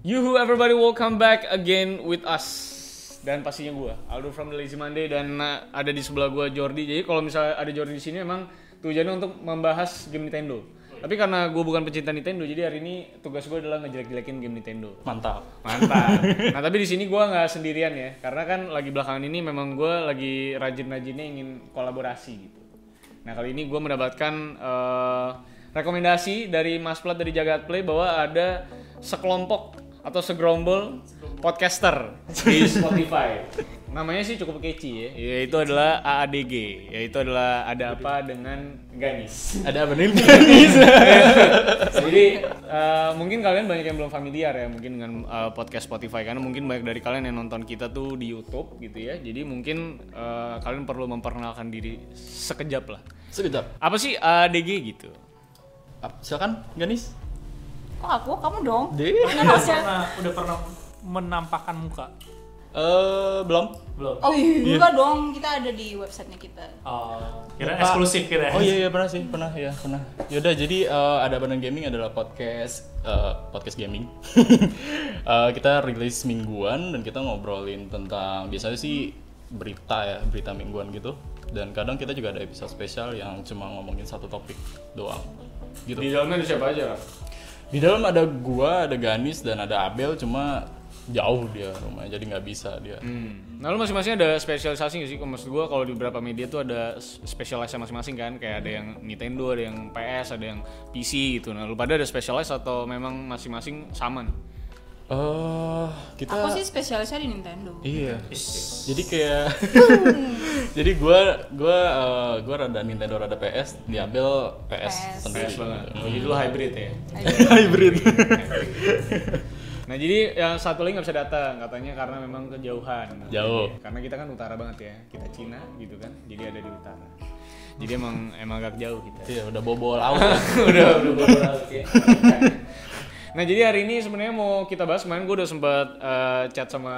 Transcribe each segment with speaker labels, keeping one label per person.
Speaker 1: Yuhu everybody, welcome back again with us dan pastinya gue Aldo from the Lazy Monday dan uh, ada di sebelah gue Jordi. Jadi kalau misalnya ada Jordi di sini emang tujuannya untuk membahas game Nintendo. Tapi karena gue bukan pecinta Nintendo, jadi hari ini tugas gue adalah ngejelek-jelekin game Nintendo.
Speaker 2: Mantap.
Speaker 1: Mantap. nah tapi di sini gue nggak sendirian ya, karena kan lagi belakangan ini memang gue lagi rajin-rajinnya ingin kolaborasi gitu. Nah kali ini gue mendapatkan eh, rekomendasi dari Mas Plat dari Jagat Play bahwa ada sekelompok atau segerombol podcaster di Spotify. Namanya sih cukup keci ya. Yaitu adalah AADG. Yaitu adalah ada apa dengan Ganis.
Speaker 2: Ada apa nih?
Speaker 1: Jadi eh, mungkin kalian banyak yang belum familiar ya mungkin dengan eh, podcast Spotify karena mungkin banyak dari kalian yang nonton kita tuh di YouTube gitu ya. Jadi mungkin eh, kalian perlu memperkenalkan diri sekejap lah.
Speaker 2: Sekejap.
Speaker 1: Apa sih ADG gitu?
Speaker 2: Ap- Silakan, Ganis.
Speaker 3: Kok aku? Kamu dong.
Speaker 2: Deh.
Speaker 3: Kan harusnya.
Speaker 4: pernah udah pernah menampakkan muka
Speaker 2: Eh, belum.
Speaker 4: belum
Speaker 3: Oh enggak dong, kita ada di websitenya kita.
Speaker 4: oh kira
Speaker 2: Lupa.
Speaker 4: eksklusif kira ya?
Speaker 2: Oh iya iya pernah sih, pernah ya, pernah. Yaudah jadi eh, ada Badan Gaming adalah podcast eh, podcast gaming. Eh, kita rilis mingguan dan kita ngobrolin tentang biasanya sih berita ya, berita mingguan gitu. Dan kadang kita juga ada episode spesial yang cuma ngomongin satu topik doang. Gitu.
Speaker 1: dalamnya ada siapa aja lah?
Speaker 2: Di dalam ada gua, ada Ganis dan ada Abel cuma jauh dia rumahnya jadi nggak bisa dia.
Speaker 1: Nah lu masing-masing ada spesialisasi gak sih? Maksud gue kalau di beberapa media tuh ada s- spesialisasi masing-masing kan? Kayak ada yang Nintendo, ada yang PS, ada yang PC gitu. Nah lu pada ada spesialis atau memang masing-masing sama nih?
Speaker 2: Eh, kita
Speaker 3: Aku sih spesialisnya di Nintendo.
Speaker 2: Iya. Jadi kayak jadi gua gua eh, gua rada Nintendo rada PS, diambil PS,
Speaker 3: PS.
Speaker 2: sendiri.
Speaker 1: Oh, jadi lu hybrid ya?
Speaker 2: Hybrid.
Speaker 1: Nah jadi yang satu lagi nggak bisa datang katanya karena memang kejauhan.
Speaker 2: Jauh.
Speaker 1: Karena kita kan utara banget ya, kita Cina gitu kan, jadi ada di utara. Jadi emang emang agak jauh kita.
Speaker 2: Iya, udah bobol awal.
Speaker 1: udah udah bobol out ya. Nah jadi hari ini sebenarnya mau kita bahas kemarin gue udah sempat eh, chat sama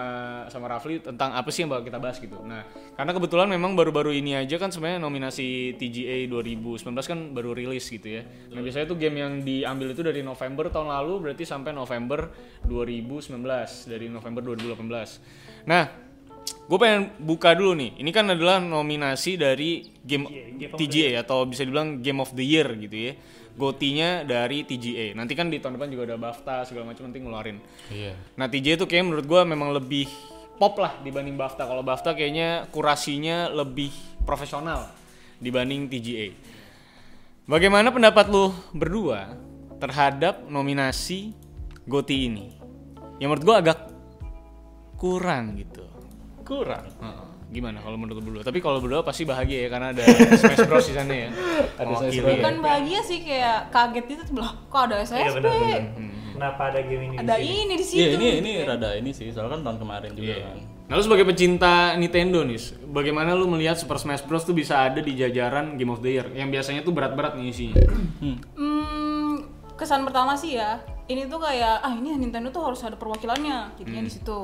Speaker 1: sama Rafli tentang apa sih yang bakal kita bahas gitu. Nah karena kebetulan memang baru-baru ini aja kan sebenarnya nominasi TGA 2019 kan baru rilis gitu ya. Nah biasanya tuh game yang diambil itu dari November tahun lalu berarti sampai November 2019 dari November 2018. Nah gue pengen buka dulu nih. Ini kan adalah nominasi dari game TGA atau bisa dibilang Game of the Year gitu ya. Gotinya dari TGA. Nanti kan di tahun depan juga ada BAFTA segala macam nanti ngeluarin.
Speaker 2: Iya.
Speaker 1: Nah TGA itu kayaknya menurut gue memang lebih pop lah dibanding BAFTA. Kalau BAFTA kayaknya kurasinya lebih profesional dibanding TGA. Bagaimana pendapat lu berdua terhadap nominasi Goti ini? Yang menurut gue agak kurang gitu.
Speaker 2: Kurang.
Speaker 1: Heeh. Gimana kalau menurut lu berdua? Tapi kalau berdua pasti bahagia ya karena ada Smash Bros di sana ya.
Speaker 2: Ada
Speaker 1: Mewakili
Speaker 2: Smash Bros.
Speaker 1: ya.
Speaker 3: Bukan bahagia sih kayak kaget itu tuh loh, kok ada SSB?
Speaker 4: iya benar benar Hmm. kenapa ada game ini di
Speaker 3: Ada
Speaker 4: sini?
Speaker 3: ini di situ.
Speaker 2: Iya, ini ini rada ini sih, soalnya kan tahun kemarin juga kan.
Speaker 1: Nah lu sebagai pecinta Nintendo nih, bagaimana lu melihat Super Smash Bros tuh bisa ada di jajaran Game of the Year yang biasanya tuh berat-berat nih isinya?
Speaker 3: Hmm, kesan pertama sih ya, ini tuh kayak ah ini Nintendo tuh harus ada perwakilannya gitu di situ.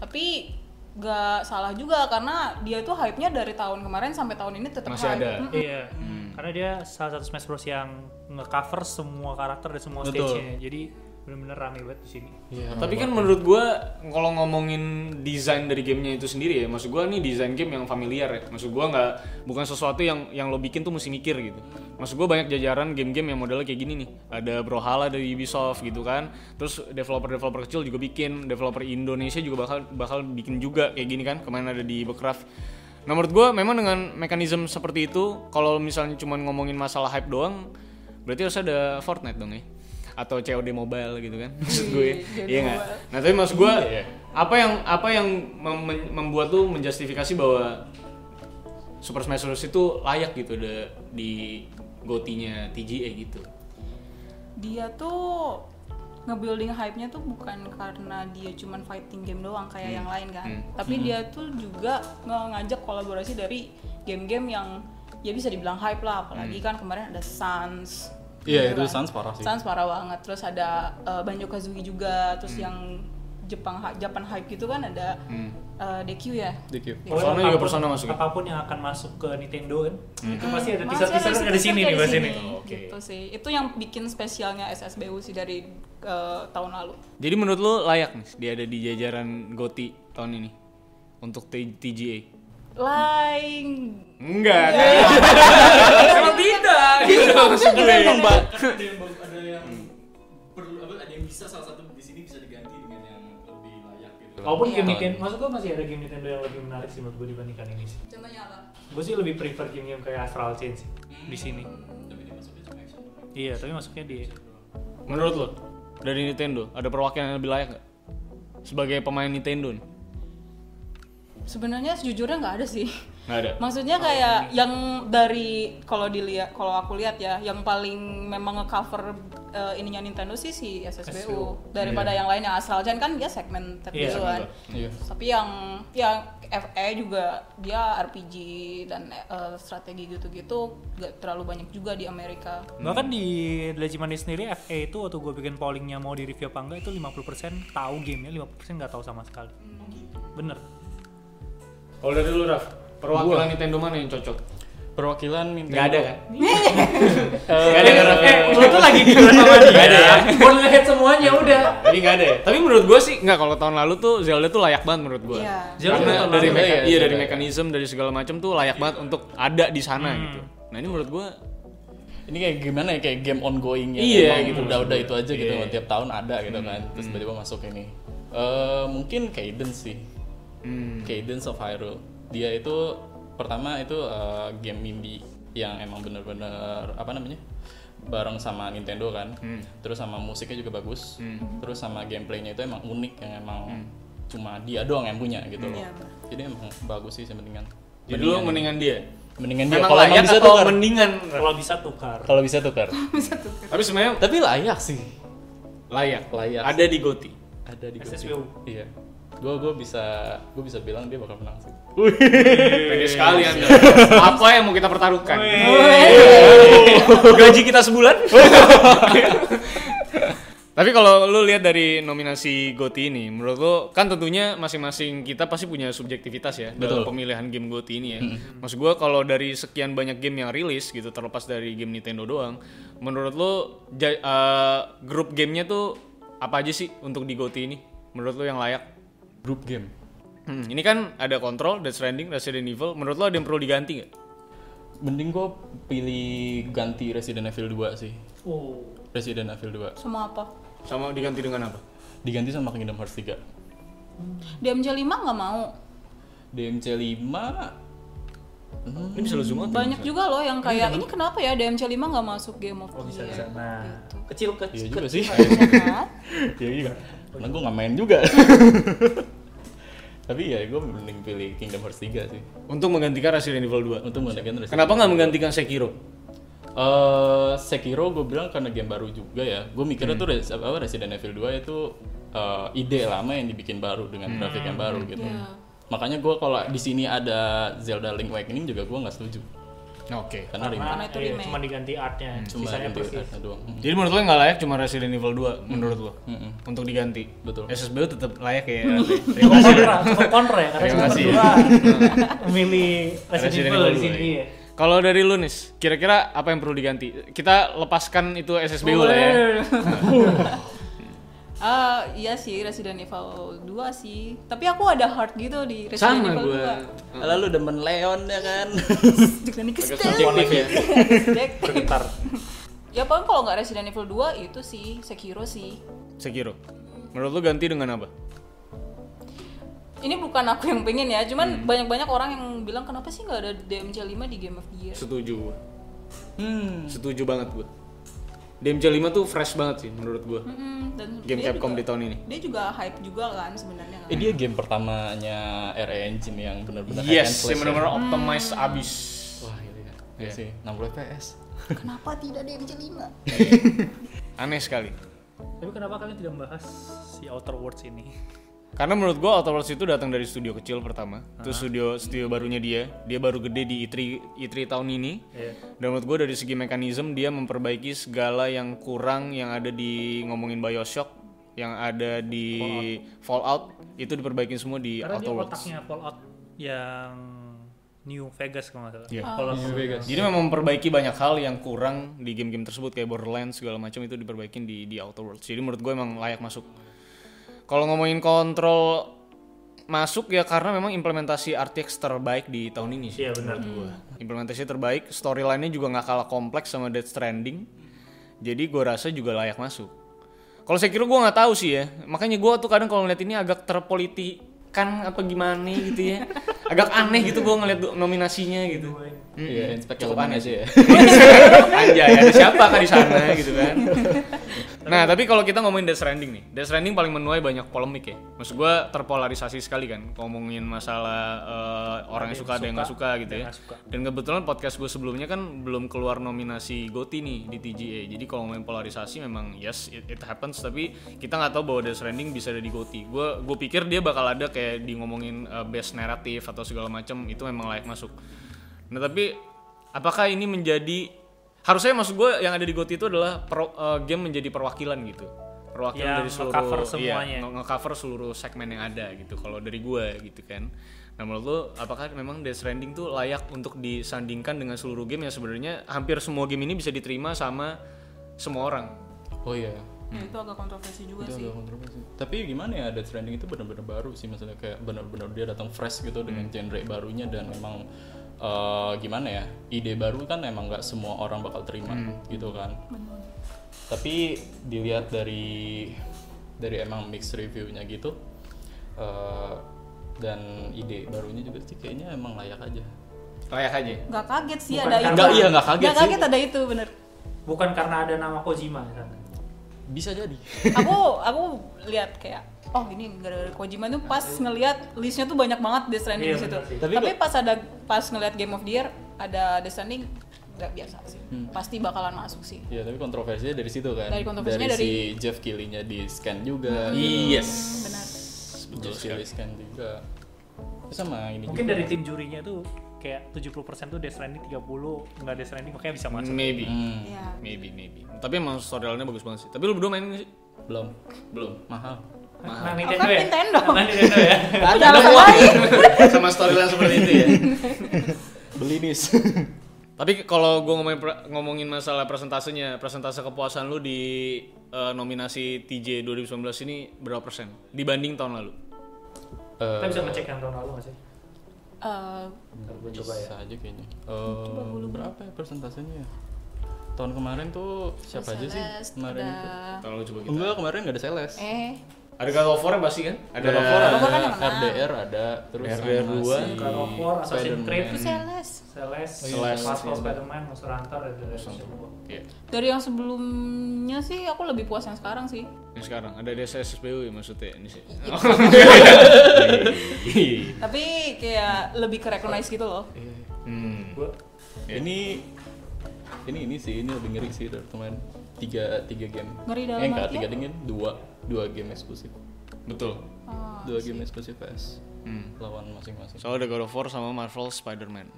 Speaker 3: Tapi gak salah juga karena dia tuh hype-nya dari tahun kemarin sampai tahun ini tetap
Speaker 1: Masih
Speaker 3: hype.
Speaker 1: ada.
Speaker 3: Mm-mm.
Speaker 4: iya karena dia salah satu Smash Bros yang nge-cover semua karakter dan semua
Speaker 2: Betul.
Speaker 4: stage-nya jadi benar-benar rame banget di sini
Speaker 2: Iya.
Speaker 1: Tapi kan menurut gua kalau ngomongin desain dari gamenya itu sendiri ya, maksud gua nih desain game yang familiar ya. Maksud gua nggak bukan sesuatu yang yang lo bikin tuh mesti mikir gitu. Maksud gua banyak jajaran game-game yang modelnya kayak gini nih. Ada Brawlhalla dari Ubisoft gitu kan. Terus developer-developer kecil juga bikin, developer Indonesia juga bakal bakal bikin juga kayak gini kan. Kemarin ada di Becraft. Nah menurut gue memang dengan mekanisme seperti itu kalau misalnya cuma ngomongin masalah hype doang berarti harus ada Fortnite dong ya atau COD Mobile gitu kan maksud gue iya nggak nah tapi maksud gue apa yang apa yang mem- men- membuat tuh menjustifikasi bahwa Super Smash Bros itu layak gitu de- di gotinya TGA gitu
Speaker 3: dia tuh nge-building hype-nya tuh bukan karena dia cuman fighting game doang kayak yang lain kan. Tapi
Speaker 2: Hmm.
Speaker 3: dia tuh juga nge- ngajak kolaborasi dari game-game yang ya bisa dibilang hype lah, apalagi kan kemarin ada Sans.
Speaker 2: Iya,
Speaker 3: gitu
Speaker 2: itu
Speaker 3: kan.
Speaker 2: Sans parah sih.
Speaker 3: eh, Sans parah banget. Terus ada Banjo Kazooie juga, terus yang Jepang hy- Japan hype gitu kan ada
Speaker 1: Hmm.
Speaker 3: eh, DQ ya.
Speaker 1: Persona
Speaker 2: DQ.
Speaker 4: Pokoknya
Speaker 1: juga
Speaker 4: apapun-
Speaker 1: persona masuk ya?
Speaker 4: Apapun yang akan masuk ke Nintendo kan, itu pasti ada
Speaker 3: Masih
Speaker 4: teaser-teaser kan
Speaker 3: ada
Speaker 4: ada di sini nih
Speaker 3: teaser-teaser
Speaker 4: bahas
Speaker 3: di
Speaker 4: ini.
Speaker 3: sini,
Speaker 1: Oh, oke.
Speaker 3: Gitu sih. Itu yang bikin spesialnya SSBU sih dari eh, tahun lalu.
Speaker 1: Jadi menurut lu layak nih dia ada di jajaran GOTI tahun ini untuk T- TGA?
Speaker 3: Lain.
Speaker 1: Enggak. Emang tidak. Gitu maksud gue.
Speaker 2: ada yang baru- ada yang perlu apa, ada yang bisa salah satu di sini bisa diganti dengan yang lebih layak gitu.
Speaker 4: Walaupun game
Speaker 2: Tahun
Speaker 4: Nintendo,
Speaker 2: ini.
Speaker 4: maksud gue masih ada game Nintendo yang lebih menarik sih menurut gue dibandingkan ini sih.
Speaker 3: Contohnya apa?
Speaker 4: Gue sih lebih prefer game-game kayak Astral Chain sih di sini.
Speaker 2: tapi dimasuknya sama action.
Speaker 4: Iya, tapi masuknya di
Speaker 1: Menurut lu dari Nintendo ada perwakilan yang lebih layak nggak? Sebagai pemain Nintendo nih?
Speaker 3: Sebenarnya sejujurnya nggak ada sih.
Speaker 1: Nggak ada.
Speaker 3: Maksudnya kayak yang dari kalau dilihat kalau aku lihat ya, yang paling memang ngecover cover ininya Nintendo sih si SSBU daripada yang lain yang Astral Chain kan dia segmen
Speaker 4: Iya,
Speaker 3: tertentu kan.
Speaker 2: Iya.
Speaker 3: Tapi yang yang FE juga dia RPG dan eh, strategi gitu-gitu nggak terlalu banyak juga di Amerika.
Speaker 4: Bahkan di Legimani sendiri FA itu waktu gue bikin pollingnya mau di review apa enggak itu 50% tahu gamenya, 50% nggak tahu sama sekali.
Speaker 3: Hmm.
Speaker 4: Bener.
Speaker 1: Kalau dari lu Raf, perwakilan Nintendo mana yang cocok?
Speaker 2: Perwakilan Nintendo.
Speaker 1: Nggak ada kan?
Speaker 2: Eh,
Speaker 1: Nggak ada kan? Raf?
Speaker 4: lu tuh lagi di sama
Speaker 1: Nggak ada ya?
Speaker 4: Mau ngehead semuanya udah.
Speaker 1: Tapi nggak ada ya. Tapi menurut gue sih nggak kalau tahun lalu tuh Zelda tuh layak banget menurut gue.
Speaker 3: Iya.
Speaker 4: Zelda
Speaker 1: Karena
Speaker 4: tahun
Speaker 1: dari
Speaker 4: lalu
Speaker 1: meka-
Speaker 2: ya,
Speaker 1: iya
Speaker 2: Zelda
Speaker 1: dari
Speaker 2: ya.
Speaker 1: mekanisme dari segala macam tuh layak banget untuk ada di sana gitu. Nah ini menurut gue
Speaker 2: ini kayak gimana ya kayak game ongoing ya
Speaker 1: Iya,
Speaker 2: emang
Speaker 1: gitu
Speaker 2: udah udah
Speaker 1: maksudnya.
Speaker 2: itu aja gitu
Speaker 1: Iya. Hmm.
Speaker 2: tiap tahun ada gitu kan terus tiba-tiba masuk ini Eh, mungkin Cadence sih
Speaker 1: hmm,
Speaker 2: Cadence of Hyrule dia itu pertama itu eh, game indie yang emang bener-bener apa namanya bareng sama Nintendo kan
Speaker 1: Hmm.
Speaker 2: terus sama musiknya juga bagus terus sama gameplaynya itu emang unik yang emang
Speaker 1: Hmm.
Speaker 2: cuma dia doang yang punya gitu loh
Speaker 3: Iya.
Speaker 2: jadi emang bagus sih mendingan
Speaker 1: jadi lu mendingan dia.
Speaker 2: mendingan dia
Speaker 1: Memang
Speaker 2: kalau emang
Speaker 1: layak
Speaker 2: bisa
Speaker 1: atau
Speaker 2: tukar
Speaker 1: mendingan?
Speaker 4: Kalau bisa tukar.
Speaker 2: kalau bisa tukar
Speaker 1: Tapi sebenarnya
Speaker 2: tapi layak sih
Speaker 1: layak.
Speaker 2: Layak.
Speaker 1: Ada di Goti.
Speaker 2: ada di
Speaker 4: SSBU.
Speaker 2: Gojek. Iya. Gue gue bisa gue bisa bilang dia bakal menang sih.
Speaker 1: Pede sekali anda. Apa yang mau kita pertaruhkan? Gaji kita sebulan? Tapi kalau lu lihat dari nominasi GOTY ini, menurut lu kan tentunya masing-masing kita pasti punya subjektivitas ya dalam
Speaker 2: Betul.
Speaker 1: pemilihan game GOTY ini ya. Maksud gua kalau dari sekian banyak game yang rilis gitu terlepas dari game Nintendo doang, menurut lu ja- eh, grup gamenya tuh apa aja sih untuk di GOTY ini? Menurut lu yang layak?
Speaker 2: Group game.
Speaker 1: Hmm, ini kan ada Control, Death Stranding, Resident Evil. Menurut lo ada yang perlu diganti nggak?
Speaker 2: Mending gue pilih ganti Resident Evil 2 sih.
Speaker 4: Oh.
Speaker 2: Resident Evil 2
Speaker 3: Semua apa?
Speaker 1: Sama diganti dengan apa?
Speaker 2: diganti sama Kingdom Hearts 3.
Speaker 3: DMJ 5 nggak mau.
Speaker 2: DMC 5
Speaker 1: Ini bisa Oh, lo zoom out.
Speaker 3: Banyak juga loh yang kayak ini kenapa ya DMC 5 nggak masuk Game of the Year. Kan?
Speaker 4: Nah, kecil
Speaker 2: Iya
Speaker 4: kecil.
Speaker 2: juga sih.
Speaker 3: Banyak banget.
Speaker 2: Iya juga. Karena gue nggak main juga. Tapi ya gue mending pilih Kingdom Hearts 3 sih.
Speaker 1: Untuk menggantikan Resident Evil 2.
Speaker 2: Untuk menggantikan Resident
Speaker 1: Kenapa nggak menggantikan Sekiro?
Speaker 2: eh Sekiro gue bilang karena game baru juga ya. Gue mikirnya tuh Res- apa, Resident Evil 2 itu eh, ide lama yang dibikin baru dengan grafik yang baru gitu.
Speaker 3: Iya.
Speaker 2: Makanya gue kalau di sini ada Zelda Link Awakening juga gue nggak setuju
Speaker 1: Oke.
Speaker 2: karena remake.
Speaker 3: Karena itu
Speaker 4: iya,
Speaker 3: remake.
Speaker 4: cuma diganti artnya,
Speaker 1: Hmm,
Speaker 2: Cuma
Speaker 4: sisanya
Speaker 2: remake
Speaker 4: persis.
Speaker 2: aja doang. Mm.
Speaker 1: Jadi menurut lo yang nggak layak cuma Resident Evil 2 menurut lo
Speaker 2: Mm-mm.
Speaker 1: untuk diganti.
Speaker 2: Betul.
Speaker 1: SSBO tetap layak ya.
Speaker 4: Cukup kontra, cukup kontra ya, karena
Speaker 1: Terima
Speaker 4: cuma
Speaker 1: kasih.
Speaker 4: berdua memilih Resident
Speaker 1: Resident
Speaker 4: Evil
Speaker 1: Evil iya.
Speaker 4: di sini
Speaker 1: dua,
Speaker 4: ya.
Speaker 1: Kalau dari lu Nis, kira-kira apa yang perlu diganti? Kita lepaskan itu SSBU lah ya.
Speaker 3: Ah, iya sih Resident Evil 2 sih. Tapi aku ada heart gitu di Resident
Speaker 1: Sama
Speaker 3: Evil
Speaker 1: gue.
Speaker 2: Lalu demen Leon ya kan.
Speaker 3: 2. Dengan dikit
Speaker 1: Agak
Speaker 3: sedikit.
Speaker 1: subjektif ya.
Speaker 3: Subjektif.
Speaker 4: Bentar.
Speaker 3: Ya paling kalau nggak Resident Evil 2 itu sih Sekiro sih.
Speaker 1: Sekiro. Menurut lu ganti dengan apa?
Speaker 3: Ini bukan aku yang pengen ya,
Speaker 1: Hmm.
Speaker 3: cuman banyak-banyak orang yang bilang kenapa sih nggak ada DMC 5 di Game of the Year.
Speaker 1: Setuju. gua.
Speaker 2: Hmm.
Speaker 1: Setuju banget gue. DMC 5 tuh fresh banget sih menurut gue.
Speaker 2: Hmm.
Speaker 3: Mm-mm, dan
Speaker 1: Game
Speaker 3: dia
Speaker 2: Iya,
Speaker 1: Capcom
Speaker 3: juga-
Speaker 1: di tahun ini.
Speaker 3: Dia juga hype juga kan sebenarnya kan.
Speaker 2: Eh dia game pertamanya RE Engine yang benar-benar hack and
Speaker 1: Yes, yang
Speaker 2: slash ya.
Speaker 1: benar-benar optimize abis.
Speaker 2: Wah, gila ya.
Speaker 1: Iya.
Speaker 2: Iya sih, 60 FPS.
Speaker 3: Kenapa tidak DMC 5?
Speaker 1: Aneh sekali.
Speaker 4: Tapi kenapa kalian tidak membahas si Outer Worlds ini?
Speaker 1: Karena menurut gua Outer Worlds itu datang dari studio kecil pertama, terus studio studio barunya dia, dia baru gede di E E3 E3 tahun ini. Dan menurut gua dari segi mekanisme dia memperbaiki segala yang kurang yang ada di ngomongin BioShock yang ada di Fallout, itu diperbaikin semua di
Speaker 4: Karena
Speaker 1: Outer
Speaker 4: dia
Speaker 1: Worlds.
Speaker 4: otaknya Fallout yang New Vegas kalau nggak salah.
Speaker 1: Iya.
Speaker 4: Fallout New Vegas.
Speaker 1: Jadi memang memperbaiki banyak hal yang kurang di game-game tersebut kayak Borderlands segala macam itu diperbaikin di di Outer Worlds. Jadi menurut gue emang layak masuk. Kalau ngomongin kontrol masuk ya karena memang implementasi RTX terbaik di tahun ini sih.
Speaker 4: Iya benar gua.
Speaker 1: Implementasi terbaik, storyline-nya juga nggak kalah kompleks sama Death Stranding. Jadi gue rasa juga layak masuk. Kalau saya kira gue nggak tahu sih ya. Makanya gue tuh kadang kalau ngeliat ini agak terpolitikan apa gimana gitu ya. Agak aneh gitu gue ngeliat do- nominasinya gitu.
Speaker 2: Iya, inspek
Speaker 1: Cukup
Speaker 2: elemen
Speaker 1: aneh
Speaker 2: aja ya.
Speaker 1: Anjay, ada siapa kan di sana gitu kan. Nah, tapi kalau kita ngomongin Death Stranding nih, Death Stranding paling menuai banyak polemik ya. Maksud gua terpolarisasi sekali kan, ngomongin masalah eh, orang yang suka ada yang nggak suka gitu ya.
Speaker 4: nggak suka.
Speaker 1: Dan kebetulan podcast gue sebelumnya kan belum keluar nominasi GOTY nih di TGA. Jadi kalau ngomongin polarisasi memang yes it, it happens, tapi kita nggak tahu bahwa Death Stranding bisa ada di GOTY. Gue gue pikir dia bakal ada kayak di ngomongin eh, best narrative atau segala macam itu memang layak masuk. Nah tapi apakah ini menjadi harusnya maksud gue yang ada di GOTY itu adalah pro- eh, game menjadi perwakilan gitu perwakilan
Speaker 4: Yang
Speaker 1: dari seluruh
Speaker 4: nge-cover
Speaker 1: iya,
Speaker 4: semuanya.
Speaker 1: nge- nge-cover seluruh segmen yang ada gitu kalau dari gue gitu kan nah menurut lo apakah memang Death Stranding tuh layak untuk disandingkan dengan seluruh game yang sebenarnya hampir semua game ini bisa diterima sama semua orang
Speaker 2: Oh iya.
Speaker 3: Ya, itu agak kontroversi juga
Speaker 2: Itu
Speaker 3: sih.
Speaker 2: agak kontroversi. Iya Tapi gimana ya Death Stranding itu benar-benar baru sih maksudnya kayak benar-benar dia datang fresh gitu dengan
Speaker 3: Hmm.
Speaker 2: genre barunya dan memang eh, gimana ya ide baru kan emang nggak semua orang bakal terima
Speaker 3: Hmm.
Speaker 2: gitu kan. Tapi dilihat dari dari emang mix reviewnya gitu eh, dan ide barunya juga sih kayaknya emang layak aja.
Speaker 1: layak aja
Speaker 3: Nggak kaget sih
Speaker 4: Bukan
Speaker 3: ada
Speaker 4: karena-
Speaker 3: itu.
Speaker 2: Nggak, iya, nggak kaget
Speaker 3: Nggak
Speaker 2: sih.
Speaker 3: kaget ada itu bener.
Speaker 4: Bukan karena ada nama Kojima kan.
Speaker 2: Bisa jadi.
Speaker 3: aku aku lihat kayak oh ini gara-gara Kojima tuh pas ngelihat listnya tuh banyak banget Death Stranding
Speaker 4: Iya,
Speaker 3: di situ.
Speaker 4: benar sih.
Speaker 3: Tapi, pas ada pas ngelihat Game of the Year ada Death Stranding nggak biasa sih.
Speaker 2: Hmm.
Speaker 3: Pasti bakalan masuk sih.
Speaker 2: Ya tapi kontroversinya dari situ kan.
Speaker 3: Dari Iya, kontroversinya
Speaker 2: si Jeff Keighley-nya di scan juga. gitu.
Speaker 1: yes
Speaker 3: Benar.
Speaker 1: betul
Speaker 2: Jeff
Speaker 1: sekali
Speaker 2: Keighley scan juga. Terus sama ini
Speaker 4: Mungkin
Speaker 2: juga.
Speaker 4: dari tim jurinya tuh kayak 70% tuh Death Stranding 30 nggak Death Stranding makanya bisa masuk.
Speaker 1: maybe
Speaker 2: Hmm,
Speaker 3: Iya.
Speaker 1: maybe maybe tapi emang storyline-nya bagus banget sih tapi lu berdua main nggak sih
Speaker 2: belum
Speaker 1: belum
Speaker 2: mahal.
Speaker 3: Oh, kan
Speaker 4: Nah,
Speaker 3: Nintendo.
Speaker 4: Nah, Nintendo ya.
Speaker 3: Udah alasan lain.
Speaker 2: Iya
Speaker 1: sama storyline seperti itu ya
Speaker 2: Beli nis.
Speaker 1: Tapi kalau gue ngomongin, ngomongin masalah presentasenya, presentase kepuasan lu di eh, nominasi TJ 2019 ini berapa persen dibanding tahun lalu?
Speaker 4: Kita bisa ngecek yang tahun lalu nggak sih?
Speaker 1: Hmm.
Speaker 3: Eh,
Speaker 4: Ntar gue
Speaker 2: coba
Speaker 4: coba ya.
Speaker 2: aja kayaknya. Eh, berapa ya persentasenya? ya? Tahun kemarin tuh siapa aja sih
Speaker 3: Celeste,
Speaker 2: kemarin itu?
Speaker 3: ada- gitu.
Speaker 1: Tahun lalu coba kita.
Speaker 2: Enggak, kemarin nggak ada sales.
Speaker 3: Eh,
Speaker 1: Ada God of War pasti kan? Ada
Speaker 2: God of War
Speaker 3: God of War kan
Speaker 2: ada,
Speaker 3: yang menang.
Speaker 2: RDR ada, terus
Speaker 1: RDR
Speaker 2: sama
Speaker 1: dua,
Speaker 2: si
Speaker 4: God of War, Assassin's
Speaker 2: Spider-Man.
Speaker 4: Creed.
Speaker 3: itu Celeste.
Speaker 4: Celeste,
Speaker 1: Celeste,
Speaker 4: Celeste, Marvel,
Speaker 1: iya.
Speaker 4: Spider-Man, Monster Hunter, dan
Speaker 1: Iya.
Speaker 3: Dari yang sebelumnya sih aku lebih puas yang sekarang sih.
Speaker 1: Yang sekarang ada DSSBU ya maksudnya ini sih. Oh.
Speaker 3: Tapi kayak lebih ke recognize gitu loh.
Speaker 4: Iya.
Speaker 1: hmm.
Speaker 4: Gue
Speaker 2: Ini ini ini sih ini lebih ngeri sih dari kemarin tiga tiga game.
Speaker 3: Ngeri dalam
Speaker 2: eh, enggak,
Speaker 3: artian?
Speaker 2: tiga dingin dua dua game eksklusif.
Speaker 1: Betul.
Speaker 3: Ah,
Speaker 2: Dua game eksklusif PS
Speaker 1: Hmm.
Speaker 2: lawan masing-masing.
Speaker 1: Soalnya ada God of War sama Marvel Spider-Man.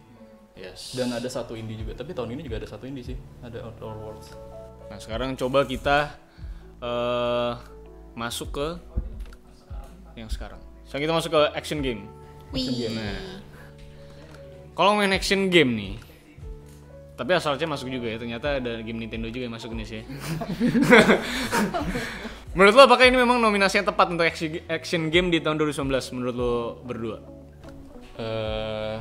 Speaker 1: Yes.
Speaker 2: dan ada satu indie juga tapi tahun ini juga ada satu indie sih ada Outdoor Worlds
Speaker 1: Nah, sekarang coba kita eh masuk ke yang sekarang. Sekarang kita masuk ke action game. nah.
Speaker 3: Wih.
Speaker 1: Kalau main action game nih, tapi asalnya masuk juga ya. Ternyata ada game Nintendo juga yang masuk nih sih. menurut lo apakah ini memang nominasi yang tepat untuk aksi- action game di tahun 2019 menurut lo berdua?
Speaker 2: eh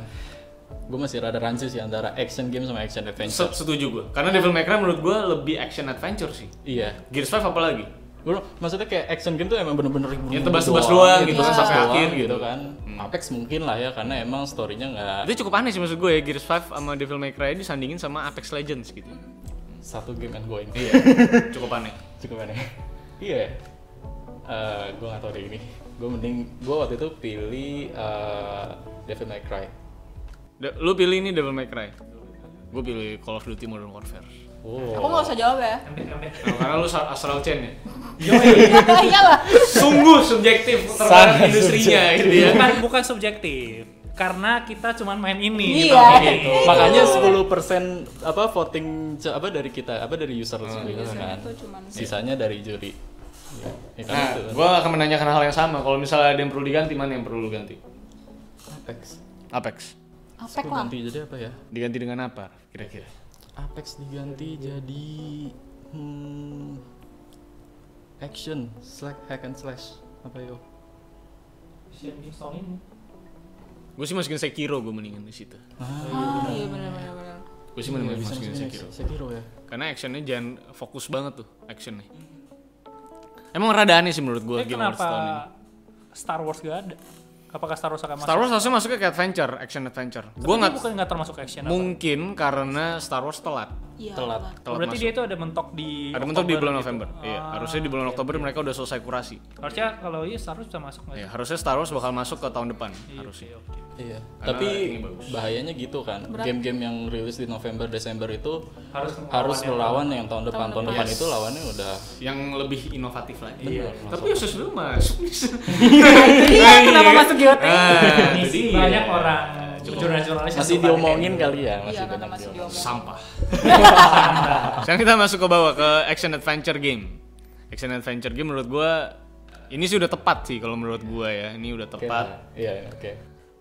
Speaker 2: gue masih rada rancu sih antara action game sama action adventure
Speaker 1: Setuju gue. Karena Devil May Cry menurut gue lebih action adventure sih.
Speaker 2: iya
Speaker 1: Gears 5 apalagi?
Speaker 2: Bro, maksudnya kayak action game tuh emang bener-bener ribut
Speaker 1: Yang tebas-tebas doang gitu,
Speaker 2: kan
Speaker 1: sampai akhir gitu.
Speaker 2: gitu kan Apex mungkin lah ya karena emang story-nya nggak
Speaker 1: Itu cukup aneh sih maksud gue ya Gears 5 sama Devil May Cry disandingin sama Apex Legends gitu.
Speaker 2: satu game and going
Speaker 1: Iya. cukup aneh.
Speaker 2: cukup aneh iya Eh gue nggak tahu deh ini gue mending gue waktu itu pilih eh, Devil May Cry
Speaker 1: Da- lu pilih ini Devil May Cry. Gue pilih Call of Duty Modern Warfare.
Speaker 2: oh
Speaker 3: Aku nggak usah jawab ya.
Speaker 1: Nah, karena lu sa- astral chain ya.
Speaker 3: Iyalah.
Speaker 1: sungguh subjektif terhadap
Speaker 2: Sangat
Speaker 1: industrinya gitu ya.
Speaker 4: Iya. bukan bukan subjektif karena kita cuman main
Speaker 3: Iya.
Speaker 4: ini. gitu.
Speaker 3: Oke.
Speaker 2: gitu. Makanya 10% apa voting ce- apa dari kita apa dari user sendiri kan.
Speaker 3: Biasanya itu Iya cuman
Speaker 2: Sisanya dari juri. Ya, kan
Speaker 1: Nah,
Speaker 2: itu kan.
Speaker 1: gue akan menanyakan hal yang sama. Kalau misalnya ada yang perlu diganti, mana yang perlu lu ganti?
Speaker 2: Apex.
Speaker 1: Apex.
Speaker 3: Apek
Speaker 2: Gua
Speaker 3: lah.
Speaker 2: ganti jadi apa ya?
Speaker 1: Diganti dengan apa kira-kira?
Speaker 2: Apex diganti jadi hmm, action slash hack and slash apa yo?
Speaker 1: Iya.
Speaker 4: Eh,
Speaker 1: Gue sih masukin Sekiro gue mendingan di situ.
Speaker 3: Ah iya benar benar benar.
Speaker 1: Gue sih mendingan masukin Sekiro.
Speaker 2: Sekiro ya.
Speaker 1: Karena actionnya jangan fokus banget tuh actionnya. Emang rada aneh sih menurut gue
Speaker 4: Tapi
Speaker 1: Game Awards
Speaker 4: Eh, kenapa
Speaker 1: tahun ini.
Speaker 4: Star Wars gak ada? Apakah Star Wars akan masuk?
Speaker 1: Star Wars harusnya masuknya ke adventure, action adventure.
Speaker 4: Tapi
Speaker 1: Gue
Speaker 4: dia
Speaker 1: nggak
Speaker 4: bukan nggak termasuk action apa?
Speaker 1: mungkin karena Star Wars telat.
Speaker 3: Iya.
Speaker 2: Telat.
Speaker 3: Bang.
Speaker 1: Telat
Speaker 4: Berarti
Speaker 1: masuk.
Speaker 4: dia itu ada mentok di
Speaker 1: Ada mentok di
Speaker 4: Oktober
Speaker 1: bulan
Speaker 4: gitu.
Speaker 1: November. Iya,
Speaker 4: Ah, iya.
Speaker 1: harusnya di bulan
Speaker 4: oke.
Speaker 1: Oktober mereka udah selesai kurasi.
Speaker 4: Harusnya kalau iya Star Wars bisa masuk nggak?
Speaker 1: Iya, harusnya Star Wars bakal masuk ke tahun depan
Speaker 4: Iya,
Speaker 1: harusnya.
Speaker 4: oke, oke.
Speaker 2: Iya.
Speaker 1: Karena
Speaker 2: Tapi
Speaker 1: ratingnya bagus.
Speaker 2: bahayanya gitu kan.
Speaker 3: Berat.
Speaker 2: Game-game yang rilis di November Desember itu
Speaker 4: Harus
Speaker 2: harus
Speaker 4: melawan
Speaker 2: melawan yang tahun depan. Tahun depan
Speaker 1: Yes.
Speaker 2: itu lawannya udah
Speaker 1: Yang lebih inovatif lagi.
Speaker 2: Iya.
Speaker 1: Tapi Yesus dulu masuk bisa.
Speaker 3: Iya kenapa masuk GOT?
Speaker 1: Ah,
Speaker 4: Ini
Speaker 1: jadi
Speaker 4: sih
Speaker 1: ya.
Speaker 4: Iya, banyak orang
Speaker 1: Coba.
Speaker 4: jurnalis-jurnalis yang
Speaker 2: masih
Speaker 4: suka
Speaker 2: diomongin kali ya,
Speaker 3: Iya
Speaker 2: masih
Speaker 3: karena
Speaker 2: banyak
Speaker 3: masih
Speaker 2: diomongin.
Speaker 3: diomongin.
Speaker 1: sampah. Sekarang kita masuk ke bawah ke action adventure game. Action adventure game menurut gua ini sih udah tepat sih kalau menurut gua ya. Ini udah
Speaker 2: Oke,
Speaker 1: tepat.
Speaker 2: Iya, oke.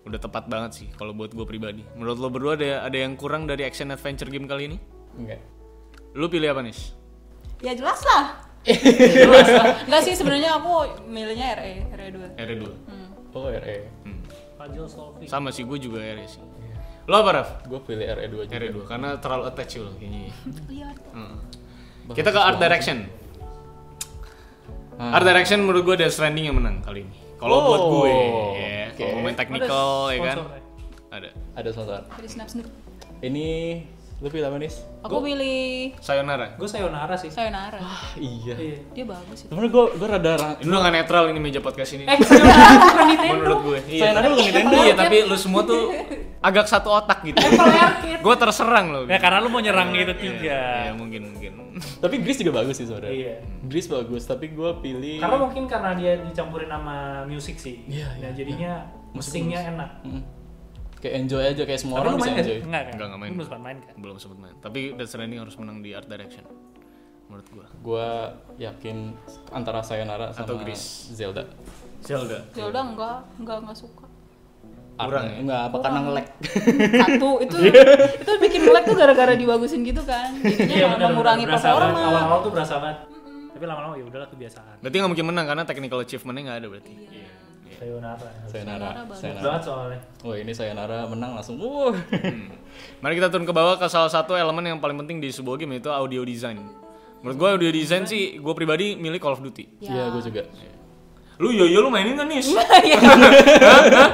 Speaker 1: Udah tepat banget sih kalau buat gua pribadi. Menurut lo berdua ada ada yang kurang dari action adventure game kali ini?
Speaker 2: Enggak.
Speaker 1: Lu pilih apa nih?
Speaker 3: Ya jelas lah. jelas lah. Enggak sih sebenarnya aku milihnya E, RE RE 2
Speaker 1: R2.
Speaker 2: Oh, RE.
Speaker 1: Hmm.
Speaker 4: Puzzle solving.
Speaker 1: Sama sih gua juga RE sih. Lo apa Raf?
Speaker 2: Gue pilih RE2 aja.
Speaker 1: RE2 karena terlalu attach lo kayaknya.
Speaker 3: Iya.
Speaker 1: Heeh. Kita ke art direction.
Speaker 2: Ah.
Speaker 1: Art direction menurut gue Death Stranding yang menang kali ini. Kalau buat
Speaker 2: Oh,
Speaker 1: gue,
Speaker 2: oke.
Speaker 1: ya. Kalau main technical, ya kan? Ada.
Speaker 2: Ada sebentar.
Speaker 3: Dari snap snap.
Speaker 2: Ini lu pilih apa nih?
Speaker 3: Aku pilih
Speaker 1: Sayonara.
Speaker 4: Gue sayonara sih.
Speaker 3: Sayonara.
Speaker 1: Ah,
Speaker 2: Iya.
Speaker 4: Iya.
Speaker 3: Dia bagus itu.
Speaker 2: Sebenernya gue gue rada ra-
Speaker 1: Ini udah gak netral ini meja podcast ini.
Speaker 4: Eh, sayonara bukan Nintendo.
Speaker 1: menurut gue. Iya.
Speaker 2: Sayonara bukan Nintendo.
Speaker 1: Iya, tapi lu semua tuh agak satu otak gitu. gue terserang loh.
Speaker 4: Ya karena lu mau nyerang itu tiga.
Speaker 1: Iya, mungkin mungkin.
Speaker 2: Tapi Gris juga bagus sih saudara.
Speaker 4: Iya.
Speaker 2: Gris bagus, tapi gue pilih.
Speaker 4: Karena mungkin karena dia dicampurin sama musik sih.
Speaker 2: Iya, iya,
Speaker 4: Nah, jadinya musingnya enak.
Speaker 2: Mm. Kayak enjoy aja kayak semua
Speaker 4: Tapi
Speaker 2: orang
Speaker 4: lu
Speaker 2: bisa
Speaker 4: main nggak?
Speaker 2: enjoy.
Speaker 4: Enggak kan?
Speaker 1: Enggak, enggak main.
Speaker 4: Lu belum sempat main kan?
Speaker 1: Belum sempet main. Tapi Death Stranding harus menang di art direction. Menurut gue.
Speaker 2: Gue yakin antara Sayonara sama
Speaker 1: Atau Gris.
Speaker 2: Zelda.
Speaker 1: Zelda.
Speaker 3: Zelda enggak, enggak enggak suka.
Speaker 1: Kurang ya?
Speaker 2: Enggak, apa karena nge-lag.
Speaker 3: Satu itu
Speaker 2: Iya.
Speaker 3: itu bikin melek tuh gara-gara dibagusin gitu kan.
Speaker 4: Iya,
Speaker 3: Jadinya
Speaker 4: benar,
Speaker 3: malah mengurangi
Speaker 4: benar. Berasa banget.
Speaker 3: performa.
Speaker 4: Awal-awal tuh berasa banget. Tapi lama-lama ya udahlah kebiasaan.
Speaker 1: Berarti gak mungkin menang karena technical achievement-nya gak ada berarti.
Speaker 4: Iya.
Speaker 1: Iya.
Speaker 4: Sayonara.
Speaker 2: Sayonara.
Speaker 3: bagus.
Speaker 2: Sayonara.
Speaker 4: Banget soalnya.
Speaker 2: Wah ini Sayonara menang langsung. Wuh.
Speaker 1: Mari kita turun ke bawah ke salah satu elemen yang paling penting di sebuah game yaitu audio design. Menurut gue audio design sih gue pribadi milik Call of Duty.
Speaker 3: Ya,
Speaker 2: Iya, gue juga.
Speaker 1: Lu yo yo lu mainin kan nih? Iya
Speaker 4: Iya,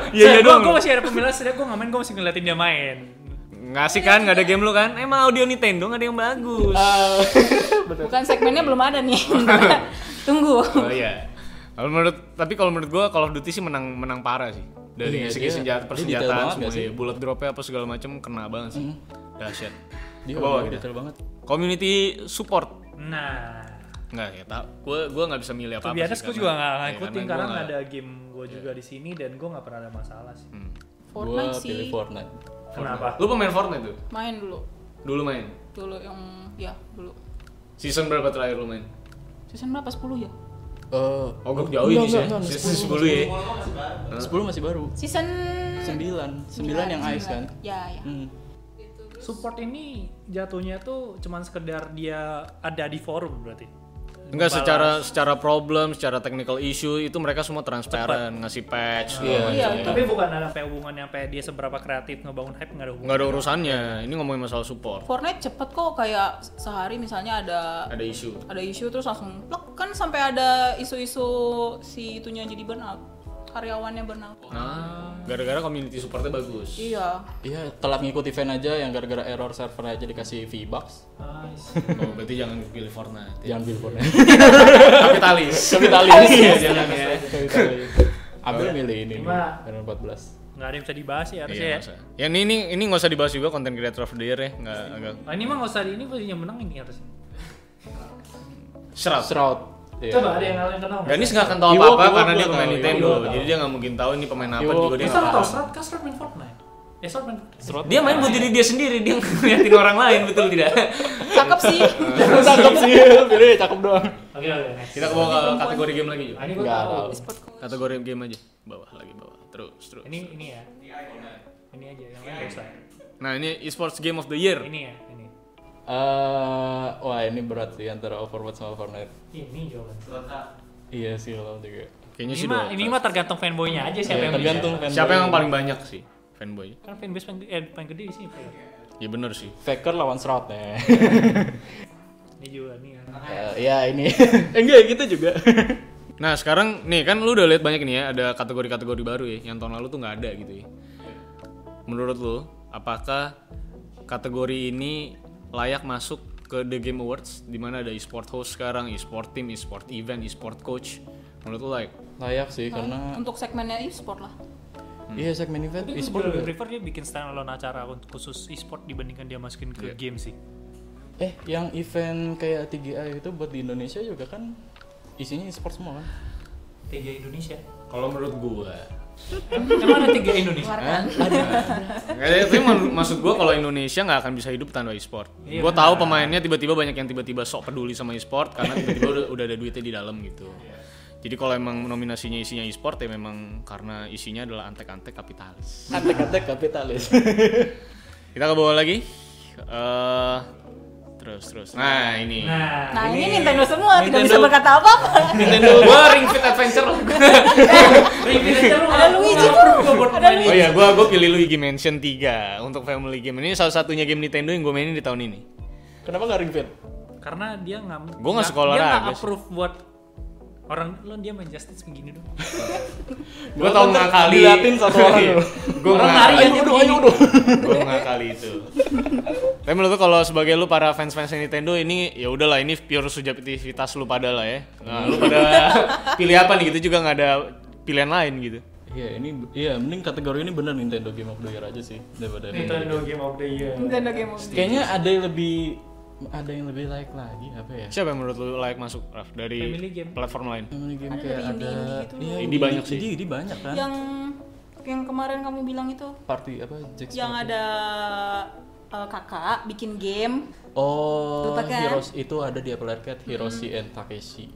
Speaker 1: iya
Speaker 4: gue gue
Speaker 1: doang.
Speaker 4: masih ada pemilihan, sebenernya gue ngamen, gue masih ngeliatin dia main.
Speaker 1: Ngasih kan nggak ada game lu kan? Emang audio Nintendo nggak ada yang bagus.
Speaker 3: Bukan segmennya belum ada nih. Tunggu.
Speaker 1: Oh iya. Kalau menurut tapi kalau menurut gue Call of Duty sih menang menang parah sih. Dari
Speaker 2: Iya,
Speaker 1: segi
Speaker 2: dia-
Speaker 1: senjata
Speaker 2: dia detail
Speaker 1: persenjataan
Speaker 2: banget
Speaker 1: semua
Speaker 2: nggak sih?
Speaker 1: ya. bullet drop-nya apa segala macam kena banget sih. Dahsyat.
Speaker 2: Dia
Speaker 1: Ke bawah gitu ya?
Speaker 2: dia
Speaker 1: kita.
Speaker 2: detail banget.
Speaker 1: Community support
Speaker 4: Nah,
Speaker 1: Nggak, ya tau. Gue gua nggak bisa milih
Speaker 4: to
Speaker 1: apa-apa iya,
Speaker 4: be honest, gue juga nggak ngikutin karena
Speaker 1: nggak
Speaker 4: nggak ada game gue juga di sini dan gue nggak pernah ada masalah sih.
Speaker 2: Gue
Speaker 3: Fortnite
Speaker 2: pilih
Speaker 3: sih.
Speaker 2: Fortnite.
Speaker 4: Kenapa?
Speaker 1: Lu pemain Fortnite tuh?
Speaker 3: Main dulu.
Speaker 1: Dulu main?
Speaker 3: Dulu yang ya dulu.
Speaker 1: Season berapa terakhir lu main?
Speaker 3: Season berapa? 10 ya?
Speaker 2: Eh,
Speaker 1: Oh, gue jauh ini sih ya.
Speaker 2: enggak, enggak,
Speaker 1: Season 10 ya.
Speaker 2: 10 masih baru.
Speaker 3: Season
Speaker 2: 9. 9 yang Ice kan.
Speaker 3: Ya, ya.
Speaker 2: Hmm.
Speaker 4: Support ini jatuhnya tuh cuman sekedar dia ada di forum berarti.
Speaker 1: Enggak secara secara problem, secara technical issue itu mereka semua transparan, ngasih patch segala
Speaker 2: Iya,
Speaker 1: macam.
Speaker 3: Iya,
Speaker 2: iya.
Speaker 4: Tapi bukan ada sampai hubungannya sampai dia seberapa kreatif ngebangun hype nggak ada hubungan.
Speaker 1: Nggak ada urusannya. Ini ngomongin masalah support.
Speaker 3: Fortnite cepet kok kayak sehari misalnya ada
Speaker 1: Ada isu.
Speaker 3: ada isu terus langsung plek kan sampai ada isu-isu si itunya jadi burnout karyawannya burnout
Speaker 1: Nah, gara-gara community supportnya bagus.
Speaker 3: iya
Speaker 2: Iya, telat ngikut event aja yang gara-gara error server aja dikasih V-Bucks.
Speaker 4: Nice.
Speaker 1: Oh, berarti jangan pilih Fortnite.
Speaker 2: Jangan Iya. billboardnya.
Speaker 1: Kapitalis.
Speaker 2: Kapitalis.
Speaker 1: Iya, jangan ya.
Speaker 2: Kapitalis. Ambil milih ini nih,
Speaker 4: Lima.
Speaker 2: Final 14.
Speaker 4: Nggak ada yang bisa dibahas ya harusnya.
Speaker 1: Iya,
Speaker 4: ya.
Speaker 1: nggak usah. ya ini ini ini nggak usah dibahas juga content creator of the year ya, nggak agak
Speaker 4: Nah, ini mah nggak usah di- ini punya menang ini harusnya.
Speaker 1: serap.
Speaker 2: Shroud. Iya.
Speaker 4: Coba ada yang kalian kenal. nggak?
Speaker 1: Ganis nggak akan tahu
Speaker 2: Ewok,
Speaker 1: apa-apa
Speaker 2: Ewok
Speaker 1: karena
Speaker 2: gua
Speaker 1: dia pemain
Speaker 2: tahu,
Speaker 1: Nintendo,
Speaker 2: Ewok gua
Speaker 1: jadi dia nggak mungkin tahu ini pemain apa
Speaker 2: Ewok.
Speaker 1: juga dia
Speaker 4: Bisa
Speaker 1: nggak
Speaker 4: lo tau
Speaker 1: paham.
Speaker 4: serat kan serat main Fortnite. Ya Swordman.
Speaker 2: Surat
Speaker 1: Dia main buat diri dia sendiri, dia ngeliatin orang lain, betul tidak?
Speaker 3: Cakep sih.
Speaker 2: cakep sih, pilih cakep doang.
Speaker 4: Oke oke. next.
Speaker 1: Kita ke bawah ke kategori game lagi, Jo.
Speaker 4: Ah, ini gue
Speaker 2: Nggak
Speaker 4: tahu.
Speaker 2: tahu.
Speaker 3: Sport coach.
Speaker 1: Kategori game aja. Bawah lagi bawah. Terus, terus.
Speaker 4: Ini ini ya. Ini aja yang lain nggak usah.
Speaker 1: Nah, ini esports game of the year.
Speaker 4: Ini ya, ini.
Speaker 2: Eh, wah ini berat sih antara Overwatch sama Fortnite.
Speaker 4: Ini jawaban.
Speaker 2: Iya sih lo juga. Iya,
Speaker 1: Kayaknya
Speaker 4: Ini
Speaker 1: sih
Speaker 4: mah
Speaker 1: Dota.
Speaker 4: ini mah tergantung fanboynya aja
Speaker 1: Iya,
Speaker 4: siapa yang
Speaker 2: tergantung fanboy.
Speaker 1: Siapa yang paling banyak sih fanboy?
Speaker 4: Kan fanbase paling, eh, paling gede di sini. Pak.
Speaker 1: Ya bener sih.
Speaker 2: Faker lawan Shroud ya.
Speaker 4: Ini juga nih. ya.
Speaker 2: Eh, ya ini. Enggak kita juga.
Speaker 1: Nah sekarang nih kan lu udah lihat banyak nih ya ada kategori-kategori baru ya yang tahun lalu tuh nggak ada gitu ya. Menurut lu apakah kategori ini layak masuk ke The Game Awards di mana ada e-sport host sekarang, e-sport team, e-sport event, e-sport coach. Menurut lu layak?
Speaker 2: Layak sih karena
Speaker 3: Untuk segmennya e-sport lah.
Speaker 2: iya segmen event
Speaker 4: Tapi gue
Speaker 2: e-sport
Speaker 4: lebih
Speaker 2: juga.
Speaker 4: prefer dia bikin standalone acara untuk khusus e-sport dibandingkan dia masukin
Speaker 1: Iya.
Speaker 4: ke game sih.
Speaker 2: Eh, yang event kayak TGI itu buat di Indonesia juga kan isinya e-sport semua kan?
Speaker 4: Tiga Indonesia.
Speaker 1: Kalau menurut gua
Speaker 4: Emang ada tiga Indonesia?
Speaker 2: Nah,
Speaker 1: ya, Tapi menurut- maksud gue kalau Indonesia nggak akan bisa hidup tanpa e-sport.
Speaker 4: Iya,
Speaker 1: gue tahu pemainnya tiba-tiba banyak yang tiba-tiba sok peduli sama e-sport karena tiba-tiba udah, udah ada duitnya di dalam gitu. Jadi kalau emang nominasinya isinya e-sport ya memang karena isinya adalah antek-antek kapitalis.
Speaker 2: Antek-antek kapitalis.
Speaker 1: Kita ke bawah lagi. Eh, terus terus. Nah ini.
Speaker 4: Nah,
Speaker 3: Nah, ini Nintendo semua, tidak bisa
Speaker 1: Nintendo.
Speaker 3: berkata apa-apa.
Speaker 1: Nintendo gue Ring Fit Adventure.
Speaker 3: Nah. Ada Luigi tuh. Ada
Speaker 1: oh
Speaker 3: Luigi.
Speaker 1: iya gue gue pilih Luigi Mansion 3 untuk family game. Ini salah satunya game Nintendo yang gue mainin di tahun ini.
Speaker 2: Kenapa nggak ring fit?
Speaker 4: karena dia nggak
Speaker 1: Gua nggak suka
Speaker 4: dia nggak
Speaker 1: olahraga sih.
Speaker 4: approve buat orang lo dia main justice begini dong
Speaker 1: Gue
Speaker 2: Gua
Speaker 1: tau Iya.
Speaker 2: kan
Speaker 1: nggak kali.
Speaker 2: diliatin satu orang loh.
Speaker 1: Gue
Speaker 4: Orang
Speaker 1: nggak
Speaker 4: lari aja
Speaker 2: Ayo, aduh,
Speaker 4: begini.
Speaker 2: ayo, aduh.
Speaker 1: gue nggak kali itu tapi menurut lu kalau sebagai lu para fans fans Nintendo ini ya udahlah ini pure subjektivitas lu pada lah ya nah, lu pada pilih apa nih gitu juga nggak ada pilihan lain gitu
Speaker 2: Iya ini, iya mending kategori ini bener Nintendo Game of the Year aja sih daripada
Speaker 4: Game of the Year
Speaker 3: Nintendo Game of the
Speaker 2: Iya.
Speaker 3: Year.
Speaker 2: Kayaknya ada yang lebih, ada yang lebih layak lagi apa ya?
Speaker 1: siapa yang menurut lu layak masuk Raf dari
Speaker 4: Family game.
Speaker 1: platform lain
Speaker 2: Namanya game
Speaker 3: Ada
Speaker 2: kayak
Speaker 3: dari
Speaker 2: ada,
Speaker 3: indie-indie gitu
Speaker 2: iya
Speaker 1: Indie banyak sih.
Speaker 2: Indie, indie banyak kan?
Speaker 3: Yang yang kemarin kamu bilang itu
Speaker 2: Party apa? Jack
Speaker 3: yang
Speaker 2: Sparrow.
Speaker 3: ada eh, kakak bikin game
Speaker 2: Oh,
Speaker 3: Lupa kan?
Speaker 2: Heroes itu ada di Apple Arcade, Hiroshi and Takeshi.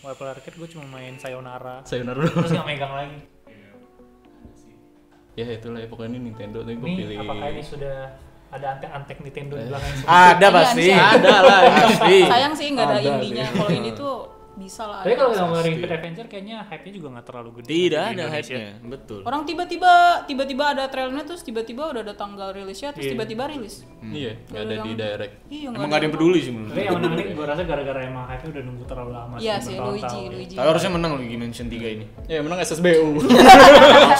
Speaker 4: Apple Arcade gue cuma main Sayonara
Speaker 2: Sayonara dulu.
Speaker 4: terus nggak megang lagi
Speaker 2: ya itulah ya, pokoknya ini Nintendo tapi gue pilih.
Speaker 4: ini apakah ini sudah ada antek-antek Nintendo di belakang sini?
Speaker 1: ada
Speaker 3: Iya,
Speaker 1: pasti
Speaker 3: bisa.
Speaker 1: ada lah pasti
Speaker 3: sayang sih nggak ada
Speaker 2: Ada
Speaker 3: indinya
Speaker 2: sih.
Speaker 3: kalau ini tuh bisa lah
Speaker 4: tapi kalau
Speaker 3: ada.
Speaker 4: kita ngomongin Fit Adventure kayaknya hype-nya juga nggak terlalu gede
Speaker 1: tidak
Speaker 4: di
Speaker 1: ada
Speaker 4: Indonesia.
Speaker 1: hype-nya betul
Speaker 3: orang tiba-tiba tiba-tiba ada trailernya terus tiba-tiba udah ada tanggal rilisnya terus
Speaker 4: Iya.
Speaker 3: tiba-tiba rilis
Speaker 2: Iya, nggak ada di direct.
Speaker 3: iya
Speaker 1: emang nggak ada yang peduli sih menurut
Speaker 4: tapi
Speaker 1: gue
Speaker 4: yang menarik gue rasa gara-gara emang hype-nya udah nunggu terlalu lama
Speaker 3: iya sih Luigi
Speaker 4: bertahun-tahun. ya.
Speaker 3: Luigi
Speaker 1: tapi harusnya menang Luigi Mansion 3 ini
Speaker 2: Ya menang SSBU.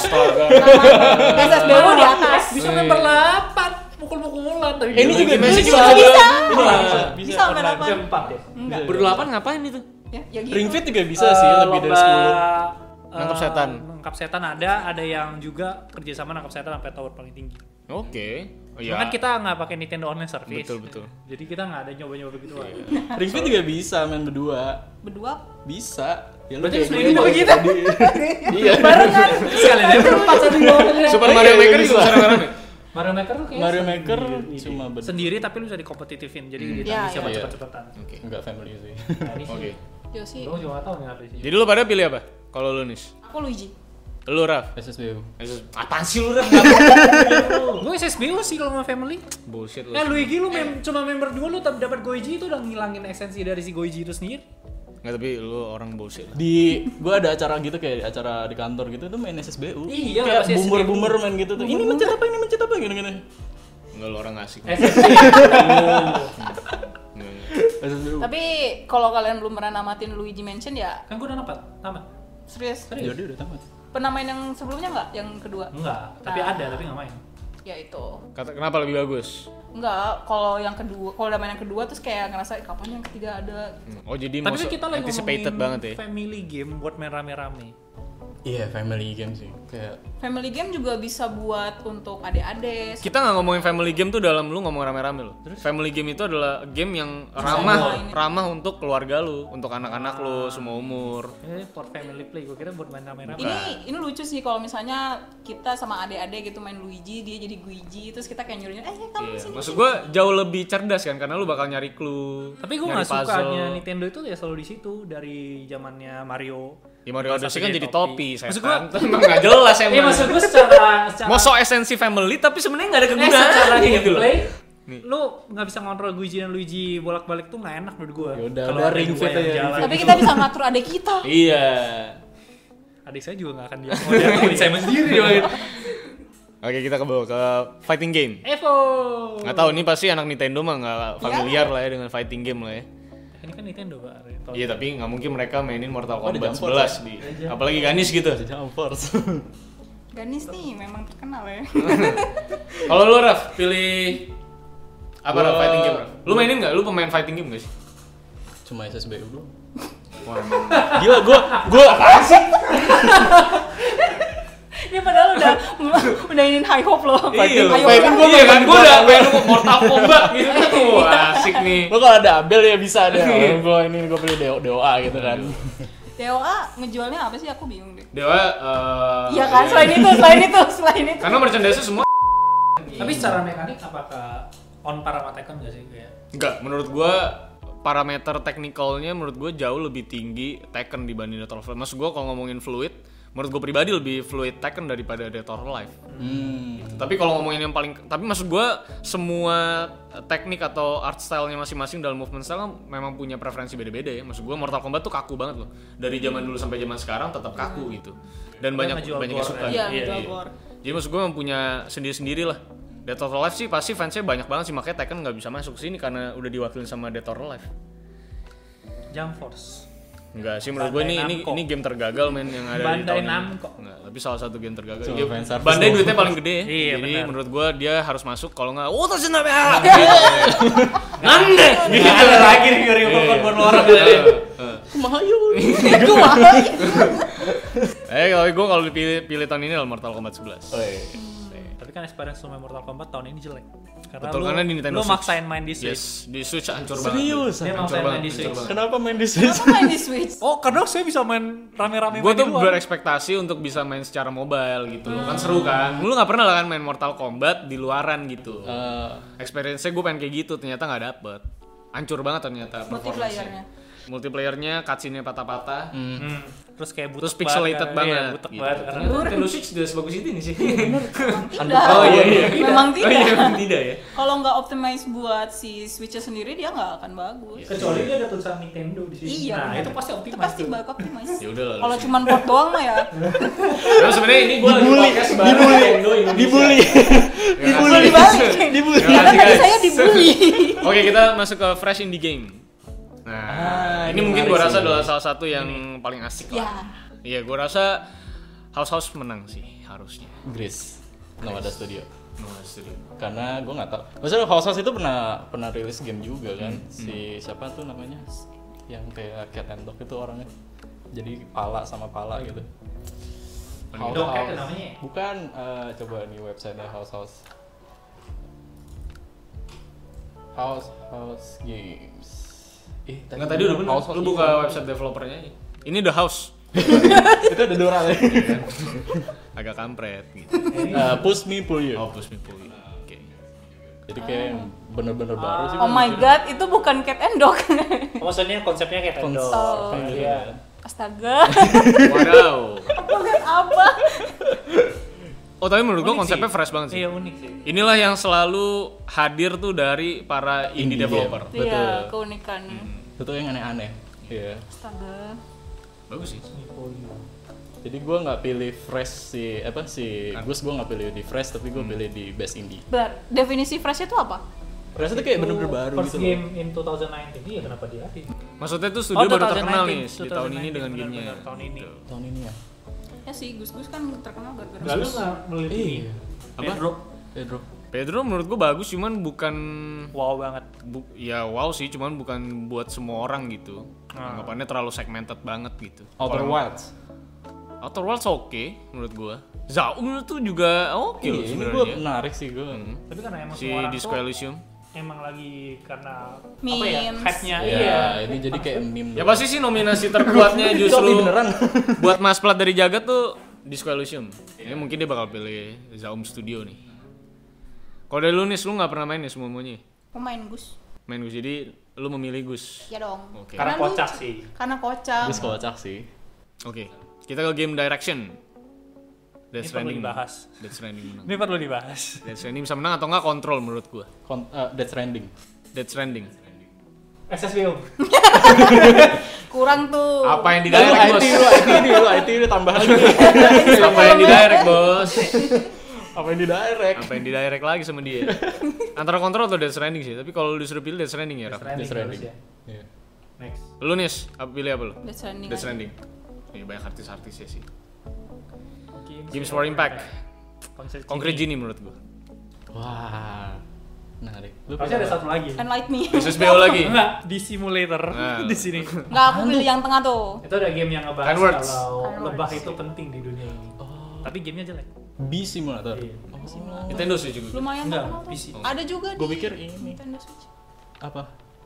Speaker 4: Eh.
Speaker 3: SSBU di atas
Speaker 4: bisa main berlapan mukul-mukulan tapi
Speaker 2: Eh, ini juga
Speaker 1: Mansion
Speaker 2: bisa.
Speaker 1: juga
Speaker 2: Bisa.
Speaker 1: bisa.
Speaker 4: bisa bisa
Speaker 3: Bisa
Speaker 4: bisa
Speaker 3: main apa?
Speaker 4: bisa empat ya
Speaker 3: enggak
Speaker 1: berdelapan ngapain itu
Speaker 3: ya, ya gitu
Speaker 2: Ring Fit juga bisa sih lebih dari 10.
Speaker 4: eh,
Speaker 1: Nangkap setan.
Speaker 4: Nangkap setan ada, ada yang juga kerjasama nangkap setan sampai tower paling tinggi.
Speaker 1: oke oh,
Speaker 4: Cuma
Speaker 1: ya
Speaker 4: kan kita nggak pakai Nintendo Online Service.
Speaker 1: Betul, betul.
Speaker 4: Jadi kita nggak ada nyoba-nyoba gitu.
Speaker 2: Ring Fit juga bisa main berdua.
Speaker 3: berdua
Speaker 2: Bisa. Ya lu
Speaker 4: Berarti
Speaker 2: kayak
Speaker 4: sebenarnya
Speaker 2: gini,
Speaker 4: kita
Speaker 2: kayak gini. Iya.
Speaker 3: barengan
Speaker 4: Sekalian aja berempat satu dua.
Speaker 1: Super Mario Maker
Speaker 4: iya,
Speaker 1: juga rame-rame
Speaker 4: Mario Maker tuh kayak
Speaker 2: Mario Maker cuma berdua.
Speaker 4: sendiri tapi lu bisa dikompetitifin. Jadi
Speaker 1: Hmm.
Speaker 4: ya, kita
Speaker 3: Iya,
Speaker 4: bisa
Speaker 3: iya.
Speaker 4: cepet cepetan
Speaker 1: oke
Speaker 2: Enggak family sih.
Speaker 1: oke Hmm.
Speaker 3: Yoshi
Speaker 4: Gue juga nggak tahu nih apa sih.
Speaker 1: jadi lu pada pilih apa kalau lu nis
Speaker 3: aku Luigi
Speaker 1: lu Raf
Speaker 2: SSBU.
Speaker 1: apaan sih lu Raf
Speaker 4: Iya, Gue SSBU sih kalau sama family.
Speaker 1: bullshit lu
Speaker 4: Eh Luigi lu mem- cuma member dua lu tapi dapat Goiji itu udah ngilangin esensi dari si Goiji itu sendiri.
Speaker 1: Nggak, tapi lu orang bullshit lah.
Speaker 2: di gua ada acara gitu kayak acara di kantor gitu tuh main SSBU
Speaker 4: Iya,
Speaker 2: kayak
Speaker 4: pasti
Speaker 2: boomer boomer main gitu tuh ini mencet apa ini mencet apa gitu gitu
Speaker 1: Enggak, lu orang asik.
Speaker 4: Eh,
Speaker 1: Hmm. Nggak, nggak.
Speaker 2: SSBU
Speaker 3: tapi kalau kalian belum pernah namatin Luigi Mansion ya
Speaker 4: Kan gue udah nampak, tamat.
Speaker 3: serius
Speaker 2: jadi udah tamat
Speaker 3: pernah main yang sebelumnya nggak yang kedua
Speaker 4: Enggak, tapi ada tapi nggak main.
Speaker 3: ya itu
Speaker 1: Kata kenapa lebih bagus?
Speaker 3: Enggak, kalau yang kedua, kalau udah main yang kedua terus kayak ngerasa "Ih, kapan yang ketiga ada.
Speaker 1: Hmm. Oh, jadi
Speaker 4: Tapi
Speaker 1: maksud-
Speaker 4: kita lagi
Speaker 1: anticipated
Speaker 4: ngomongin
Speaker 1: banget ya.
Speaker 4: family game buat main rame-rame.
Speaker 2: Iya, family game sih. Kayak
Speaker 3: Family game juga bisa buat untuk adik-adik.
Speaker 1: Kita nggak ngomongin family game tuh dalam lu ngomong rame-rame lo. Family game itu adalah game yang ramah, ramah untuk keluarga lu, untuk anak-anak lu
Speaker 4: Ah.
Speaker 1: semua umur.
Speaker 4: Ini for family play, gue kira Eh, buat main
Speaker 1: Iya,
Speaker 4: rame-rame.
Speaker 1: kan?
Speaker 3: Ini ini lucu sih kalau misalnya kita sama adik-adik gitu main Luigi, dia jadi Guigi, terus kita kayak nyuruhnya, "Eh, kamu
Speaker 1: Iya,
Speaker 3: sini."
Speaker 1: maksud gue jauh lebih cerdas kan karena lu bakal nyari clue.
Speaker 4: Tapi gue
Speaker 1: nyari
Speaker 4: nggak sukanya
Speaker 1: puzzle.
Speaker 4: Nintendo itu ya selalu di situ dari zamannya Mario.
Speaker 1: Ya Mario
Speaker 4: Terus
Speaker 1: Odyssey
Speaker 4: sampai
Speaker 1: kan jadi topi, saya Maksud
Speaker 4: Maksud gue,
Speaker 1: emang nggak jelas emang.
Speaker 4: Iya maksud gue secara secara
Speaker 1: Eh, Mosok esensi family tapi sebenarnya nggak ada
Speaker 4: eh,
Speaker 1: kegunaan
Speaker 4: secara
Speaker 1: gitu loh.
Speaker 4: gameplay
Speaker 1: Nih.
Speaker 4: lu nggak bisa ngontrol Luigi dan Luigi bolak-balik tuh nggak enak menurut
Speaker 1: Ya
Speaker 4: gue.
Speaker 2: Yaudah, udah ring fit aja, ring
Speaker 3: Tapi
Speaker 4: kan-
Speaker 3: kita bisa ngatur adik kita.
Speaker 1: Iya.
Speaker 4: Adik saya juga nggak akan dia mau diakuin saya sendiri.
Speaker 1: Oke kita ke bawah ke fighting game.
Speaker 4: Evo.
Speaker 1: Nggak tahu ini pasti anak Nintendo mah nggak
Speaker 4: Iya.
Speaker 1: familiar lah ya dengan fighting game lah ya.
Speaker 4: Ini kan Nintendo pak. Retro.
Speaker 1: Iya tapi nggak mungkin mereka mainin Mortal
Speaker 2: Oh, ada
Speaker 1: Kombat
Speaker 2: jump force
Speaker 1: 11
Speaker 4: ya?
Speaker 1: di,
Speaker 4: Iya.
Speaker 1: apalagi Ganis gitu.
Speaker 2: jump force.
Speaker 3: Ganis nih memang terkenal ya.
Speaker 1: Kalau lu Raf pilih apa
Speaker 2: Gua-
Speaker 1: Raf fighting game? Raf? Lu mainin nggak? Lu pemain fighting game nggak sih?
Speaker 2: Cuma SSBU doang.
Speaker 1: Wah, emang.
Speaker 2: Gila, gua gua
Speaker 3: Dia padahal udah udah ingin high hope loh.
Speaker 1: Iya,
Speaker 3: Ayo,
Speaker 1: fighting
Speaker 3: udah.
Speaker 1: gue iya, kan gue udah pengen gua Mortal Kombat gitu tuh, wah, asik nih.
Speaker 2: Gua kalau ada Abel ya bisa deh. gua ini gua pilih DO, DOA gitu kan.
Speaker 3: DOA ngejualnya apa sih aku bingung deh.
Speaker 1: Dewa, eh, Oh,
Speaker 3: Iya kan selain itu, selain itu, selain itu.
Speaker 1: Karena merchandise semua
Speaker 4: Tapi secara mekanik apakah on para Tekken nggak sih kayak?
Speaker 1: enggak menurut gua parameter teknikalnya menurut gua jauh lebih tinggi Tekken dibanding Dead or Alive. Maksud gua kalau ngomongin fluid, menurut gua pribadi lebih fluid Tekken daripada Dead or Alive.
Speaker 2: Hmm.
Speaker 1: Tapi kalau ngomongin yang paling tapi maksud gua semua teknik atau art style-nya masing-masing dalam movement style kan memang punya preferensi beda-beda ya. Maksud gua Mortal Kombat tuh kaku banget loh. Dari zaman dulu sampai zaman sekarang tetap kaku gitu. Dan
Speaker 4: Hmm. Dia
Speaker 1: banyak
Speaker 4: ngejual
Speaker 1: banyak yang
Speaker 4: gore,
Speaker 1: suka.
Speaker 4: kan?
Speaker 3: Iya,
Speaker 4: Iya,
Speaker 3: jual
Speaker 4: iya.
Speaker 3: gore.
Speaker 1: Jadi maksud gue mempunyai sendiri-sendiri lah. Dead or Alive sih pasti fansnya banyak banget sih makanya Tekken nggak bisa masuk sini karena udah diwakilin sama Dead or Alive.
Speaker 4: Jump Force.
Speaker 1: Enggak sih menurut gue ini,
Speaker 4: Bandai
Speaker 1: ini
Speaker 4: Namco.
Speaker 1: ini game tergagal men yang ada di
Speaker 4: Bandai
Speaker 1: tahun ini.
Speaker 4: Namco.
Speaker 1: Nggak, tapi salah satu game tergagal.
Speaker 2: Cuma
Speaker 1: Dia-
Speaker 2: fanservice
Speaker 1: Bandai
Speaker 2: doang.
Speaker 1: duitnya paling gede ya.
Speaker 4: Iya,
Speaker 1: Jadi
Speaker 4: benar. Iya.
Speaker 1: menurut gue dia harus masuk kalau nggak oh terus Nande. Gitu lagi nih gue
Speaker 2: Iya.
Speaker 4: korban orang
Speaker 1: Gitu.
Speaker 4: tadi.
Speaker 1: Eh kalau gue kalau dipilih pilih tahun ini adalah Mortal Kombat 11.
Speaker 2: Oi.
Speaker 4: Tapi kan experience lu main Mortal Kombat tahun ini jelek. Karena
Speaker 1: Betul,
Speaker 4: lu,
Speaker 1: karena di Nintendo
Speaker 4: lu
Speaker 1: Switch.
Speaker 4: maksain main di Switch.
Speaker 1: Yes, di Switch hancur banget.
Speaker 2: Serius.
Speaker 4: Dia
Speaker 1: Hancur
Speaker 4: maksain main
Speaker 1: banget,
Speaker 4: di
Speaker 1: hancur
Speaker 4: Switch.
Speaker 1: banget.
Speaker 2: Kenapa main di
Speaker 1: iya.
Speaker 2: Switch?
Speaker 3: Kenapa main di Switch?
Speaker 4: Oh, karena saya bisa main rame-rame
Speaker 1: gue
Speaker 4: main
Speaker 1: tuh
Speaker 4: di luar.
Speaker 1: berekspektasi untuk bisa main secara mobile gitu kan
Speaker 4: Hmm.
Speaker 1: seru kan lu nggak pernah lah kan main Mortal Kombat di luaran gitu
Speaker 2: Eh,
Speaker 1: experience-nya gue pengen kayak gitu ternyata nggak dapet hancur banget ternyata performance-nya.
Speaker 3: Multiplayernya.
Speaker 1: multiplayernya cutscene patah-patah
Speaker 4: Hmm. Terus kayak butek
Speaker 1: terus pixelated
Speaker 4: kan,
Speaker 1: banget,
Speaker 4: iya, butek
Speaker 1: gitu.
Speaker 4: banget. karena-
Speaker 1: ternyata Nintendo Switch udah sebagus itu nih sih
Speaker 4: Iya,
Speaker 3: Tidak.
Speaker 1: oh iya iya
Speaker 3: Memang
Speaker 1: oh iya
Speaker 3: tidak.
Speaker 4: kan?
Speaker 1: memang tidak ya
Speaker 3: Kalau nggak optimize buat si Switch-nya sendiri dia nggak akan bagus.
Speaker 1: Iya.
Speaker 4: Kecuali dia ada tulisan Nintendo di sini.
Speaker 3: Iya.
Speaker 4: Nah,
Speaker 3: bener.
Speaker 4: itu pasti optimal.
Speaker 3: Itu pasti bakal optimize.
Speaker 1: ya udah lah
Speaker 3: Kalau cuman port doang mah ya.
Speaker 1: Nah, sebenarnya
Speaker 4: Eh,
Speaker 1: ini gue
Speaker 2: Dibully, dibully, dibully.
Speaker 3: Dibully balik.
Speaker 2: Dibully.
Speaker 1: Iya,
Speaker 3: Karena tadi saya dibully.
Speaker 1: Oke kita masuk ke fresh indie game.
Speaker 4: Ah,
Speaker 1: Nah, ini
Speaker 2: ini
Speaker 1: mungkin
Speaker 2: menarik
Speaker 1: gua rasa
Speaker 2: sih.
Speaker 1: adalah salah satu yang paling asik
Speaker 3: Ya.
Speaker 1: lah. Iya, gua rasa House House menang sih harusnya.
Speaker 2: Gris. Nama ada studio.
Speaker 1: No, serius.
Speaker 2: Karena gua nggak tahu. Maksudnya House House itu pernah pernah rilis game juga kan. Si siapa tuh namanya? Yang kayak Cat and Dog itu orangnya. Jadi pala sama pala gitu. House
Speaker 4: Dog Cat
Speaker 2: House.
Speaker 4: namanya ya?
Speaker 2: Bukan eh, coba nih website House House. House House Games. Eh,
Speaker 1: Nggak tadi udah bener.
Speaker 2: House House
Speaker 1: Lu
Speaker 2: Games.
Speaker 1: buka website developernya aja. Ini The House.
Speaker 2: itu ada Dora ya.
Speaker 1: Agak kampret gitu.
Speaker 2: Eh, push me pull you.
Speaker 1: Oh, push me pull you. Oke.
Speaker 2: Jadi kayak yang bener-bener baru sih.
Speaker 3: Oh my
Speaker 1: Iya.
Speaker 3: god, itu bukan cat and dog.
Speaker 4: Oh, maksudnya konsepnya kayak Nintendo.
Speaker 3: Oh.
Speaker 2: gitu.
Speaker 4: Iya.
Speaker 3: Astaga.
Speaker 1: Wow.
Speaker 3: Bukan apa?
Speaker 1: Oh, tapi menurut gua
Speaker 4: Unik
Speaker 1: konsepnya
Speaker 4: sih.
Speaker 1: fresh banget sih.
Speaker 4: Iya, unik sih.
Speaker 1: Inilah yang selalu hadir tuh dari para indie,
Speaker 2: Indie
Speaker 1: developer.
Speaker 2: game. Betul.
Speaker 3: Iya, keunikan.
Speaker 1: Hmm.
Speaker 2: Itu yang aneh-aneh. Iya.
Speaker 3: Astaga.
Speaker 1: Bagus sih.
Speaker 2: Jadi gue nggak pilih fresh si apa si Gus gue nggak pilih di fresh tapi
Speaker 1: Hmm.
Speaker 2: gue pilih di best indie.
Speaker 3: Ber, definisi fresh itu apa?
Speaker 2: Fresh itu kayak bener-bener baru gitu.
Speaker 4: First
Speaker 2: loh.
Speaker 4: game in 2019. Iya, kenapa dia ada?
Speaker 1: Maksudnya tuh
Speaker 4: Oh,
Speaker 1: studio baru terkenal nih
Speaker 4: 2019,
Speaker 1: di tahun ini dengan
Speaker 4: benar-benar
Speaker 1: gamenya. Gitu.
Speaker 4: Tahun ini.
Speaker 2: Tahun ini ya.
Speaker 3: Ya sih, Gus-Gus kan terkenal gara-gara
Speaker 4: Lalu nggak meliti
Speaker 2: Iya.
Speaker 1: Apa?
Speaker 2: Pedro.
Speaker 1: Pedro menurut gue bagus cuman bukan
Speaker 4: Wow banget.
Speaker 1: bu- ya wow sih cuman bukan
Speaker 4: Ah.
Speaker 1: buat semua orang gitu. Anggapannya terlalu segmented banget gitu.
Speaker 2: Outer Wilds.
Speaker 1: Outer Worlds oke menurut gua. Zaun tuh juga oke
Speaker 2: Iya,
Speaker 1: loh
Speaker 2: ini gue
Speaker 1: sebenarnya.
Speaker 2: menarik sih gue.
Speaker 4: tapi karena emang
Speaker 1: Si
Speaker 4: semua orang
Speaker 1: Disco
Speaker 4: tuh
Speaker 1: Elysium.
Speaker 4: emang lagi karena apa ya
Speaker 3: Memes.
Speaker 4: hype-nya
Speaker 2: Ya, ini jadi kayak meme.
Speaker 1: Ya
Speaker 2: doang.
Speaker 1: pasti sih nominasi terkuatnya
Speaker 2: Tapi
Speaker 1: justru
Speaker 2: beneran.
Speaker 1: buat Mas Plat dari Jagat tuh Disco Elysium. Ini mungkin dia bakal pilih Zaum Studio nih. Kalau dari lu nis, lu nggak pernah main ya semuanya?
Speaker 3: Mau main Gus?
Speaker 1: Main Gus, jadi lu memilih Gus.
Speaker 3: Ya dong.
Speaker 1: Oke.
Speaker 4: karena
Speaker 3: lucu.
Speaker 4: kocak sih
Speaker 3: Karena kocak.
Speaker 2: Gue kocak sih.
Speaker 1: Oke, kita ke game direction.
Speaker 4: ini
Speaker 1: Death
Speaker 4: perlu
Speaker 1: Stranding.
Speaker 4: dibahas
Speaker 1: Death Stranding menang.
Speaker 4: ini perlu dibahas
Speaker 1: Death Stranding bisa menang atau nggak kontrol menurut gua.
Speaker 2: Kon eh, Death Stranding.
Speaker 1: Death Stranding.
Speaker 4: SSBO
Speaker 3: Kurang tuh.
Speaker 1: Apa yang di
Speaker 2: Lu
Speaker 1: direct
Speaker 2: IT,
Speaker 1: bos?
Speaker 2: lu IT nih, lu IT lu tambah lagi.
Speaker 1: Apa yang di direct bos?
Speaker 2: Apa yang di direct?
Speaker 1: Apa yang di direct lagi sama dia? Antara kontrol atau Death Stranding sih, tapi kalau lu disuruh pilih Death Stranding ya, Raf.
Speaker 2: Death Stranding.
Speaker 4: harusnya.
Speaker 2: Iya.
Speaker 4: next
Speaker 1: Lu Nis, apa pilih apa lu?
Speaker 3: Death Stranding.
Speaker 1: Death
Speaker 3: aja.
Speaker 1: Stranding. Iya banyak artis-artisnya sih.
Speaker 4: Games,
Speaker 1: Games for Impact.
Speaker 4: Konsep
Speaker 1: Concrete Genie
Speaker 4: Genie.
Speaker 1: menurut gua.
Speaker 2: Wah. Menarik. Lu
Speaker 4: harusnya ada
Speaker 2: pilih apa?
Speaker 4: satu lagi
Speaker 3: Enlight me.
Speaker 1: SSBO lagi.
Speaker 4: enggak di simulator
Speaker 1: Nah.
Speaker 4: di sini
Speaker 3: Enggak, aku pilih yang tengah tuh.
Speaker 4: itu ada game yang ngebahas
Speaker 1: Kind words.
Speaker 4: kalau
Speaker 3: Kind
Speaker 4: lebah
Speaker 3: words.
Speaker 4: itu penting di dunia ini tapi gamenya jelek
Speaker 2: Bee Simulator.
Speaker 4: Iya.
Speaker 2: Oh.
Speaker 1: Nintendo sih juga.
Speaker 3: Lumayan
Speaker 4: Enggak,
Speaker 3: terkenal tuh.
Speaker 4: PC.
Speaker 3: Ada juga di
Speaker 2: Gua pikir ini.
Speaker 3: Nintendo Switch.
Speaker 2: Apa?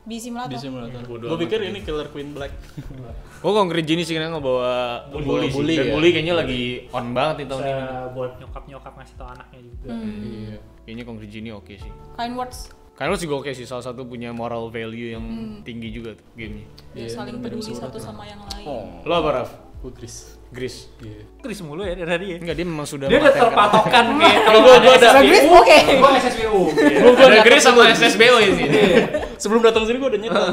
Speaker 3: Di simulator.
Speaker 2: Bee Simulator.
Speaker 1: bodo
Speaker 2: Gue
Speaker 1: amat
Speaker 2: pikir
Speaker 1: aja.
Speaker 2: ini Killer Queen Black.
Speaker 1: Gua Concrete Genie sih karena ngebawa bully,
Speaker 2: Bully.
Speaker 1: sih. Iya.
Speaker 2: Bully
Speaker 1: Dan
Speaker 2: ya.
Speaker 1: bully kayaknya lagi on banget nih tahun
Speaker 4: Bisa
Speaker 1: ini.
Speaker 4: buat nyokap-nyokap ngasih tau anaknya juga
Speaker 3: Hmm.
Speaker 2: Iya.
Speaker 1: Kayaknya Concrete Genie oke sih.
Speaker 3: Kind words.
Speaker 1: Karena lu juga oke sih, salah satu punya moral value yang tinggi juga tuh gamenya.
Speaker 3: Dia
Speaker 2: Iya,
Speaker 3: saling
Speaker 2: dari
Speaker 3: peduli
Speaker 2: simulator.
Speaker 3: satu sama yang lain.
Speaker 2: Oh.
Speaker 1: Lo apa Raf?
Speaker 2: Gue Chris.
Speaker 1: Gris?
Speaker 2: Iya.
Speaker 4: Chris mulu ya dari tadi ya
Speaker 1: Enggak, dia memang sudah
Speaker 4: dia udah
Speaker 1: mematenkan.
Speaker 4: terpatokan kayak kalau
Speaker 2: Gua- gua ada-
Speaker 4: SSBU
Speaker 3: Oke.
Speaker 4: gua SSBU
Speaker 1: Gua- gua Ada Gris sama SSBO ini.
Speaker 2: Eh, Sebelum datang sini gue udah nyetel.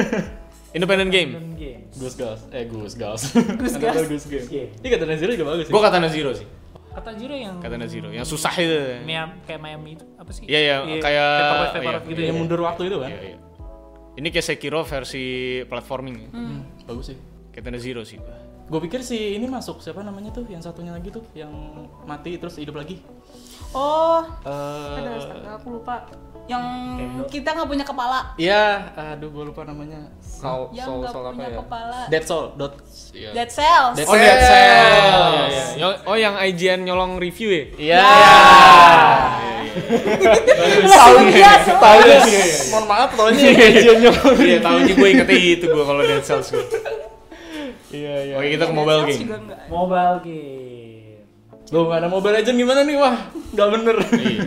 Speaker 1: Independent game.
Speaker 4: Dan games
Speaker 2: Gus Gas. Eh Gus Gas.
Speaker 3: Gus
Speaker 2: Anak
Speaker 3: Gas.
Speaker 2: gua Gus Gas.
Speaker 4: Iya.
Speaker 2: Ini kata Nazira juga bagus sih.
Speaker 1: Gua Katana Zero sih.
Speaker 4: kata Jiro yang
Speaker 1: Katana Zero yang susah itu.
Speaker 4: Miami, kayak Miami itu apa sih?
Speaker 1: Iya, iya, kayak-
Speaker 4: vaporwave, vaporwave
Speaker 1: iya,
Speaker 4: gitu
Speaker 2: yang
Speaker 4: ya.
Speaker 2: mundur waktu itu kan.
Speaker 1: Iya, iya. Ini kayak Sekiro versi platforming ya.
Speaker 2: Hmm, Bagus sih.
Speaker 1: Katana Zero sih gua.
Speaker 2: Gue pikir si ini masuk siapa namanya tuh yang satunya lagi tuh yang mati terus hidup lagi.
Speaker 3: Oh, ada
Speaker 2: Eh
Speaker 3: astaga, aku lupa. Yang kita nggak punya kepala.
Speaker 2: Iya, aduh gue lupa namanya. Soul,
Speaker 3: Yang
Speaker 2: soul,
Speaker 3: nggak
Speaker 2: soul apa
Speaker 3: punya
Speaker 2: ya?
Speaker 3: kepala.
Speaker 2: Dead Soul. Dot. Iya.
Speaker 3: Dead Cells.
Speaker 2: Dead
Speaker 1: Oh,
Speaker 2: Cells.
Speaker 1: Dead Cells. Yo- Oh, yang IGN nyolong review ya?
Speaker 2: Iya.
Speaker 3: Soundnya
Speaker 2: Tahunya Mohon maaf tahunya Iya,
Speaker 1: Iya, tahunnya gue ingetnya itu gue kalau Dead Cells gue.
Speaker 2: Iya, iya.
Speaker 1: Oke, kita ke mobile game.
Speaker 3: Juga enggak.
Speaker 4: Mobile game.
Speaker 2: Loh, nggak ada Mobile Legend gimana nih? Wah, nggak bener.
Speaker 1: Iya.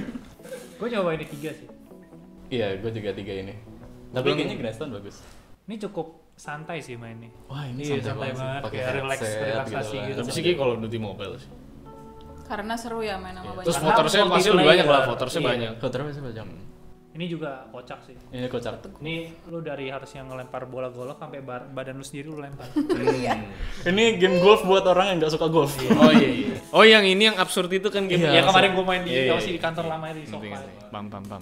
Speaker 4: Gue nyobain ini tiga sih.
Speaker 2: Iya, gue juga tiga ini. Tapi
Speaker 1: Belum.
Speaker 2: kayaknya Grandstand bagus.
Speaker 4: Ini cukup santai sih mainnya.
Speaker 2: Wah, ini santai
Speaker 4: Iya, santai
Speaker 2: banget sih.
Speaker 4: banget.
Speaker 2: Pakai
Speaker 4: Kayak relax,
Speaker 2: headset gitu
Speaker 4: relaksasi
Speaker 2: kan.
Speaker 4: gitu.
Speaker 1: Tapi sih kayak Call of Duty Mobile sih.
Speaker 3: Karena seru ya main sama banyak.
Speaker 1: Iya. Terus
Speaker 4: Karena
Speaker 1: votersnya pasti lebih banyak lah,
Speaker 4: multiplayer.
Speaker 1: votersnya
Speaker 4: Iya.
Speaker 1: banyak.
Speaker 2: Kontrol sih macam.
Speaker 4: Ini juga kocak sih.
Speaker 2: Ini kocak.
Speaker 4: Ini lu dari harusnya ngelempar bola golok sampai bar- badan lu sendiri lu lempar.
Speaker 1: Iya,
Speaker 2: Ini game golf buat orang yang nggak suka golf.
Speaker 1: Oh iya iya. Oh yang ini yang absurd itu kan game.
Speaker 4: ya kemarin gue main di
Speaker 1: Iya,
Speaker 4: yeah,
Speaker 1: iya,
Speaker 4: di kantor lama itu di
Speaker 1: Ngerti,
Speaker 4: sofa.
Speaker 1: ngerti. Pam pam pam.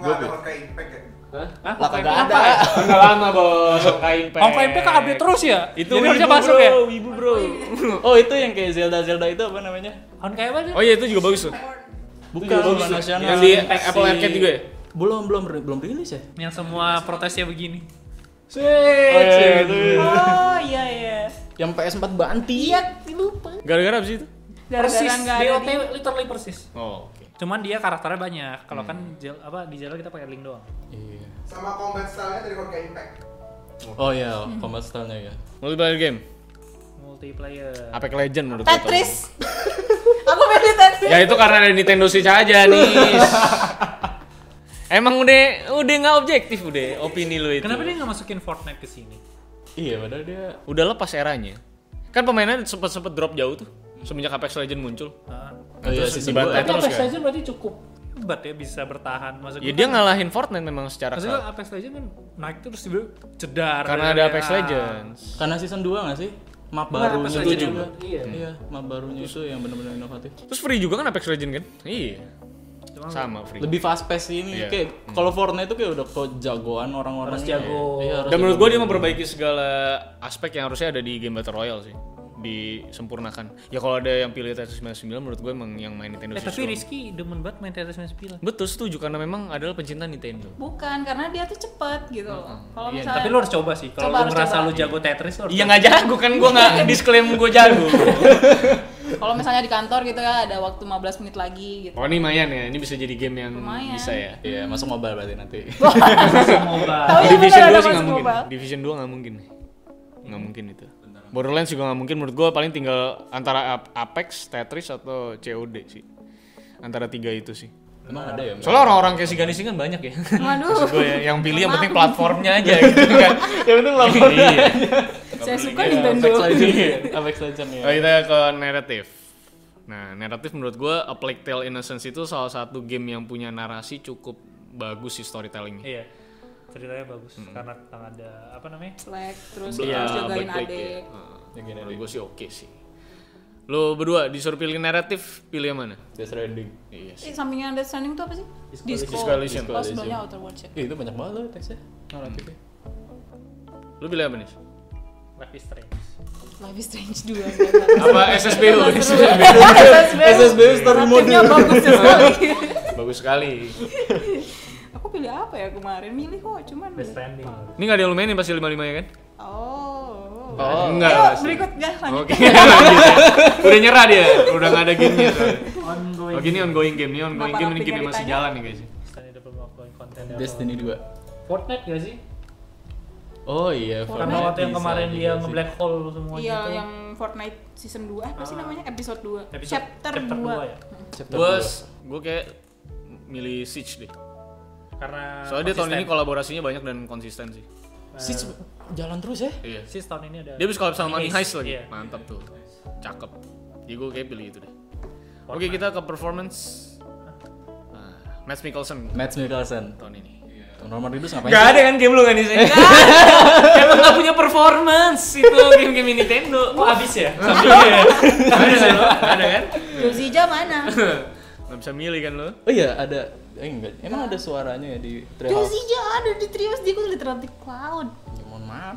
Speaker 5: Enggak ada pakai impact ya?
Speaker 4: Hah?
Speaker 2: Lah,
Speaker 4: Hawkeye
Speaker 2: kagak
Speaker 4: Impact
Speaker 2: ada.
Speaker 4: apa ya?
Speaker 1: Enggak lama bos. Hawkeye Impact.
Speaker 4: Hawkeye Impact kan update terus ya?
Speaker 1: Itu
Speaker 4: Jadi
Speaker 1: wibu,
Speaker 4: harusnya masuk
Speaker 1: bro,
Speaker 4: ya?
Speaker 1: Wibu bro.
Speaker 2: Oh, itu yang kayak Zelda Zelda itu apa namanya?
Speaker 4: Hawkeye apa sih?
Speaker 1: Oh iya itu juga bagus tuh.
Speaker 2: Bukan
Speaker 1: juga bagus
Speaker 2: bukan
Speaker 1: tuh.
Speaker 2: nasional.
Speaker 1: Yang di
Speaker 2: Impact
Speaker 1: Apple
Speaker 2: si-
Speaker 1: Arcade juga ya?
Speaker 2: Belum, belum belum rilis ya?
Speaker 4: Yang semua protesnya begini.
Speaker 1: Eh,
Speaker 2: Oh, iya, itu.
Speaker 3: Oh iya iya.
Speaker 2: Yang PS4 banti.
Speaker 3: Iya, lupa.
Speaker 1: Gara-gara apa sih itu?
Speaker 4: Persis,
Speaker 3: Gara-gara enggak ada
Speaker 4: DOT
Speaker 3: di
Speaker 4: literally persis.
Speaker 1: Oh oke.
Speaker 4: Cuman dia karakternya banyak. Kalau kan
Speaker 1: Hmm.
Speaker 4: Zel- apa di Zelda kita pakai link doang.
Speaker 2: Iya.
Speaker 5: Sama combat style-nya dari Hawkeye Impact.
Speaker 2: Oh iya, combat style-nya ya.
Speaker 1: Multiplayer game.
Speaker 4: Multiplayer.
Speaker 1: Apex Legend menurut gua
Speaker 3: Tetris. Aku pilih Tetris.
Speaker 1: Ya itu karena ada Nintendo Switch aja nih. Emang udah udah nggak objektif udah opini lu itu.
Speaker 4: Kenapa dia nggak masukin Fortnite ke sini?
Speaker 2: Iya, padahal dia
Speaker 1: Udah lepas eranya. Kan pemainnya sempet sempet drop jauh tuh semenjak Apex Legend muncul.
Speaker 4: Heeh.
Speaker 2: Oh iya,
Speaker 1: Terus
Speaker 2: sisi
Speaker 1: dibantai
Speaker 2: bola.
Speaker 1: Tapi terus. Apex
Speaker 4: saja berarti cukup hebat ya bisa bertahan masuk.
Speaker 1: Ya dia ngalahin Fortnite memang secara
Speaker 4: Maksud
Speaker 1: kal-
Speaker 4: gua Apex Legends kan naik terus tiba cedar. ya kan?
Speaker 1: karena ada Apex Legends.
Speaker 2: Karena season 2 nggak sih? Map
Speaker 4: Nah,
Speaker 2: barunya
Speaker 4: Apex
Speaker 2: itu
Speaker 4: Legends
Speaker 2: juga.
Speaker 4: juga, iya.
Speaker 2: Iya, map barunya itu yang benar-benar inovatif.
Speaker 1: Terus free juga kan Apex Legends kan? Iya. Sama free.
Speaker 2: Lebih fast pace ini
Speaker 1: Iya.
Speaker 2: kayak kalau Fortnite itu kayak udah kejagoan orang-orang.
Speaker 4: Harus jago.
Speaker 2: Iya, harus
Speaker 1: Dan menurut
Speaker 2: jago.
Speaker 1: gue dia memperbaiki segala aspek yang harusnya ada di game Battle Royale sih. disempurnakan. Ya kalau ada yang pilih Tetris 99 menurut gue emang yang main Nintendo
Speaker 4: Eh,
Speaker 1: Switch
Speaker 4: tapi
Speaker 1: doang.
Speaker 4: Rizky demen banget main Tetris 99.
Speaker 1: Betul setuju karena memang adalah pencinta Nintendo.
Speaker 3: bukan karena dia tuh cepet gitu loh kalau
Speaker 2: Iya,
Speaker 3: misalnya
Speaker 4: Tapi lu harus coba sih. Kalau
Speaker 3: Coba,
Speaker 4: lu
Speaker 3: harus
Speaker 4: merasa
Speaker 3: coba.
Speaker 4: lu jago Tetris, lu harus
Speaker 1: Iya nggak jago kan gue nggak disklaim gue jago.
Speaker 3: kalau misalnya di kantor gitu ya ada waktu 15 menit lagi gitu
Speaker 1: Oh ini lumayan ya, ini bisa jadi game yang
Speaker 3: Lumayan.
Speaker 1: bisa ya.
Speaker 2: Iya, masuk mobile berarti nanti.
Speaker 4: coba mobile.
Speaker 3: Tapi ya
Speaker 1: Division 2 sih
Speaker 3: bener, ada masuk
Speaker 1: nggak mungkin.
Speaker 3: mobile.
Speaker 1: Division 2 nggak mungkin. Nggak mungkin itu. Borderlands juga nggak mungkin. Menurut gue paling tinggal antara Ap- Apex, Tetris atau COD sih. Antara tiga itu sih.
Speaker 2: Emang ada ya?
Speaker 1: Soalnya orang-orang kayak si Ganesing kan banyak ya.
Speaker 3: Waduh.
Speaker 1: Maksud gue ya, yang pilih yang penting platformnya aja gitu kan. Iya. yang penting platformnya.
Speaker 3: saya suka
Speaker 2: Iya,
Speaker 3: Nintendo
Speaker 2: Apex Legends. Apex Legends ya.
Speaker 1: Oh, kita ke naratif. Nah, naratif menurut gue A Plague Tale Innocence itu salah satu game yang punya narasi cukup bagus sih storytellingnya.
Speaker 4: Iya. Ceritanya bagus
Speaker 1: Hmm.
Speaker 4: karena tentang ada apa namanya?
Speaker 3: Slack terus
Speaker 1: Iya,
Speaker 3: kita harus jagain
Speaker 1: Black Plague ya.
Speaker 3: adik
Speaker 1: Heeh.
Speaker 2: Yang gini
Speaker 1: Menurut gue sih oke sih. Lo berdua disuruh pilih naratif, pilih yang mana?
Speaker 2: Death Stranding.
Speaker 1: Iya
Speaker 3: Eh, sampingnya ada standing tuh apa sih? Disco.
Speaker 1: Disco Elysium.
Speaker 3: Oh, sebelumnya Outer Worlds ya.
Speaker 2: Ih, Iya, itu banyak banget loh teksnya.
Speaker 4: Nah,
Speaker 2: Hmm. Naratifnya.
Speaker 1: Lo pilih apa nih?
Speaker 4: Life is Strange.
Speaker 3: Life is Strange ya. 2.
Speaker 1: Apa ya? SSBU?
Speaker 2: SSB story mode.
Speaker 3: Motifnya bagus ya sekali.
Speaker 1: Bagus sekali.
Speaker 3: Aku pilih apa ya kemarin? Milih kok, cuman
Speaker 4: Death Stranding.
Speaker 1: Ini gak ada yang lumayan nih pasti 55 ya kan?
Speaker 3: Oh.
Speaker 2: Oh.
Speaker 1: Enggak.
Speaker 3: Ayo,
Speaker 1: pasti.
Speaker 3: berikut ya lanjut.
Speaker 1: Oke. lanjut ya. Udah nyerah dia, udah gak ada gamenya. soalnya.
Speaker 4: Ongoing.
Speaker 1: Oke ini Oh, ongoing game, ini ongoing
Speaker 3: Kenapa
Speaker 1: game, ini game yang
Speaker 3: lapiknya
Speaker 1: masih
Speaker 3: ditanya?
Speaker 1: jalan nih guys.
Speaker 4: Misalnya ada belum ongoing konten apa.
Speaker 2: Destiny 2.
Speaker 4: Fortnite gak sih?
Speaker 2: Oh iya,
Speaker 4: Karena
Speaker 2: Fortnite
Speaker 4: waktu yang
Speaker 2: bisa
Speaker 4: kemarin
Speaker 2: juga
Speaker 4: dia
Speaker 2: sih.
Speaker 4: nge-black hole semua
Speaker 3: Iya,
Speaker 4: gitu. Ah.
Speaker 3: yang Fortnite season 2 apa sih namanya? Episode 2.
Speaker 4: Episode-
Speaker 3: chapter, 2.
Speaker 4: ya.
Speaker 2: Chapter
Speaker 1: Gue,
Speaker 2: dua.
Speaker 1: gue kayak milih Siege deh.
Speaker 4: Karena
Speaker 1: Soalnya dia tahun ini
Speaker 4: konsisten.
Speaker 1: kolaborasinya banyak dan konsisten sih.
Speaker 2: Siege jalan terus ya?
Speaker 1: Iya.
Speaker 4: Eh, Sis tahun ini ada
Speaker 1: Dia habis collab sama Money
Speaker 4: Money
Speaker 1: Heist
Speaker 4: Heist,
Speaker 1: lagi.
Speaker 4: iya.
Speaker 1: Mantap tuh. Cakep. Jadi gue kayak pilih itu deh. Oke,
Speaker 4: Fortnite.
Speaker 1: kita ke performance. Nah, Mads Mikkelsen
Speaker 2: Mads Mikkelsen.
Speaker 1: tahun ini.
Speaker 2: Norman Reedus ngapain?
Speaker 1: Gak ada kan game lu kan di sini? Emang gak punya performance itu game-game Nintendo.
Speaker 4: Kok habis ya? Sampingnya ya?
Speaker 1: Gak ada kan? Gak ada kan?
Speaker 3: Yozija mana?
Speaker 1: Gak bisa milih kan lo?
Speaker 2: Oh iya, ada. Eh, enggak. Emang ada suaranya ya di Treehouse?
Speaker 3: Yozija ada di Trios, dia gue literati cloud.
Speaker 2: Ya, mohon maaf.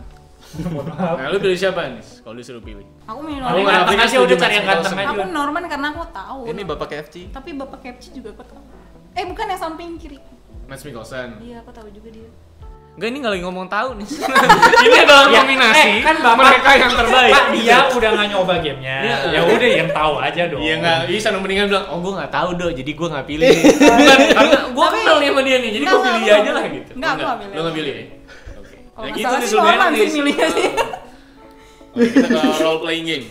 Speaker 1: Nah, lu pilih siapa nih? Kalau disuruh pilih.
Speaker 3: Aku milih
Speaker 1: Aku
Speaker 4: Paling
Speaker 1: nggak
Speaker 3: Norman.
Speaker 4: ganteng
Speaker 1: Norman
Speaker 4: aja udah
Speaker 1: setuju
Speaker 4: cari yang
Speaker 1: Mads
Speaker 4: ganteng aja.
Speaker 3: Aku Norman karena aku tahu.
Speaker 2: Ini Bapak KFC.
Speaker 3: Tapi Bapak Kepci juga aku tahu. Eh, bukan yang samping kiri.
Speaker 1: Mads Mikkelsen.
Speaker 3: Iya, aku tahu juga dia.
Speaker 1: Enggak ini nggak lagi ngomong tahu nih. ini adalah
Speaker 4: Ya,
Speaker 1: nominasi
Speaker 4: eh, kan Bapak-
Speaker 1: mereka yang terbaik.
Speaker 4: Pak, dia udah nggak nyoba gamenya.
Speaker 1: Iya.
Speaker 4: ya udah yang tahu aja dong.
Speaker 1: Iya nggak bisa mendingan bilang, oh gue nggak tahu do, jadi gue nggak pilih. Bukan, karena gue
Speaker 3: Tapi-
Speaker 1: kenal nih sama dia nih, jadi
Speaker 3: Nggak,
Speaker 1: gue pilih
Speaker 3: nggak,
Speaker 1: aja
Speaker 3: aku
Speaker 1: lah
Speaker 3: nggak-
Speaker 1: gitu.
Speaker 3: nggak,
Speaker 1: Nggak,
Speaker 3: aku nggak pilih.
Speaker 1: Lu nggak pilih ya? Oke. Nah,
Speaker 3: Kalau nggak
Speaker 1: gitu
Speaker 3: salah
Speaker 1: nih,
Speaker 3: sih
Speaker 1: suruh
Speaker 3: Norman
Speaker 1: Dennis.
Speaker 3: sih milihnya sih.
Speaker 1: Oke, kita ke role playing game.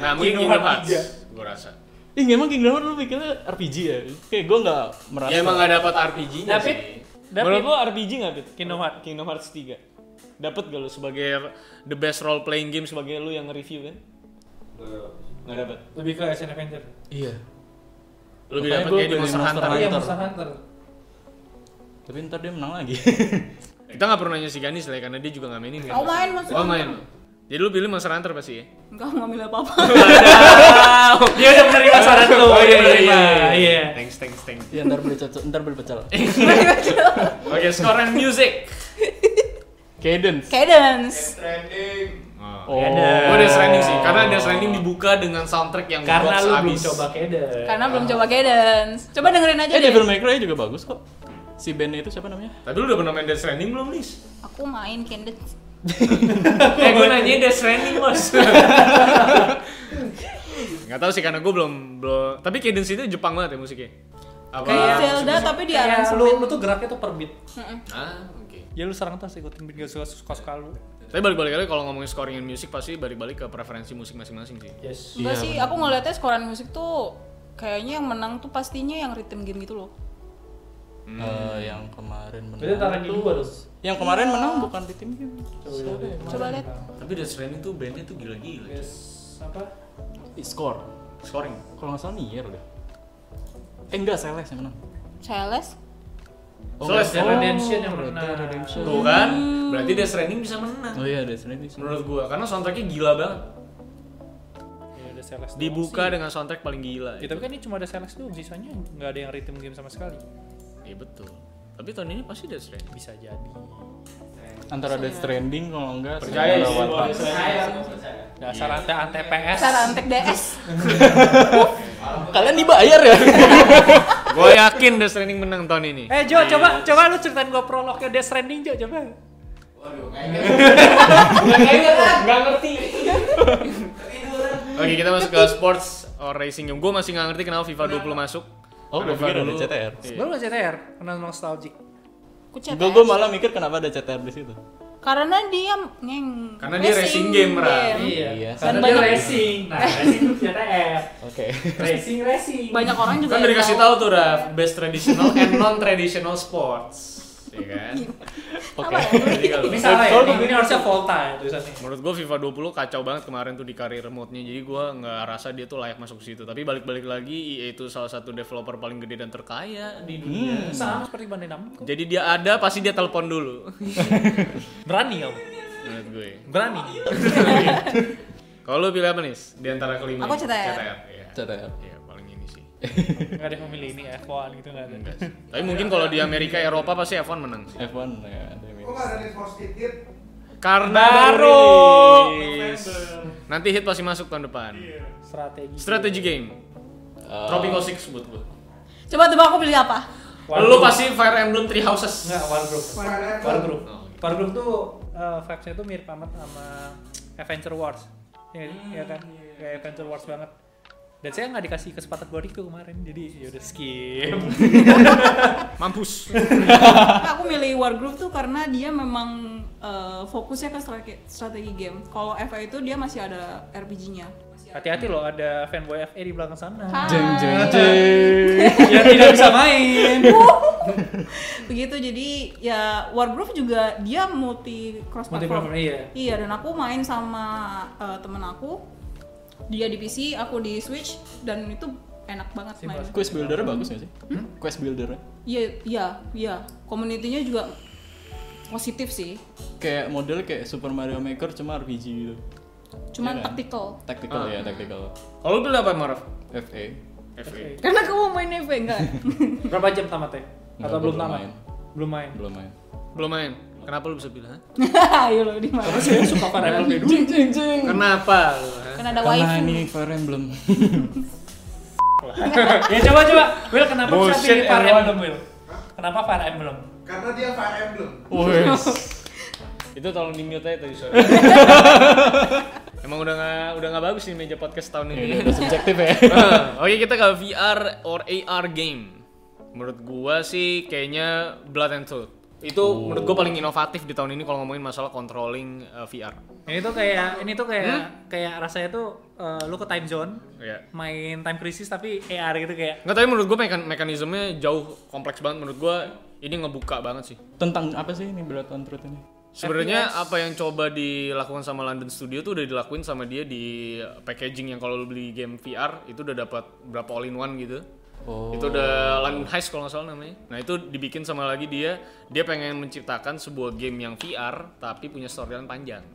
Speaker 1: Nah, mungkin
Speaker 4: Kingdom
Speaker 1: Kingdom
Speaker 4: Hearts.
Speaker 1: Hearts, gue rasa.
Speaker 2: Ih, emang Kingdom Hearts lu pikirnya RPG ya? Kayak gue nggak merasa.
Speaker 1: Ya emang nggak dapat RPG-nya
Speaker 4: Tapi-
Speaker 1: sih.
Speaker 4: tapi-
Speaker 1: Menurut lo RPG nggak, Pit?
Speaker 4: Kingdom Hearts.
Speaker 1: Kingdom Hearts 3. Dapat gak lo sebagai the best role playing game sebagai lu yang nge-review kan? Nggak dapat.
Speaker 4: Lebih ke action adventure.
Speaker 2: Iya.
Speaker 1: Lu
Speaker 2: Makanya
Speaker 1: dapat
Speaker 2: gua
Speaker 1: kayak di
Speaker 2: pilih
Speaker 1: Oh, iya, Monster
Speaker 2: Monster
Speaker 1: Hunter. gitu.
Speaker 2: Hunter.
Speaker 4: Hunter.
Speaker 2: Tapi ntar dia menang lagi.
Speaker 1: Kita nggak perlu nanya si Ganis lah ya, karena dia juga nggak mainin kan.
Speaker 3: Aku main Monster
Speaker 1: Oh
Speaker 3: Hunter.
Speaker 1: main. Jadi lu pilih Monster Hunter pasti ya?
Speaker 3: Enggak, aku nggak milih apa-apa.
Speaker 4: Dia udah Iya, menerima saran lu.
Speaker 1: Oh, iya,
Speaker 4: dia
Speaker 1: iya,
Speaker 4: menerima.
Speaker 1: iya.
Speaker 4: Iya.
Speaker 1: Thanks, thanks, thanks.
Speaker 2: Iya, ntar beli pecel, ntar beli pecel.
Speaker 1: Oke, score and music.
Speaker 2: Cadence.
Speaker 3: Cadence.
Speaker 5: Trending.
Speaker 2: Oh,
Speaker 1: Gue ada trending sih, karena ada trending dibuka dengan soundtrack yang
Speaker 4: Karena
Speaker 1: box
Speaker 4: lu belum
Speaker 1: abis.
Speaker 4: coba keder.
Speaker 3: Karena belum coba
Speaker 1: Ah.
Speaker 3: Cadence. Coba dengerin aja
Speaker 2: Eh,
Speaker 3: deh.
Speaker 2: Devil May Cry juga bagus kok. Si bandnya itu siapa namanya?
Speaker 1: Tapi lu udah pernah main Death Stranding belum, Nis?
Speaker 3: Aku main Cadence.
Speaker 1: eh, gue nanya Death Stranding, bos. Gak tau sih, karena gue belum, belum... Tapi Cadence itu Jepang banget ya musiknya? Apa?
Speaker 3: Kayak Zelda tapi di
Speaker 4: Kayak
Speaker 3: aransemen.
Speaker 4: lu, lu tuh geraknya tuh per beat.
Speaker 1: Ah, oke.
Speaker 4: Ya lu serang terus ikutin beat gak suka suka suka lu.
Speaker 1: Tapi balik-balik lagi kalau ngomongin scoring and music pasti balik-balik ke preferensi musik masing-masing sih.
Speaker 4: Yes.
Speaker 2: Iya,
Speaker 3: Enggak sih, aku ngeliatnya skoran musik tuh kayaknya yang menang tuh pastinya yang rhythm game gitu loh.
Speaker 4: Hmm.
Speaker 2: Eh, yang kemarin menang.
Speaker 4: Berarti antara game dua dong.
Speaker 2: Yang kemarin
Speaker 1: Iya.
Speaker 2: menang bukan di tim
Speaker 1: Oh,
Speaker 2: ya? game.
Speaker 3: Coba lihat.
Speaker 1: Tapi Death Stranding tuh bandnya tuh gila-gila.
Speaker 4: Yes. Apa?
Speaker 2: Ih, Score.
Speaker 1: Scoring.
Speaker 2: Kalau nggak salah Nier deh. Eh enggak, Celeste yang menang. Oh,
Speaker 3: Celeste.
Speaker 1: Celeste
Speaker 2: enggak.
Speaker 1: yang
Speaker 4: Redemption yang
Speaker 2: Red Dead
Speaker 4: menang.
Speaker 2: Redemption.
Speaker 1: Tuh kan? Berarti Death Stranding bisa menang.
Speaker 2: Oh iya, ada Celeste.
Speaker 1: Menurut gue, karena soundtracknya gila banget.
Speaker 4: Ya udah Celeste. doang
Speaker 1: Dibuka
Speaker 4: sih.
Speaker 1: dengan soundtrack paling gila.
Speaker 4: Ya, tapi kan ini cuma ada Celeste doang, sisanya nggak ada yang rhythm game sama sekali.
Speaker 1: Iya betul. Tapi tahun ini pasti Death Stranding.
Speaker 4: Bisa jadi.
Speaker 2: Antara Death Stranding kalau enggak
Speaker 1: Percaya sih,
Speaker 2: sama One
Speaker 1: gua
Speaker 2: Punch.
Speaker 1: Death Stranding.
Speaker 2: Iya, Nggak
Speaker 4: Dasar ante ante PS.
Speaker 3: Cara antek DS.
Speaker 2: Kalian dibayar ya?
Speaker 1: gue yakin Death Stranding menang tahun ini
Speaker 4: Eh Jo, coba coba lu ceritain gua prolognya Death Stranding Jo, coba.
Speaker 1: Gak ngerti Oke kita masuk ke sports or racing game Gue masih gak ngerti kenapa FIFA 20 masuk
Speaker 2: Oh, gue
Speaker 1: Karena
Speaker 2: pikir
Speaker 1: FIFA
Speaker 2: ada
Speaker 1: dulu-
Speaker 2: CTR.
Speaker 1: Iya.
Speaker 4: Baru aja TR, kenal nostalgic.
Speaker 3: Kucet.
Speaker 2: Gue gue malah mikir kenapa ada CTR di situ.
Speaker 3: Karena dia ngeng.
Speaker 1: Karena dia racing game, Ra.
Speaker 2: Iya.
Speaker 1: Kan
Speaker 3: Dan banyak- Eh.
Speaker 4: racing. Nah, racing itu CTR.
Speaker 2: Oke.
Speaker 4: Racing racing.
Speaker 3: Banyak orang juga.
Speaker 1: Kan
Speaker 3: yang
Speaker 1: udah dikasih tahu tuh Raf Best traditional and non traditional sports Iya kan
Speaker 2: Oke.
Speaker 3: Apa ya?
Speaker 1: Jadi kalau-
Speaker 4: Ini salah ya.
Speaker 1: Kalau
Speaker 4: Ini harusnya Volta ya tulisannya.
Speaker 1: Menurut gue FIFA 20 kacau banget kemarin tuh di karir mode-nya Jadi gue nggak rasa dia tuh layak masuk situ Tapi balik-balik lagi EA itu salah satu developer paling gede dan terkaya di dunia
Speaker 4: Hmm, Sama seperti Bandai Namco.
Speaker 1: Jadi dia ada pasti dia telepon dulu
Speaker 4: Berani kamu.
Speaker 1: Menurut gue
Speaker 4: Berani.
Speaker 1: Kalau lu pilih apa nih? Di antara kelima
Speaker 3: Aku
Speaker 1: ini?
Speaker 3: CTR.
Speaker 1: Iya.
Speaker 2: CTR.
Speaker 1: Iya, paling ini sih.
Speaker 4: Enggak ada yang memilih ini F1 gitu enggak ada.
Speaker 1: Enggak sih. Tapi mungkin kalau di Amerika Eropa pasti F1 menang sih.
Speaker 2: F1 ya. ada yang minus.
Speaker 5: Kok gak ada Need for Speed Hit?
Speaker 1: Karena
Speaker 4: Baru.
Speaker 1: rilis. Nanti hit pasti masuk tahun depan.
Speaker 4: Strategi.
Speaker 1: Strategi game.
Speaker 2: Eh,
Speaker 1: Tropico 6 buat gua.
Speaker 3: Coba tebak aku pilih apa?
Speaker 1: Lu pasti Fire Emblem Three Houses.
Speaker 4: Enggak, Wargroup.
Speaker 5: Wargroup.
Speaker 4: Wargroup.
Speaker 1: Oh, gitu.
Speaker 4: Wargroup tuh eh, vibes-nya tuh mirip banget sama Adventure Wars. Iya iya kan? Kayak Adventure Wars banget. Dan saya nggak dikasih kesempatan buat itu kemarin, jadi yaudah skip.
Speaker 1: Mampus.
Speaker 3: aku milih Wargroove tuh karena dia memang eh, fokusnya ke strategi, strategi game. Kalau FA itu dia masih ada RPG-nya.
Speaker 4: Hati-hati loh, ada fanboy FE di belakang sana.
Speaker 3: Hai.
Speaker 2: Jeng jeng jeng.
Speaker 4: Yang tidak bisa main.
Speaker 3: Begitu jadi ya Wargroove juga dia multi cross
Speaker 4: Multi platform,
Speaker 3: platform.
Speaker 4: iya.
Speaker 3: Iya dan aku main sama eh, temen aku. Dia di PC, aku di Switch dan itu enak banget main.
Speaker 2: Quest builder bagus nggak sih? Quest builder
Speaker 3: Iya iya iya. Community-nya juga positif sih.
Speaker 2: kayak model kayak Super Mario Maker cuma RPG gitu.
Speaker 3: Cuman
Speaker 2: Iya kan?
Speaker 3: tactical.
Speaker 2: Tactical
Speaker 1: Ah.
Speaker 2: ya, tactical.
Speaker 1: Kalau lu pilih apa, Maraf?
Speaker 2: FA.
Speaker 1: FA.
Speaker 3: Karena kamu main FA enggak?
Speaker 4: Berapa jam tamatnya?
Speaker 2: Nggak,
Speaker 4: Atau belum
Speaker 2: belum
Speaker 4: tamat?
Speaker 2: main.
Speaker 4: Belum main.
Speaker 2: Belum main.
Speaker 1: Belum main. Kenapa lu bisa pilih? ha?
Speaker 3: Ayo lo di mana?
Speaker 4: Karena saya suka Fire Emblem dari dulu.
Speaker 2: jeng jeng.
Speaker 1: Kenapa lu? ha?
Speaker 3: Karena ada
Speaker 2: Karena
Speaker 3: waifu.
Speaker 2: ini Fire Emblem.
Speaker 4: ya coba coba, Will kenapa bisa
Speaker 1: Bullshit,
Speaker 4: pilih Fire
Speaker 1: everyone.
Speaker 4: Emblem Will? Kenapa Fire Emblem?
Speaker 5: Karena dia Fire Emblem.
Speaker 2: Wes.
Speaker 1: Itu tolong di mute aja tadi sore. Emang udah nggak udah nggak bagus nih meja podcast tahun ini.
Speaker 2: Ini udah subjektif ya.
Speaker 1: Ah, Oke kita ke VR or AR game. Menurut gua sih kayaknya Blood and Truth. Itu menurut gua paling inovatif di tahun ini kalau ngomongin masalah controlling eh, VR.
Speaker 4: Ini tuh kayak ini tuh kayak kayak rasanya tuh eh, lu ke time zone
Speaker 1: Ya.
Speaker 4: Iya. main time crisis tapi AR gitu kayak
Speaker 1: Nggak tapi menurut gua mekan- mekanismenya jauh kompleks banget. Menurut gua ini ngebuka banget sih.
Speaker 2: Tentang apa sih ini Blood on Truth ini?
Speaker 1: Sebenarnya apa yang coba dilakukan sama London Studio tuh udah dilakuin sama dia di packaging yang kalau lu beli game VR itu udah dapat berapa all in one gitu.
Speaker 2: Oh.
Speaker 1: Itu udah London Heist kalau nggak salah namanya. Nah itu dibikin sama lagi dia dia pengen menciptakan sebuah game yang VR tapi punya storyline panjang.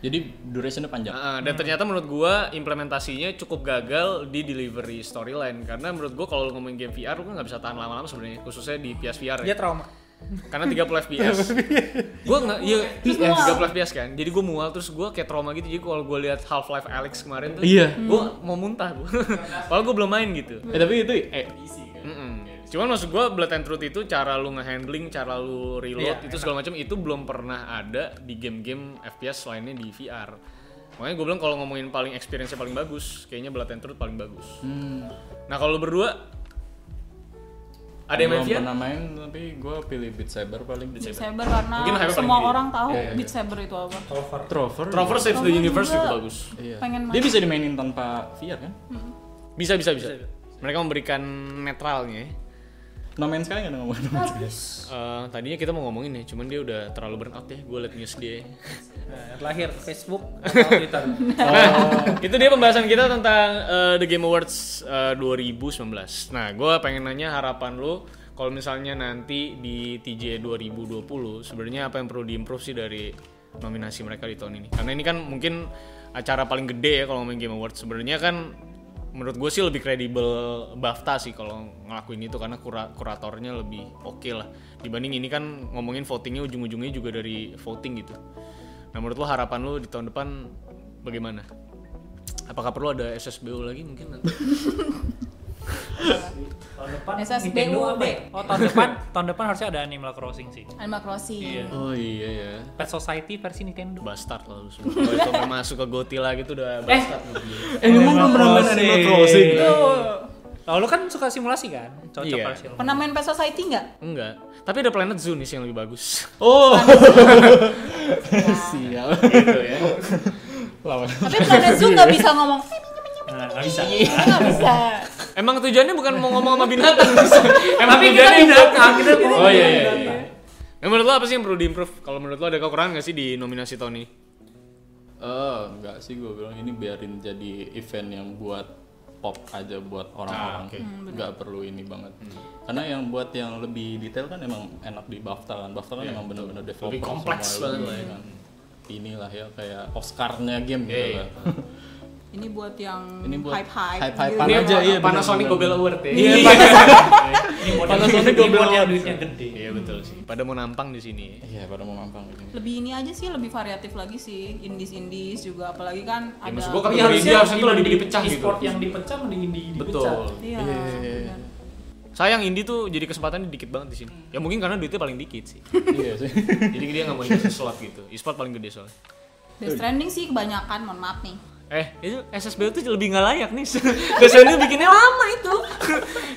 Speaker 2: Jadi durationnya panjang.
Speaker 1: Ah, ah, dan ternyata menurut gua implementasinya cukup gagal di delivery storyline karena menurut gua kalau lu ngomongin game VR lu kan nggak bisa tahan lama-lama sebenarnya khususnya di PSVR
Speaker 4: dia
Speaker 1: ya.
Speaker 4: trauma.
Speaker 1: Karena 30 FPS. gua nggak iya 30 FPS kan. Jadi gua mual terus gua kayak trauma gitu. Jadi kalau gua lihat Half-Life Alyx kemarin tuh
Speaker 2: Iya.
Speaker 1: gua mau muntah gua. Padahal gua belum main gitu.
Speaker 2: Eh tapi itu eh
Speaker 1: Mm-mm. Cuman maksud gua Blood and Truth itu cara lu ngehandling, cara lu reload itu segala macam itu belum pernah ada di game-game FPS lainnya di VR. Makanya gue bilang kalau ngomongin paling experience-nya paling bagus, kayaknya Blood and Truth paling bagus.
Speaker 2: hmm,
Speaker 1: Nah, kalau lu berdua ada yang main
Speaker 2: belum
Speaker 1: VR?
Speaker 2: pernah main tapi gue pilih Beat Saber paling.
Speaker 3: Beat Saber karena
Speaker 1: Mungkin hype-nya paling
Speaker 3: semua
Speaker 1: tinggi.
Speaker 3: orang tahu
Speaker 2: Iya, Oh. iya,
Speaker 3: Beat Saber itu apa.
Speaker 4: Cover.
Speaker 2: Trover.
Speaker 1: Traverse Saves the
Speaker 3: Traverse
Speaker 1: Universe
Speaker 3: juga.
Speaker 1: juga bagus.
Speaker 2: Iya.
Speaker 3: Pengen main.
Speaker 2: Dia bisa dimainin tanpa VR kan?
Speaker 1: Bisa, bisa, bisa. Mereka memberikan netralnya. ya.
Speaker 2: No Man's Sky Nah, nggak ada ngomong No Man's Sky.
Speaker 1: Eh, tadinya kita mau ngomongin ya, cuman dia udah terlalu burn out ya. Gue liat news dia. ya.
Speaker 4: Nah, yang terakhir Facebook atau Twitter.
Speaker 1: Nah, itu dia pembahasan kita tentang eh, The Game Awards eh, 2019. Nah, gue pengen nanya harapan lo kalau misalnya nanti di TJ 2020 sebenarnya apa yang perlu diimprove sih dari nominasi mereka di tahun ini? Karena ini kan mungkin acara paling gede ya kalau ngomongin Game Awards. Sebenarnya kan menurut gue sih lebih kredibel BAFTA sih kalau ngelakuin itu karena kura- kuratornya lebih oke lah dibanding ini kan ngomongin votingnya ujung-ujungnya juga dari voting gitu. Nah menurut lo harapan lo di tahun depan bagaimana? Apakah perlu ada SSBU lagi mungkin nanti?
Speaker 4: tahun depan
Speaker 3: SSBU
Speaker 4: Nintendo apa ya? oh tahun depan tahun depan harusnya ada Animal Crossing sih
Speaker 3: Animal Crossing.
Speaker 2: Oh iya ya.
Speaker 4: Pet Society versi Nintendo
Speaker 1: Bastard lah lu semua. Kalau itu sampai masuk ke Goti lagi tuh udah bastard. lu.
Speaker 2: Eh, lu belum pernah main Animal Crossing.
Speaker 4: Oh, lu kan suka simulasi kan? Cocok
Speaker 1: Iya.
Speaker 4: versi lu.
Speaker 3: Pernah main Pet Society nggak?
Speaker 1: Enggak. Tapi ada Planet Zoo nih sih yang lebih bagus.
Speaker 2: Oh. Sial.
Speaker 1: gitu ya.
Speaker 2: Lawan.
Speaker 3: Tapi Planet Zoo
Speaker 2: Iya.
Speaker 3: nggak bisa ngomong.
Speaker 4: Nah, nggak bisa.
Speaker 3: Nggak bisa.
Speaker 1: Emang tujuannya bukan mau ngomong sama binatang. Emang
Speaker 4: Tapi kita
Speaker 1: tujuannya
Speaker 4: binatang, kita ngomong
Speaker 1: Oh iya iya. iya.
Speaker 4: binatang.
Speaker 1: Nah, menurut lo apa sih yang perlu diimprove? Kalau menurut lo ada kekurangan nggak sih di nominasi tahun ini?
Speaker 2: Eh, enggak sih gue bilang ini biarin jadi event yang buat pop aja buat orang-orang.
Speaker 1: Ah, oke. Hmm.
Speaker 2: Enggak perlu ini banget. Karena yang buat yang lebih detail kan emang enak di BAFTA kan. BAFTA kan emang bener-bener developer
Speaker 1: Iya, Lebih kompleks
Speaker 2: semua
Speaker 1: banget
Speaker 2: lebih
Speaker 1: lah ya
Speaker 2: kan. Inilah ya kayak Oscarnya game
Speaker 1: Iya,
Speaker 2: gitu
Speaker 1: iya.
Speaker 2: lah.
Speaker 3: Ini buat yang
Speaker 2: Ini buat
Speaker 3: hype-hype.
Speaker 2: hype-hypean
Speaker 3: gitu.
Speaker 2: Ini aja, iya,
Speaker 1: Panasonic
Speaker 2: benar,
Speaker 1: Gobel
Speaker 2: benar.
Speaker 1: Award ya.
Speaker 2: Iya,
Speaker 4: Ini model-
Speaker 2: Panasonic
Speaker 4: ini
Speaker 2: goblok.
Speaker 4: model duitnya gede.
Speaker 1: Iya betul sih. Pada mau nampang di sini.
Speaker 2: Iya, pada mau mampang ini.
Speaker 3: Lebih ini aja sih, lebih variatif lagi sih. Indies-indies juga, apalagi kan
Speaker 1: Ya,
Speaker 3: ada.
Speaker 1: maksud gua kan-
Speaker 4: Tapi
Speaker 1: Iya,
Speaker 4: harusnya
Speaker 1: harusnya itu lebih
Speaker 4: di-
Speaker 1: dipecah gitu.
Speaker 4: e-sport yang dipecah mending di dipecah.
Speaker 1: Betul.
Speaker 3: Iya.
Speaker 2: Iya, iya, iya.
Speaker 3: benar.
Speaker 1: Sayang Indi tuh jadi kesempatannya dikit banget di sini. Ya mungkin karena duitnya paling dikit sih.
Speaker 2: Iya sih.
Speaker 1: jadi dia nggak mau dikasih slot gitu. E-sport paling gede soalnya.
Speaker 3: Death Stranding sih kebanyakan, mohon maaf nih.
Speaker 1: Eh, itu SSBU tuh lebih nggak layak nih. Biasanya bikinnya lama itu.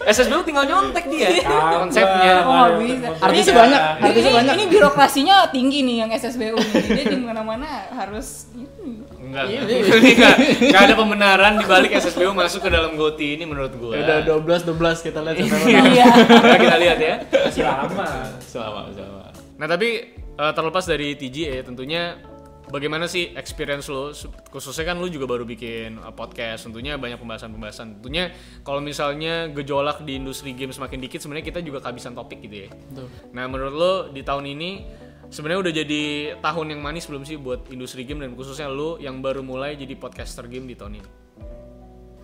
Speaker 1: SSBU tinggal nyontek
Speaker 2: Ah,
Speaker 1: dia konsepnya.
Speaker 4: Wah,
Speaker 3: Oh,
Speaker 4: nggak
Speaker 3: bisa.
Speaker 4: bisa.
Speaker 2: Artisnya
Speaker 3: Ini-
Speaker 2: banyak,
Speaker 3: ini-
Speaker 2: artisnya
Speaker 3: ini-
Speaker 2: banyak.
Speaker 3: Ini birokrasinya tinggi nih yang SSBU nih. Dia di mana-mana harus ini.
Speaker 1: Enggak.
Speaker 2: Iya,
Speaker 1: Ini nggak nggak ada pembenaran di balik SSBU masuk ke dalam GOTI ini menurut gua.
Speaker 2: Ya Udah 12 12 kita lihat siapa yang menang.
Speaker 3: Iya.
Speaker 1: Nah, kita lihat ya.
Speaker 4: Masih lama.
Speaker 2: Selamat, selamat.
Speaker 1: Nah, tapi eh, terlepas dari TGA tentunya bagaimana sih experience lo Su- khususnya kan lu juga baru bikin eh, podcast tentunya banyak pembahasan-pembahasan. Tentunya kalau misalnya gejolak di industri game semakin dikit sebenarnya kita juga kehabisan topik gitu ya.
Speaker 2: Betul.
Speaker 1: Nah, menurut lo di tahun ini sebenarnya udah jadi tahun yang manis belum sih buat industri game dan khususnya lo yang baru mulai jadi podcaster game di tahun ini?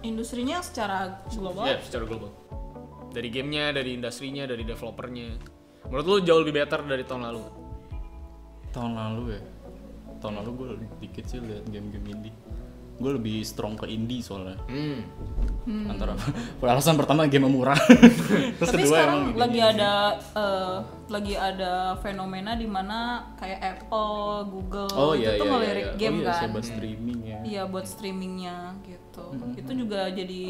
Speaker 3: Industrinya secara global
Speaker 1: Ya,
Speaker 2: Iya.
Speaker 1: secara global. Dari gamenya, dari industrinya, dari developernya. Menurut lo jauh lebih better dari tahun lalu?
Speaker 2: tahun lalu ya tahun lalu gue lebih dikit sih lihat game-game indie gue lebih strong ke indie soalnya
Speaker 1: Hmm.
Speaker 2: antara alasan pertama game yang murah terus
Speaker 3: Tapi
Speaker 2: kedua
Speaker 3: sekarang
Speaker 2: emang ini-
Speaker 3: lagi ada eh, lagi ada fenomena di mana kayak Apple, Google
Speaker 2: oh
Speaker 3: itu
Speaker 2: iya iya
Speaker 3: tuh
Speaker 2: iya,
Speaker 3: ngelirik
Speaker 2: iya
Speaker 3: game
Speaker 2: oh, iya,
Speaker 3: kan.
Speaker 2: sobat streaming ya
Speaker 3: Iya buat streamingnya gitu. Itu juga jadi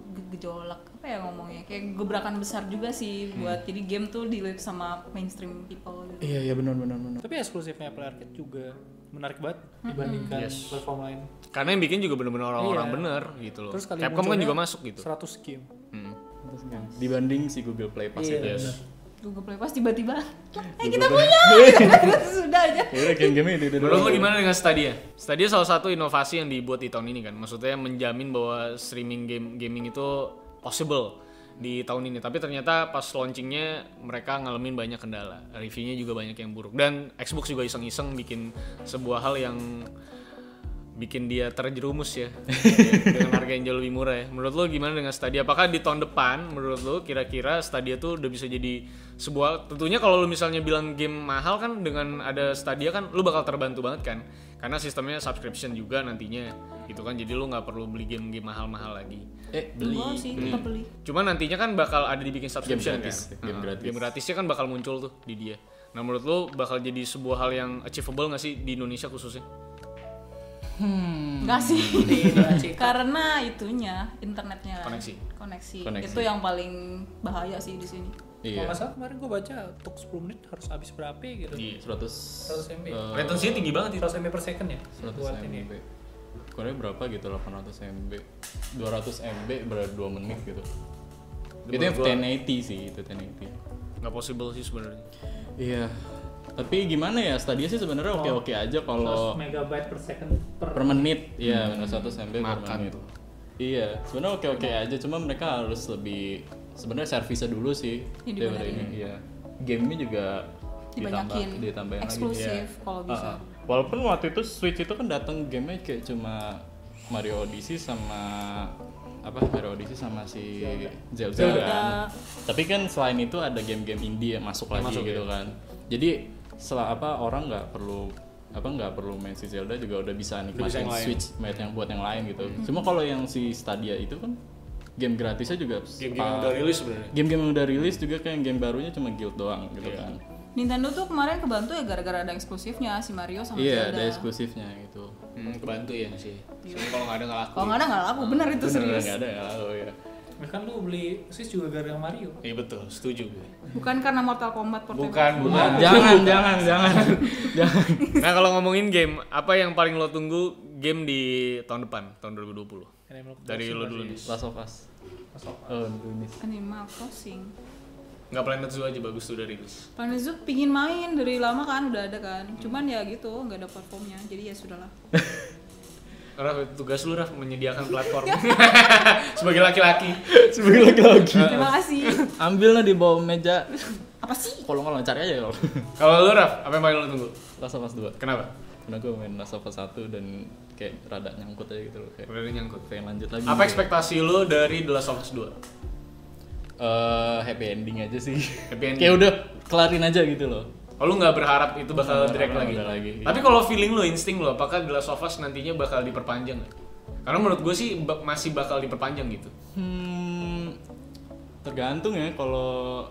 Speaker 3: ge- gejolak apa ya ngomongnya kayak gebrakan besar juga sih buat jadi game tuh dilirik sama mainstream people gitu.
Speaker 2: iya iya benar benar benar
Speaker 4: Tapi eksklusifnya Apple Arcade juga menarik banget dibandingkan
Speaker 1: Yes.
Speaker 4: platform lain.
Speaker 1: Karena yang bikin juga bener-bener orang-orang
Speaker 4: Iya.
Speaker 1: bener gitu loh.
Speaker 4: Terus ya? kali
Speaker 1: Capcom kan
Speaker 4: munculnya
Speaker 1: juga masuk gitu.
Speaker 4: 100 game.
Speaker 1: Hmm.
Speaker 2: Terus kan, dibanding si Google Play pas
Speaker 4: Iya,
Speaker 2: itu ya.
Speaker 1: Yes.
Speaker 3: Google Play pas tiba-tiba eh
Speaker 2: Google
Speaker 3: kita
Speaker 2: Play.
Speaker 3: punya Terus sudah aja.
Speaker 2: Iya, game-game itu dulu.
Speaker 1: Menurut lo gimana dengan Stadia? Stadia salah satu inovasi yang dibuat di tahun ini kan. Maksudnya menjamin bahwa streaming game gaming itu possible di tahun ini. Tapi ternyata pas launchingnya mereka ngalamin banyak kendala. Reviewnya juga banyak yang buruk. Dan Xbox juga iseng-iseng bikin sebuah hal yang bikin dia terjerumus ya dengan harga yang jauh lebih murah ya. Menurut lo gimana dengan Stadia? Apakah di tahun depan menurut lo kira-kira Stadia tuh udah bisa jadi sebuah tentunya kalau lo misalnya bilang game mahal kan dengan ada Stadia kan lo bakal terbantu banget kan karena sistemnya subscription juga nantinya gitu kan jadi lo nggak perlu beli game-game mahal-mahal lagi.
Speaker 2: eh beli
Speaker 3: Gua sih kita beli.
Speaker 1: Cuma nantinya kan bakal ada dibikin subscription
Speaker 2: Game gratis,
Speaker 1: kan.
Speaker 2: game
Speaker 1: Nah,
Speaker 2: gratis.
Speaker 1: Game gratisnya kan bakal muncul tuh di dia. Nah menurut lo bakal jadi sebuah hal yang achievable nggak sih di Indonesia khususnya?
Speaker 2: Hmm.
Speaker 3: Enggak sih. Karena itunya internetnya
Speaker 1: Koneksi.
Speaker 3: Koneksi.
Speaker 2: Koneksi.
Speaker 3: Itu yang paling bahaya sih di sini.
Speaker 4: Kalau
Speaker 2: iya
Speaker 4: nggak salah kemarin gue baca untuk 10 menit harus habis berapa gitu.
Speaker 1: Iya.
Speaker 2: 100
Speaker 4: 100 MB.
Speaker 2: eh,
Speaker 1: Retensinya tinggi banget itu.
Speaker 4: 100 MB per second ya
Speaker 2: 100
Speaker 4: buat ini.
Speaker 2: MB Korea berapa gitu 800 MB 200 MB berapa 2 menit gitu itu yang
Speaker 1: menurut gua-
Speaker 2: 1080 sih itu 1080
Speaker 1: nggak possible sih sebenarnya.
Speaker 2: Iya. Tapi gimana ya Stadia sih sebenarnya oke oke aja
Speaker 4: 100
Speaker 2: kalau
Speaker 4: megabyte per second per
Speaker 2: per menit, ya benar satu sampai per
Speaker 1: Makan
Speaker 2: menit.
Speaker 1: tuh.
Speaker 2: Iya, sebenarnya oke oke aja. Cuma mereka harus lebih sebenarnya servisnya dulu sih
Speaker 3: Ya,
Speaker 2: daripada
Speaker 3: dibenerin.
Speaker 2: ini. Iya. Gamenya juga
Speaker 3: Dibanyakin.
Speaker 2: ditambah, ditambahin lagi.
Speaker 3: Eksklusif
Speaker 2: Iya.
Speaker 3: kalau Oh, bisa.
Speaker 2: Ah, ah. walaupun waktu itu Switch itu kan datang gamenya kayak cuma Mario Odyssey sama apa Mario Odyssey sama si Zelda,
Speaker 3: Zelda.
Speaker 2: kan. Tapi kan selain itu ada game-game indie yang masuk lagi
Speaker 1: masuk, iya.
Speaker 2: gitu kan. Jadi setelah apa orang nggak perlu apa nggak perlu main si Zelda juga udah bisa nikmatin
Speaker 1: bisa yang lain. Hmm.
Speaker 2: Switch main yang buat yang lain gitu. Cuma kalau yang si Stadia itu kan game gratisnya juga
Speaker 1: Game-game yang
Speaker 2: sepa-
Speaker 1: udah rilis sebenarnya.
Speaker 2: game-game yang udah rilis juga kayak game barunya cuma guild doang
Speaker 1: Iya.
Speaker 2: gitu kan.
Speaker 3: Nintendo tuh kemarin kebantu ya gara-gara ada eksklusifnya si Mario sama
Speaker 2: Iya,
Speaker 3: Oh, Zelda.
Speaker 2: ada eksklusifnya gitu.
Speaker 1: Hmm, kebantu ya sih. Soalnya kalau nggak ada nggak laku.
Speaker 3: Kalau nggak ada nggak laku, bener itu
Speaker 2: Bener,
Speaker 3: serius.
Speaker 2: nggak ada ya lalu ya.
Speaker 4: Bahkan lu beli Switch juga gara-gara Mario.
Speaker 1: Iya betul, setuju gue.
Speaker 3: Bukan karena Mortal Kombat portable.
Speaker 1: Bukan, bukan.
Speaker 2: Jangan, jangan, jangan, jangan.
Speaker 1: Nah kalau ngomongin game, apa yang paling lo tunggu game di tahun depan, tahun 2020?
Speaker 4: Animal Crossing
Speaker 1: Dari lo dulu nih.
Speaker 2: Last of Us.
Speaker 4: Last of
Speaker 2: Oh, ini.
Speaker 3: Animal Crossing.
Speaker 1: Nggak Planet Zoo aja bagus tuh dari rilis.
Speaker 3: Planet Zoo pingin main dari lama kan udah ada kan. Cuman ya gitu nggak ada platformnya. Jadi ya sudahlah.
Speaker 1: Raf, tugas lu Raf menyediakan platform sebagai laki-laki.
Speaker 2: Sebagai lagi-lagi.
Speaker 3: Terima kasih.
Speaker 2: Ambil lah di bawah meja.
Speaker 3: Apa sih?
Speaker 2: Kalau nggak cari aja kalau.
Speaker 1: Kalau lu Raf, apa yang paling lu tunggu?
Speaker 2: Last of Us 2.
Speaker 1: Kenapa?
Speaker 2: Karena gue main Last of Us 1 dan kayak rada nyangkut aja gitu loh kayak
Speaker 1: Udah ada nyangkut.
Speaker 2: pengen lanjut lagi.
Speaker 1: Apa ekspektasi lu dari The Last of Us 2?
Speaker 2: Eh, happy ending aja sih.
Speaker 1: Happy ending.
Speaker 2: kayak Ya udah kelarin aja gitu loh.
Speaker 1: Oh, lu nggak berharap itu bakal
Speaker 2: Nggak
Speaker 1: direct lagi?
Speaker 2: berharap ada lagi, iya.
Speaker 1: Tapi kalau feeling lu, insting lu, apakah The Last of Us nantinya bakal diperpanjang nggak? Karena menurut gue sih bak- masih bakal diperpanjang gitu.
Speaker 2: Hmm, tergantung ya kalau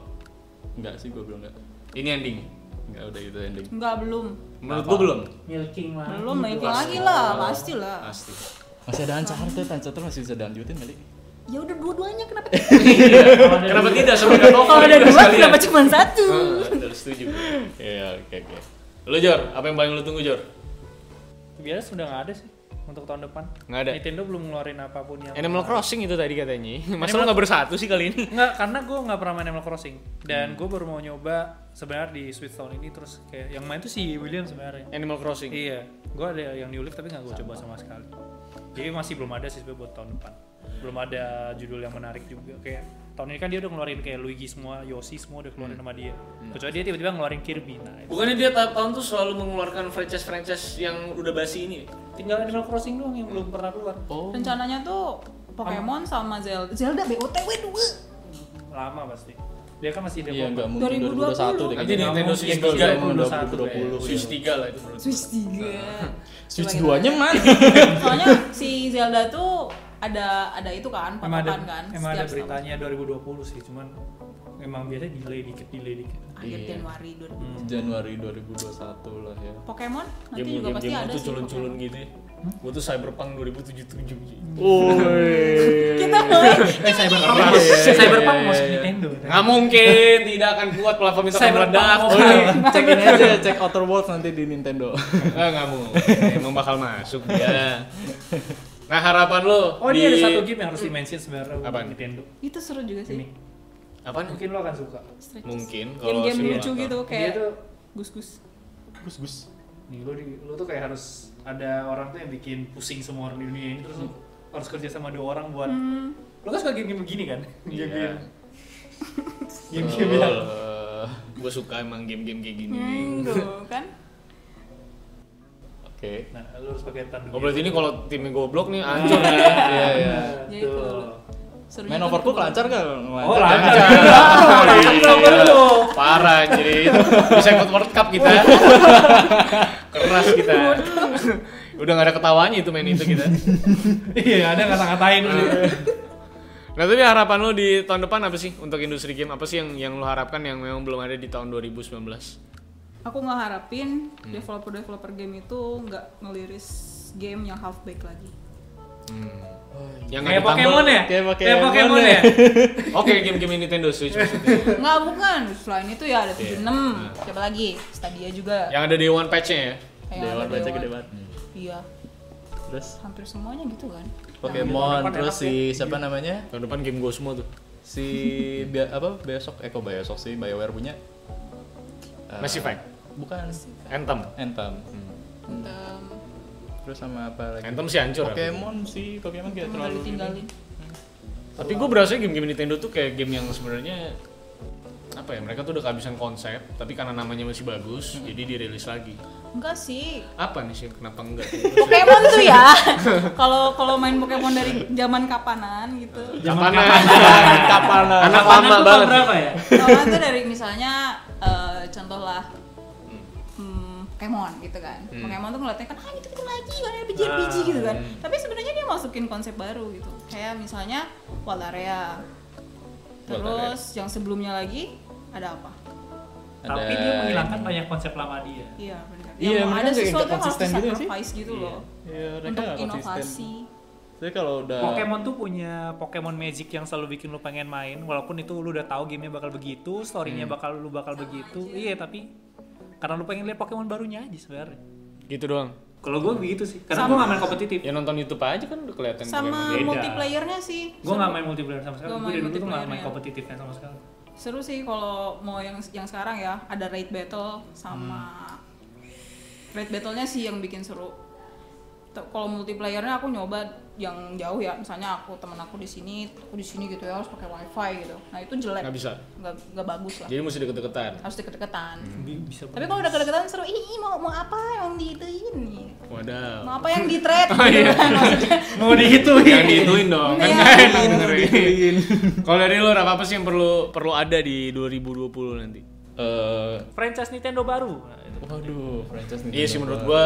Speaker 2: nggak sih gue bilang nggak
Speaker 1: Ini ending.
Speaker 2: nggak udah gitu ending.
Speaker 3: Nggak belum.
Speaker 1: Menurut gue belum.
Speaker 4: Milking lah.
Speaker 3: Belum naik lagi lah, pastilah.
Speaker 1: Pasti.
Speaker 2: Masih ada Uncharted, Uncharted masih bisa dilanjutin kali.
Speaker 3: Ya udah dua-duanya kenapa? tidak?
Speaker 1: Kenapa tidak semoga novel
Speaker 3: Kalau ada
Speaker 1: juga
Speaker 3: dua
Speaker 1: sekalian.
Speaker 3: kenapa cuma satu?
Speaker 1: Ah, betul, setuju.
Speaker 2: Iya, oke oke.
Speaker 1: Lu Jor, apa yang paling lu tunggu Jor?
Speaker 4: Biasa sudah nggak ada sih untuk tahun depan.
Speaker 1: Nggak ada.
Speaker 4: Nintendo belum ngeluarin apapun yang.
Speaker 1: Animal Crossing itu tadi katanya. Masa lu nggak bersatu sih kali ini?
Speaker 4: Nggak, karena gue nggak pernah main Animal Crossing
Speaker 1: Hmm.
Speaker 4: dan gue baru mau nyoba sebenarnya di Switch tahun ini terus kayak yang main tuh si William sebenarnya.
Speaker 1: Animal Crossing.
Speaker 4: Iya, gue ada yang New Leaf tapi nggak gue coba sama sekali. Jadi masih belum ada sih sebenarnya buat tahun depan. Belum ada judul yang menarik juga kayak tahun ini kan dia udah ngeluarin kayak Luigi semua, Yoshi semua udah
Speaker 2: Hmm.
Speaker 4: keluarin sama dia. Kecuali dia tiba-tiba ngeluarin Kirby. Nah, itu.
Speaker 1: Bukannya dia tiap tahun tuh selalu mengeluarkan franchise-franchise yang udah basi ini ya?
Speaker 4: tinggal Animal Crossing doang yang belum pernah keluar.
Speaker 2: Oh,
Speaker 3: Rencananya tuh Pokemon sama Zelda. Zelda BOTW 2.
Speaker 4: Lama pasti. Dia kan masih
Speaker 2: iya nggak
Speaker 4: developer.
Speaker 2: mungkin 2021
Speaker 3: 2020.
Speaker 2: deh.
Speaker 1: Nanti
Speaker 2: kayaknya.
Speaker 1: Nintendo
Speaker 4: mungkin
Speaker 1: Switch
Speaker 4: kalau
Speaker 1: 3
Speaker 2: 2020.
Speaker 1: Switch 3 lah itu menurut gue.
Speaker 3: Switch 3.
Speaker 2: Switch
Speaker 3: Coba
Speaker 2: 2 nya mana?
Speaker 3: Soalnya si Zelda tuh ada ada itu kan,
Speaker 4: emang ada,
Speaker 3: patokan kan.
Speaker 4: emang ada
Speaker 3: setiap setahun.
Speaker 4: beritanya 2020 sih, cuman emang biasanya delay dikit, delay dikit.
Speaker 3: Akhir
Speaker 2: Iya.
Speaker 3: Januari 2000.
Speaker 2: Januari 2021 lah ya.
Speaker 3: Pokemon nanti
Speaker 1: Game-game
Speaker 3: juga pasti
Speaker 1: game
Speaker 3: ada
Speaker 1: tuh
Speaker 3: sih.
Speaker 1: culun-culun
Speaker 3: Pokemon.
Speaker 1: gitu ya. Gue tuh Cyberpunk 2077 gitu.
Speaker 3: Kita mulai
Speaker 4: Eh, Cyberpunk.
Speaker 1: Iya,
Speaker 4: Cyberpunk
Speaker 2: iya,
Speaker 4: masuk
Speaker 2: iya.
Speaker 4: Nintendo. kan?
Speaker 1: Nggak mungkin, tidak akan kuat platform itu akan
Speaker 4: Cyberpunk.
Speaker 1: meledak.
Speaker 4: Oh,
Speaker 2: iya. Cekin aja, cek Outer Worlds nanti di Nintendo.
Speaker 1: Nggak, nggak mungkin. Emang bakal masuk dia. Nah harapan lo
Speaker 4: Oh, ini ada satu game yang harus di-mention sebenarnya untuk
Speaker 1: Apaan?
Speaker 4: Nintendo.
Speaker 3: itu seru juga sih.
Speaker 4: Ini.
Speaker 1: Apaan?
Speaker 4: Mungkin lo akan suka.
Speaker 3: Stretches.
Speaker 1: Mungkin kalau
Speaker 3: Game-game
Speaker 1: simulator.
Speaker 3: lucu gitu
Speaker 4: Dia
Speaker 3: kayak
Speaker 4: tuh
Speaker 3: gus-gus.
Speaker 2: Gus gus.
Speaker 4: nih lo, di- lo tuh kayak harus ada orang tuh yang bikin pusing semua orang di dunia ini terus lo harus kerja sama dua orang buat
Speaker 3: Hmm,
Speaker 4: lo kan suka game-game begini kan?
Speaker 1: Iya.
Speaker 4: Game-game. Game-game
Speaker 1: ya?
Speaker 4: yang
Speaker 1: Gue suka emang game-game kayak gini.
Speaker 3: hmm, tuh kan.
Speaker 2: Oke.
Speaker 4: Nah, lo harus pakai gitu. tanduk.
Speaker 1: Oh berarti ini kalau timnya goblok nih hancur.
Speaker 2: Iya iya iya.
Speaker 3: Ya
Speaker 4: Tuh.
Speaker 3: itu. Serunya
Speaker 2: Main
Speaker 3: tuh gitu.
Speaker 2: overcook
Speaker 3: itu.
Speaker 2: lancar gak?
Speaker 4: Oh, lancar.
Speaker 1: Iya, Parah jadi bisa ikut World Cup kita. Keras kita. Udah gak ada ketawanya itu main itu kita.
Speaker 4: Iya, ada kata-katain lo.
Speaker 1: Nah tapi harapan lo di tahun depan apa sih untuk industri game? Apa sih yang yang lo harapkan yang memang belum ada di tahun 2019?
Speaker 3: Aku nggak harapin developer-developer game itu nggak ngeliris game yang half baked lagi.
Speaker 1: Hmm. Yang
Speaker 4: Kayak
Speaker 1: nggak ditambal-
Speaker 4: Pokemon ya?
Speaker 2: Kayak
Speaker 4: Kayak
Speaker 2: Pokemon
Speaker 4: Pokemon ya?
Speaker 1: Oke game-game Nintendo Switch maksudnya.
Speaker 3: Nggak bukan, selain itu ya ada 76, siapa lagi? Stadia juga.
Speaker 1: Yang ada Day One patch-nya ya?
Speaker 3: Kayak
Speaker 2: Dewan
Speaker 3: ada
Speaker 2: baca
Speaker 3: Dewan.
Speaker 2: gede banget.
Speaker 3: Iya,
Speaker 2: Terus
Speaker 3: hampir semuanya gitu kan.
Speaker 2: Pokemon terus si siapa namanya?
Speaker 1: Tahun depan game gue semua tuh.
Speaker 2: Si Bia- apa besok eh kok besok sih BioWare punya? Eh,
Speaker 1: Mass Effect,
Speaker 2: Bukan.
Speaker 1: Anthem.
Speaker 2: Anthem.
Speaker 3: Ehm,
Speaker 2: Terus sama apa lagi?
Speaker 1: Anthem sih hancur. ya.
Speaker 2: Pokemon sih, Pokemon kayak
Speaker 3: nggak
Speaker 2: terlalu
Speaker 3: ditinggalin.
Speaker 1: Tapi gue berasa game-game Nintendo tuh kayak game yang sebenarnya apa ya mereka tuh udah kehabisan konsep tapi karena namanya masih bagus jadi dirilis lagi
Speaker 3: Enggak sih.
Speaker 1: apa nih sih kenapa enggak
Speaker 3: Pokemon tuh ya. Kalau kalau main Pokemon dari zaman kapanan gitu.
Speaker 1: kapan
Speaker 2: Kapan?
Speaker 1: anak
Speaker 4: Kapanan
Speaker 1: lama
Speaker 4: tuh tahun
Speaker 1: banget
Speaker 4: berapa ya?
Speaker 3: Kalau itu dari misalnya eh, contoh lah hmm, Pokemon gitu kan.
Speaker 1: Hmm.
Speaker 3: Pokemon tuh ngeliatnya kan ah itu itu lagi kan RPG RPG
Speaker 4: Ah,
Speaker 3: gitu kan. Tapi sebenarnya dia masukin konsep baru gitu. Kayak misalnya Wild Area.
Speaker 2: Wild
Speaker 3: Terus yang sebelumnya lagi ada apa?
Speaker 4: Tapi dia menghilangkan banyak konsep lama dia.
Speaker 3: Iya benar.
Speaker 2: Iya,
Speaker 3: Yang
Speaker 2: mereka
Speaker 3: ada
Speaker 2: kayak
Speaker 3: sesuatu yang harus
Speaker 2: konsisten gitu ya sih?
Speaker 3: sacrifice gitu
Speaker 4: Iya.
Speaker 2: Iya,
Speaker 3: loh.
Speaker 2: mereka
Speaker 3: Untuk
Speaker 2: nggak konsisten.
Speaker 3: inovasi.
Speaker 2: Jadi kalau udah
Speaker 4: Pokemon tuh punya Pokemon Magic yang selalu bikin lu pengen main walaupun itu lu udah tahu gamenya bakal begitu, storynya bakal lu bakal begitu. Iya, tapi karena lu pengen lihat Pokemon barunya aja sebenarnya.
Speaker 1: gitu doang
Speaker 4: Kalau gue begitu sih, karena gue gak main kompetitif.
Speaker 1: ya nonton YouTube aja kan udah kelihatan
Speaker 3: Sama
Speaker 1: Pokemon.
Speaker 4: beda.
Speaker 3: multiplayernya sih.
Speaker 4: Gue gak main multiplayer sama sekali.
Speaker 3: Gua
Speaker 4: Gue
Speaker 3: main ya.
Speaker 4: dari dulu tuh gak main
Speaker 3: multiplayernya.
Speaker 4: kompetitifnya sama sekali.
Speaker 3: Seru sih kalau mau yang yang sekarang ya, ada raid battle sama
Speaker 1: Hmm.
Speaker 3: raid battle-nya sih yang bikin seru. T- Kalau multiplayernya aku nyoba yang jauh ya, misalnya aku temen aku di sini, aku di sini gitu ya harus pakai wifi gitu. Nah itu jelek,
Speaker 1: nggak bisa
Speaker 3: nggak nggak bagus lah.
Speaker 1: jadi Hmm. mesti deket-deketan
Speaker 3: Harus deket-deketan.
Speaker 4: Bi- Bisa
Speaker 3: Tapi kalau udah deket-deketan seru, ih ih, mau mau apa yang di itu ini?
Speaker 1: waduh
Speaker 3: Mau apa yang di trade?
Speaker 1: Oh,
Speaker 3: gitu
Speaker 1: iya.
Speaker 3: kan, maksudnya.
Speaker 4: mau dihituin.
Speaker 1: jangan dihituin dong kan
Speaker 3: Iya.
Speaker 1: nggak enak dengerin kalau dari lo apa sih yang perlu perlu ada di 2020 nanti
Speaker 2: eh,
Speaker 4: Franchise Nintendo baru. Nah, itu.
Speaker 2: waduh, franchise Nintendo
Speaker 1: iya sih menurut
Speaker 2: baru.
Speaker 1: gua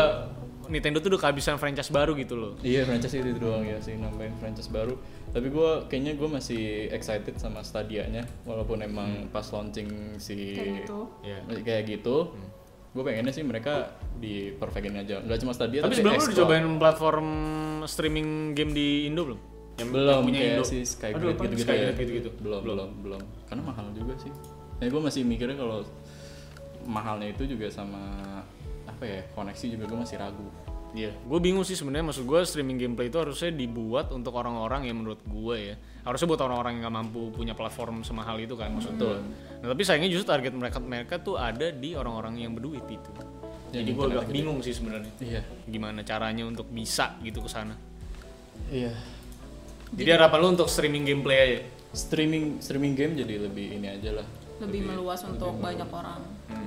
Speaker 1: Nintendo tuh udah kehabisan franchise baru gitu loh
Speaker 2: Iya, franchise itu doang ya sih nambahin franchise baru. Tapi gua kayaknya gua masih excited sama stadianya walaupun emang pas launching si
Speaker 3: Kayak gitu.
Speaker 1: Hmm. Iya. Hmm.
Speaker 2: Masih kayak gitu. Gue pengennya sih mereka di perfectin aja. Gak cuma Stadia
Speaker 1: tapi sebelum lo udah
Speaker 2: explore.
Speaker 1: cobain platform streaming game di Indo belum yang
Speaker 2: belum
Speaker 1: yang
Speaker 2: kayak si Skygrade
Speaker 1: apa?
Speaker 2: gitu-gitu
Speaker 1: Skygrade
Speaker 2: ya.
Speaker 1: gitu-gitu.
Speaker 2: Belum, belum, belum. Karena mahal juga sih. Ya gue masih mikirnya kalau mahalnya itu juga sama apa ya koneksi juga gue masih ragu.
Speaker 1: Iya, gue bingung sih sebenarnya maksud gue streaming gameplay itu harusnya dibuat untuk orang-orang yang menurut gue ya harusnya buat orang-orang yang nggak mampu punya platform semahal itu kan maksud gue. Nah tapi sayangnya justru target mereka mereka tuh ada di orang-orang yang berduit itu.
Speaker 2: Yang
Speaker 1: Jadi gue
Speaker 2: internet
Speaker 1: agak
Speaker 2: gitu.
Speaker 1: bingung sih sebenarnya
Speaker 2: Iya,
Speaker 1: gimana caranya untuk bisa gitu ke sana.
Speaker 2: iya.
Speaker 1: Jadi harapan lu untuk streaming gameplay aja.
Speaker 2: Streaming streaming game jadi lebih ini aja lah.
Speaker 3: Lebih meluas untuk banyak orang.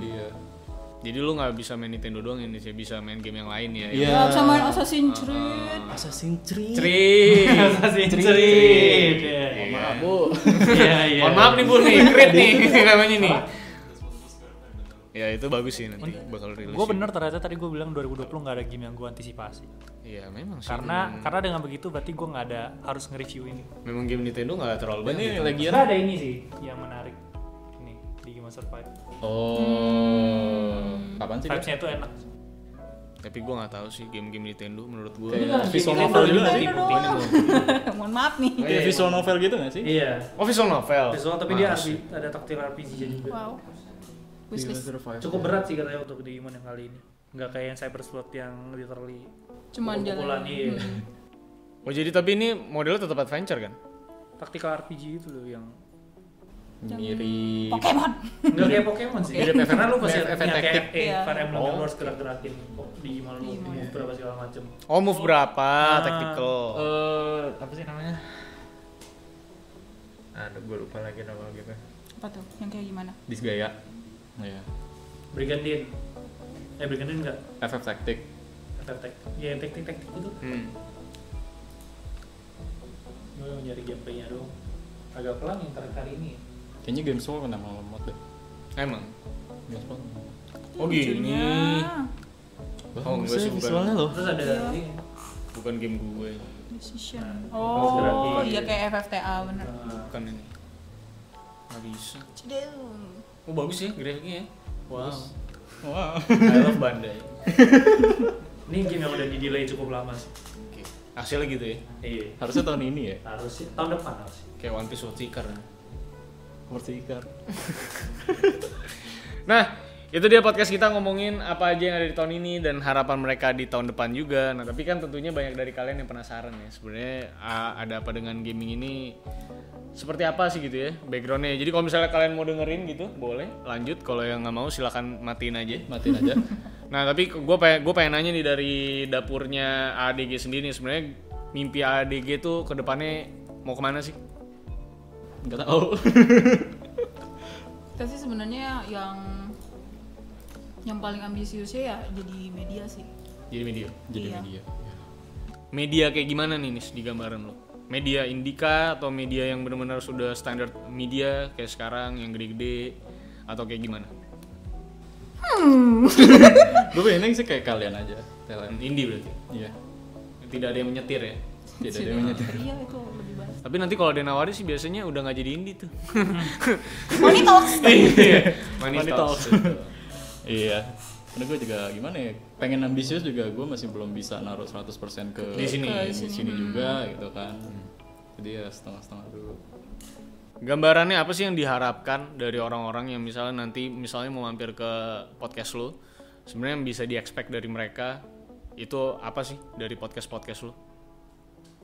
Speaker 2: Iya.
Speaker 1: Jadi lu nggak bisa main Nintendo doang ini sih bisa main game yang lain ya. Ah,
Speaker 2: Iya.
Speaker 3: Ya, bisa main Assassin's Creed.
Speaker 2: Assassin's Creed.
Speaker 1: Cri.
Speaker 4: Assassin's Creed. Iya,
Speaker 2: Mohon maaf, Bu.
Speaker 4: Iya, iya.
Speaker 1: Mohon maaf nih Bu nih, crit nih namanya nih. Ya itu bagus sih nanti bakal rilis.
Speaker 4: Gue Iya. bener ternyata tadi gue bilang 2020 nggak ada game yang gue antisipasi.
Speaker 1: Iya memang sih.
Speaker 4: Karena karena dengan begitu berarti gue nggak ada harus nge-review ini.
Speaker 1: memang game Nintendo nggak terlalu
Speaker 4: Iya,
Speaker 2: Dan
Speaker 1: banyak. ya.
Speaker 2: ini lagi
Speaker 4: Kira ada ini sih yang menarik. Ini di Game Survive.
Speaker 2: Oh, kapan sih? dia?
Speaker 4: Vibes-nya tuh enak.
Speaker 2: Iya,
Speaker 1: Tapi gua nggak tahu sih game-game Nintendo menurut gua.
Speaker 2: Kayak visual
Speaker 4: Nintendo
Speaker 2: novel juga sih.
Speaker 4: juga sih.
Speaker 3: Nintendo
Speaker 4: Nintendo.
Speaker 3: doang. Mohon maaf nih.
Speaker 2: Kayak visual novel gitu gak sih?
Speaker 4: Iya.
Speaker 1: Official novel.
Speaker 4: Visual tapi dia
Speaker 1: Males.
Speaker 4: RP ada taktil RPG-nya juga.
Speaker 3: Wow. Iya. Wishlist.
Speaker 4: Cukup berat sih katanya untuk di Demon yang kali ini. Nggak kayak yang Cyber Slot yang literally
Speaker 3: Cuman jalan.
Speaker 4: pukulan
Speaker 3: Hmm.
Speaker 4: iya.
Speaker 1: Oh jadi tapi ini modelnya tetap adventure kan?
Speaker 4: Taktikal RPG itu gitu loh yang
Speaker 2: Mirip.
Speaker 3: Pokemon.
Speaker 4: nggak kayak Pokemon sih.
Speaker 2: Mirip
Speaker 4: Karena lu pasti
Speaker 2: efek-
Speaker 4: punya
Speaker 2: efek
Speaker 4: kayak
Speaker 2: taktik.
Speaker 4: eh,
Speaker 3: Iya.
Speaker 4: Fire Emblem yang
Speaker 1: Oh.
Speaker 4: lu harus gerak-gerakin di gimana lu di move berapa segala macem.
Speaker 1: Oh move berapa? Tactical.
Speaker 2: eh apa sih namanya? Aduh, gue lupa lagi nama game
Speaker 3: Apa tuh? Yang kayak gimana?
Speaker 2: Disgaya. Iya.
Speaker 4: Brigandine. Eh Brigandine nggak?
Speaker 2: FF Tactic.
Speaker 4: Efek taktik. Ya yang taktik-taktik itu.
Speaker 1: Hmm.
Speaker 4: Gue mau nyari gameplaynya dong. Agak pelan yang terakhir kali ini.
Speaker 2: Kayaknya GameSpot kena melemot deh.
Speaker 1: Emang.
Speaker 2: GameSpot.
Speaker 1: Oh gini.
Speaker 3: Lucunya.
Speaker 1: Oh, enggak sih, bukan.
Speaker 2: visualnya loh.
Speaker 4: Terus ada
Speaker 3: Iya.
Speaker 4: ini.
Speaker 1: Bukan game gue.
Speaker 3: Decision.
Speaker 4: Harus gratis.
Speaker 3: Oh, iya kayak FFTA bener.
Speaker 4: eh,
Speaker 1: Bukan ini. Nggak bisa.
Speaker 3: Cedeung.
Speaker 1: Oh bagus ya grafiknya ya. Wow.
Speaker 2: Wow.
Speaker 1: I love Bandai.
Speaker 4: Ini game yang udah di delay cukup lama sih.
Speaker 1: Oke. Hasilnya gitu ya.
Speaker 4: Iya.
Speaker 2: Harusnya tahun ini ya.
Speaker 4: Harus sih tahun depan harus sih.
Speaker 1: Kayak One Piece World Seeker.
Speaker 2: Seperti Ikar.
Speaker 1: Nah, itu dia podcast kita ngomongin apa aja yang ada di tahun ini dan harapan mereka di tahun depan juga. Nah, tapi kan tentunya banyak dari kalian yang penasaran ya. Sebenarnya a- ada apa dengan gaming ini? Seperti apa sih gitu ya backgroundnya? Jadi kalau misalnya kalian mau dengerin gitu, boleh lanjut. Kalau yang nggak mau silakan matiin aja.
Speaker 2: Matiin aja.
Speaker 1: Nah, tapi gue pengen gue pengen nanya nih dari dapurnya ADG sendiri. Sebenarnya mimpi ADG tuh kedepannya mau kemana sih?
Speaker 2: Enggak tahu.
Speaker 3: Kita sih sebenarnya yang yang paling ambisiusnya ya jadi media sih.
Speaker 1: Jadi media.
Speaker 2: Jadi
Speaker 3: Iya.
Speaker 2: media.
Speaker 1: media kayak gimana nih Nis di gambaran lo? Media indika atau media yang benar-benar sudah standar media kayak sekarang yang gede-gede atau kayak gimana?
Speaker 2: gue pengennya sih kayak kalian aja talent
Speaker 1: Indie berarti.
Speaker 2: iya
Speaker 1: Tidak ada yang menyetir ya.
Speaker 2: tidak ada yang menyetir
Speaker 3: Iya itu lebih baik.
Speaker 1: Tapi nanti kalau ada yang nawarin sih biasanya udah nggak jadi indie tuh.
Speaker 3: Money talks.
Speaker 1: Iya, Money
Speaker 2: Money
Speaker 1: talks.
Speaker 2: talks. gitu. iya karena gue juga gimana ya pengen ambisius juga gue masih belum bisa naruh 100% ke
Speaker 1: Di sini. Hmm.
Speaker 2: ke
Speaker 1: Di
Speaker 2: sini, juga gitu kan jadi ya setengah-setengah dulu
Speaker 1: Gambarannya apa sih yang diharapkan dari orang-orang yang misalnya nanti misalnya mau mampir ke podcast lu? Sebenarnya yang bisa di-expect dari mereka itu apa sih dari podcast-podcast lu?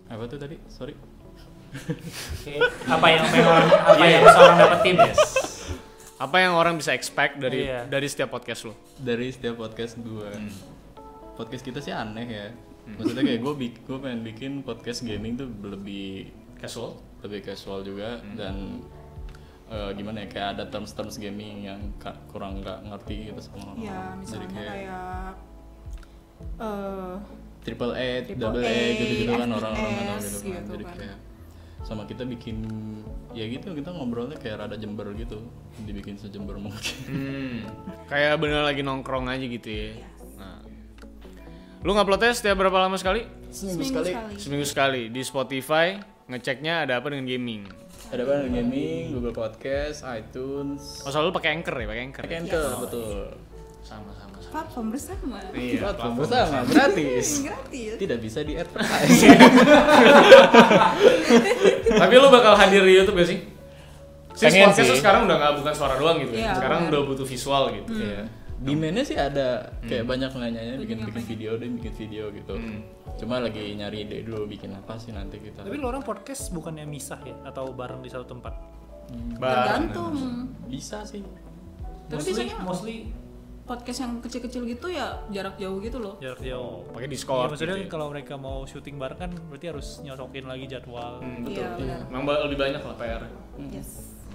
Speaker 2: apa tuh tadi sorry
Speaker 6: Oke, apa yang memang apa yang
Speaker 4: Iya.
Speaker 6: seorang dapetin ya?
Speaker 1: Apa yang orang bisa expect dari
Speaker 4: Iya.
Speaker 1: dari setiap podcast lu?
Speaker 2: dari setiap podcast gue
Speaker 3: Hmm.
Speaker 2: podcast kita sih aneh ya maksudnya kayak gue gue pengen bikin podcast gaming tuh lebih
Speaker 1: Casual?
Speaker 2: lebih casual juga
Speaker 3: Hmm.
Speaker 2: dan eh, gimana ya kayak ada terms-terms gaming yang ka- kurang nggak ngerti gitu sama orang
Speaker 3: ya
Speaker 2: Jadi
Speaker 3: misalnya
Speaker 2: kayak
Speaker 3: kayak eh
Speaker 2: triple A,
Speaker 3: Triple
Speaker 2: double A
Speaker 3: A,
Speaker 2: gitu-gitu kan orang-orang nggak tahu
Speaker 3: FPS
Speaker 2: gitu kan
Speaker 3: gitu
Speaker 2: jadi
Speaker 3: kan.
Speaker 2: kayak sama kita bikin ya gitu kita ngobrolnya kayak rada jember gitu dibikin sejember mungkin
Speaker 1: Hmm. Kayak bener lagi nongkrong aja gitu ya. Nah. Lu nguploadnya setiap berapa lama sekali?
Speaker 3: seminggu sekali.
Speaker 1: Seminggu sekali di Spotify. Ngeceknya ada apa dengan gaming?
Speaker 2: ada banget gaming, Google Podcast, iTunes,
Speaker 1: Oh, selalu pakai Anchor ya, pakai Anchor.
Speaker 2: Pakai Anchor, Iya, betul. Iya,
Speaker 1: Sama-sama.
Speaker 3: Platform bersama.
Speaker 1: Iya.
Speaker 2: Platform bersama gratis. Iya.
Speaker 3: Gratis.
Speaker 2: Tidak bisa di advertise.
Speaker 1: Tapi lu bakal hadir di YouTube gak sih? Since
Speaker 2: Pengen
Speaker 1: podcast
Speaker 2: sih.
Speaker 1: tuh sekarang udah gak bukan suara doang gitu ya.
Speaker 3: Iya,
Speaker 1: Sekarang
Speaker 3: bener. Hmm.
Speaker 1: udah butuh visual gitu.
Speaker 2: Iya. Demand-nya sih ada kayak banyak nanyanya bikin bikin video deh, bikin video gitu. Cuma lagi nyari ide dulu bikin apa sih nanti kita.
Speaker 4: Tapi lu orang podcast bukannya misah ya atau bareng di satu tempat?
Speaker 1: Bareng.
Speaker 3: Tergantung.
Speaker 2: bisa sih.
Speaker 3: Tapi
Speaker 4: mostly,
Speaker 3: biasanya
Speaker 4: mostly
Speaker 3: podcast yang kecil-kecil gitu ya jarak jauh gitu loh.
Speaker 4: jarak
Speaker 6: Oh,
Speaker 4: jauh.
Speaker 1: Nah, Pakai
Speaker 4: Iya,
Speaker 1: Discord.
Speaker 4: maksudnya
Speaker 1: gitu ya.
Speaker 4: kalau mereka mau syuting bareng kan berarti harus nyocokin lagi jadwal.
Speaker 1: Hmm, betul. Iya.
Speaker 3: Iya benar.
Speaker 1: Memang ba- lebih banyak lah PR.
Speaker 3: Yes.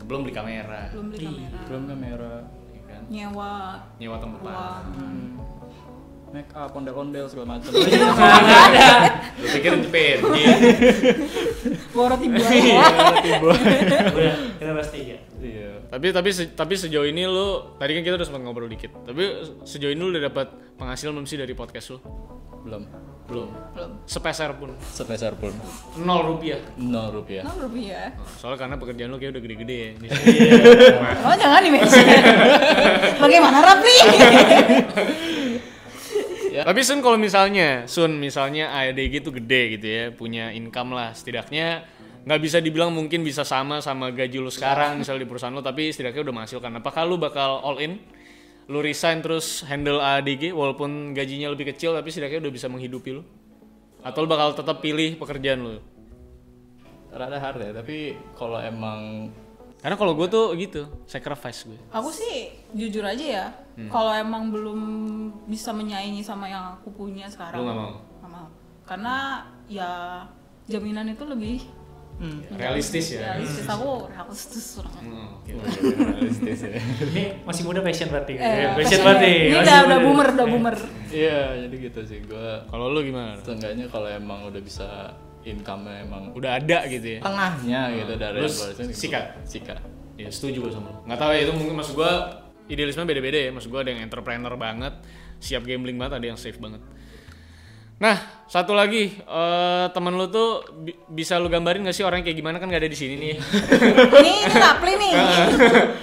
Speaker 1: Belum beli kamera,
Speaker 3: Belum beli kamera.
Speaker 2: Belum kamera,
Speaker 1: ya kan?
Speaker 3: Nyewa
Speaker 1: Nyewa tempat.
Speaker 3: uang.
Speaker 2: Hmm. make up, ondel-ondel segala macam.
Speaker 1: Lu pikir jepit.
Speaker 3: Iya. Borot ibu
Speaker 1: Iya.
Speaker 6: Udah, kita pasti ya.
Speaker 2: Iya.
Speaker 1: tapi tapi se- tapi sejauh ini lu tadi kan kita udah sempat ngobrol dikit. Tapi sejauh ini lu udah dapat penghasilan belum sih dari podcast lu?
Speaker 2: Belum.
Speaker 1: Belum. Sepeser pun.
Speaker 2: Sepeser pun.
Speaker 1: Nol rupiah.
Speaker 2: 0 rupiah.
Speaker 3: Nol rupiah.
Speaker 1: Soalnya karena pekerjaan lu kayak udah gede-gede ya.
Speaker 3: Oh jangan di mention. Bagaimana Rapli?
Speaker 1: Tapi Sun kalau misalnya, Sun misalnya ADG itu gede gitu ya, punya income lah setidaknya nggak bisa dibilang mungkin bisa sama sama gaji lu sekarang misal di perusahaan lu tapi setidaknya udah menghasilkan. Apakah lu bakal all in? Lu resign terus handle ADG walaupun gajinya lebih kecil tapi setidaknya udah bisa menghidupi lu? Atau lu bakal tetap pilih pekerjaan lu?
Speaker 2: Rada hard ya, tapi kalau emang
Speaker 1: Karena kalau gue tuh gitu, sacrifice gue.
Speaker 3: Aku sih jujur aja ya.
Speaker 1: Hmm.
Speaker 3: Kalau emang belum bisa menyaingi sama yang aku punya
Speaker 1: Lu
Speaker 3: sekarang.
Speaker 1: nggak mau?
Speaker 3: Nggak mau. Karena ya jaminan itu lebih
Speaker 1: Realistis ya.
Speaker 3: realistis. Aku realistis banget. Eh,
Speaker 1: Hmm.
Speaker 2: realistis ya.
Speaker 4: Ini masih muda passion berarti.
Speaker 3: Eh,
Speaker 6: Iya,
Speaker 4: Ya, passion berarti.
Speaker 3: Ini
Speaker 4: Masih
Speaker 3: udah,
Speaker 1: ya.
Speaker 3: udah
Speaker 4: muda.
Speaker 3: boomer,
Speaker 1: Eh.
Speaker 3: udah boomer.
Speaker 2: Iya, jadi gitu sih gua
Speaker 1: Kalau lu gimana?
Speaker 2: Seenggaknya kalau emang udah bisa income-nya emang
Speaker 1: Udah ada gitu ya.
Speaker 2: tengahnya gitu dari
Speaker 1: terus
Speaker 2: barusan gitu.
Speaker 1: sikat.
Speaker 2: sikat
Speaker 1: Ya setuju gue sama lo. Nggak tahu ya itu mungkin maksud gue idealisme beda-beda ya. Maksud gue ada yang entrepreneur banget, siap gambling banget, ada yang safe banget. Nah, satu lagi eh, teman lu tuh bi- bisa lu gambarin gak sih orang kayak gimana kan gak ada di sini nih.
Speaker 3: Ini ini Rapli nih.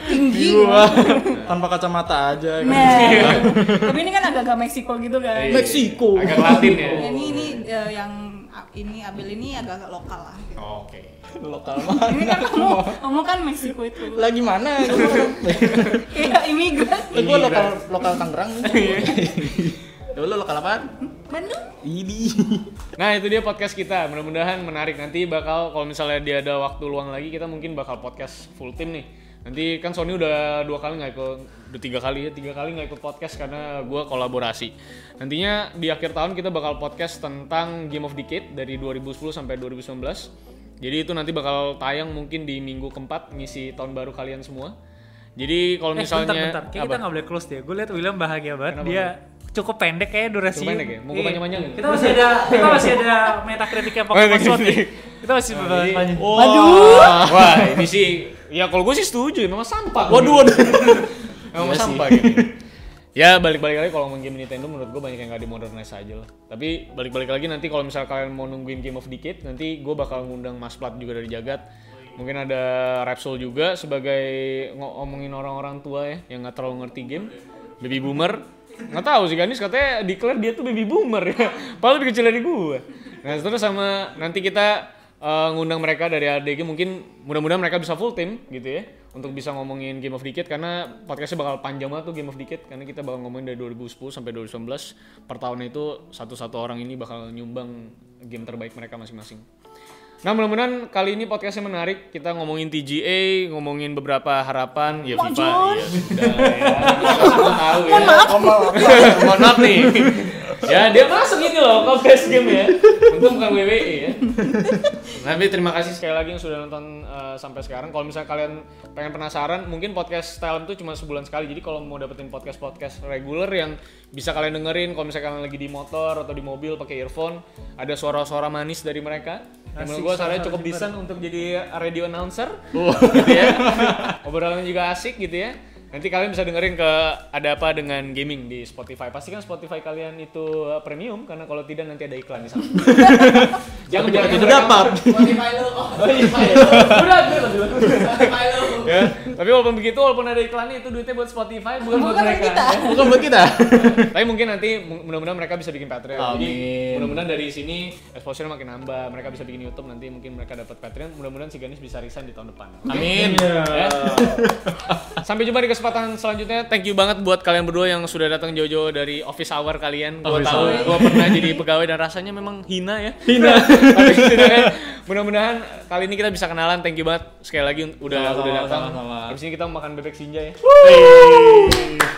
Speaker 3: Tinggi.
Speaker 2: tanpa kacamata aja kan?
Speaker 3: Nah, tapi ini kan agak-agak Meksiko gitu kan.
Speaker 1: Iya.
Speaker 2: Meksiko
Speaker 1: Agak Latin ya.
Speaker 3: Ini ini eh, yang ini Abel ini agak-agak lokal lah.
Speaker 1: Oke.
Speaker 2: lokal mah
Speaker 3: Ini kan kamu, kamu kan Meksiko itu.
Speaker 2: lagi mana Iya,
Speaker 3: Kayak imigran.
Speaker 2: gue lokal lokal Tangerang ya lo lokal apaan
Speaker 3: Bandung.
Speaker 2: ini
Speaker 1: Nah, itu dia podcast kita. Mudah-mudahan menarik nanti bakal kalau misalnya dia ada waktu luang lagi kita mungkin bakal podcast full tim nih. Nanti kan Sony udah dua kali nggak ikut, udah tiga kali ya, tiga kali nggak ikut podcast karena gua kolaborasi. Nantinya di akhir tahun kita bakal podcast tentang Game of Decade dari 2010 sampai 2019. Jadi itu nanti bakal tayang mungkin di minggu keempat ngisi tahun baru kalian semua. Jadi kalau
Speaker 4: Eh,
Speaker 1: misalnya
Speaker 4: bentar, bentar. Kayak kita
Speaker 1: apa?
Speaker 4: nggak boleh close deh. Gue liat William bahagia banget. dia cukup pendek kayak durasi. Iya.
Speaker 1: Cukup pendek ya? Oh, iya, Mau gua panjang-panjangin?
Speaker 4: Kita masih ada kita masih ada meta kritiknya Pokemon Sword nih. Kita masih
Speaker 1: Oh, iya.
Speaker 4: panjang.
Speaker 1: Waduh. Wah, ini sih ya kalau gue sih setuju, memang sampah. Waduh, waduh. memang
Speaker 2: Iya sih.
Speaker 1: sampah gitu. Ya balik-balik lagi kalau ngomongin game Nintendo menurut gue banyak yang gak dimodernize aja lah. Tapi balik-balik lagi nanti kalau misalnya kalian mau nungguin Game of Decade nanti gue bakal ngundang Mas Plat juga dari Jagat. Mungkin ada Repsol juga sebagai ngomongin orang-orang tua ya yang nggak terlalu ngerti game. Baby boomer. Nggak tahu sih Ganis katanya declare dia tuh baby boomer ya. Padahal lebih kecil dari gue. Nah terus sama nanti kita eh, ngundang mereka dari ADG mungkin mudah-mudahan mereka bisa full team gitu ya untuk bisa ngomongin Game of Decade karena podcastnya bakal panjang banget tuh Game of Decade karena kita bakal ngomongin dari 2010 sampai 2019 per tahun itu satu-satu orang ini bakal nyumbang game terbaik mereka masing-masing. Nah mudah-mudahan kali ini podcastnya menarik kita ngomongin TGA ngomongin beberapa harapan ya FIFA ya sudah ya. Tahu ya. Mohon maaf nih. ya dia masuk ini loh confess game ya. Untung bukan WWE ya. Tapi Nah, terima kasih sekali lagi yang sudah nonton uh, sampai sekarang. Kalau misalnya kalian pengen penasaran, mungkin podcast Stylem itu cuma sebulan sekali. Jadi kalau mau dapetin podcast-podcast reguler yang bisa kalian dengerin kalau misalnya kalian lagi di motor atau di mobil pakai earphone, ada suara-suara manis dari mereka. Yang menurut gue sarannya cukup decent untuk jadi radio announcer. Gitu ya. Obrolannya juga asik gitu ya. Nanti kalian bisa dengerin ke ada apa dengan gaming di Spotify. Pastikan Spotify kalian itu uh, premium karena kalau tidak nanti ada iklan di sana. jangan
Speaker 2: Ya,
Speaker 1: jangan itu dapat.
Speaker 5: Spotify lu, oh, Spotify lu. Spotify lu.
Speaker 1: Ya. Tapi walaupun begitu, walaupun ada iklannya itu duitnya buat Spotify bukan buat
Speaker 3: Bukan buat
Speaker 1: mereka.
Speaker 3: kita.
Speaker 1: ya.
Speaker 2: Bukan buat kita.
Speaker 1: Tapi mungkin nanti mu- mudah-mudahan mereka bisa bikin Patreon. Jadi
Speaker 2: Amin.
Speaker 1: mudah-mudahan dari sini exposure makin nambah. Mereka bisa bikin YouTube nanti mungkin mereka dapat Patreon. Mudah-mudahan si Ganis bisa resign di tahun depan.
Speaker 2: Amin.
Speaker 1: Ya. Sampai jumpa di kesempatan selanjutnya. Thank you banget buat kalian berdua yang sudah datang jauh-jauh dari office hour kalian. Gue
Speaker 2: Office
Speaker 1: tahu
Speaker 2: hour.
Speaker 1: gue pernah jadi pegawai dan rasanya memang hina ya. Hina. Tapi setidaknya mudah-mudahan kali ini kita bisa kenalan. Thank you banget sekali lagi udah
Speaker 2: Sama-sama,
Speaker 1: udah datang.
Speaker 2: sama-sama.
Speaker 1: Habis ini kita mau makan bebek sinja ya.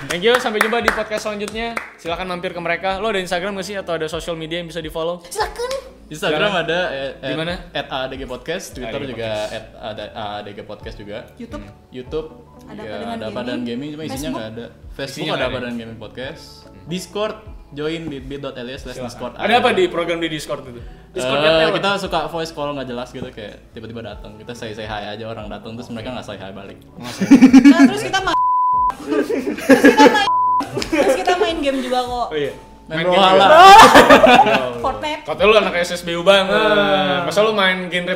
Speaker 1: Thank you. Sampai jumpa di podcast selanjutnya. Silahkan mampir ke mereka. Lo ada Instagram gak sih atau ada social media yang bisa di follow?
Speaker 2: Instagram ada eh, eh,
Speaker 1: Di mana?
Speaker 2: At ADG Podcast, Twitter
Speaker 1: ADG
Speaker 2: juga at ada- ADG Podcast juga.
Speaker 3: YouTube
Speaker 2: YouTube juga
Speaker 3: Ada apa dengan
Speaker 2: ada apa dan gaming
Speaker 3: gaming?
Speaker 2: cuma isinya
Speaker 3: Facebook?
Speaker 2: nggak ada. Facebook
Speaker 1: Isinya
Speaker 2: ada
Speaker 1: nggak
Speaker 2: apa
Speaker 1: ada.
Speaker 2: dan gaming podcast. Discord join di bit.ly/discord.
Speaker 1: Ada apa di program di Discord itu?
Speaker 2: Eh, kita suka voice call nggak jelas gitu kayak tiba-tiba datang kita say say hi aja orang datang terus mereka nggak say hi balik
Speaker 3: Nah, terus kita main terus kita main terus kita main game juga kok
Speaker 1: iya.
Speaker 2: main
Speaker 1: game
Speaker 2: Brawlhalla.
Speaker 1: juga. Oh.
Speaker 3: Fortnite
Speaker 1: Kata lu anak SSBU banget. Masa lu main genre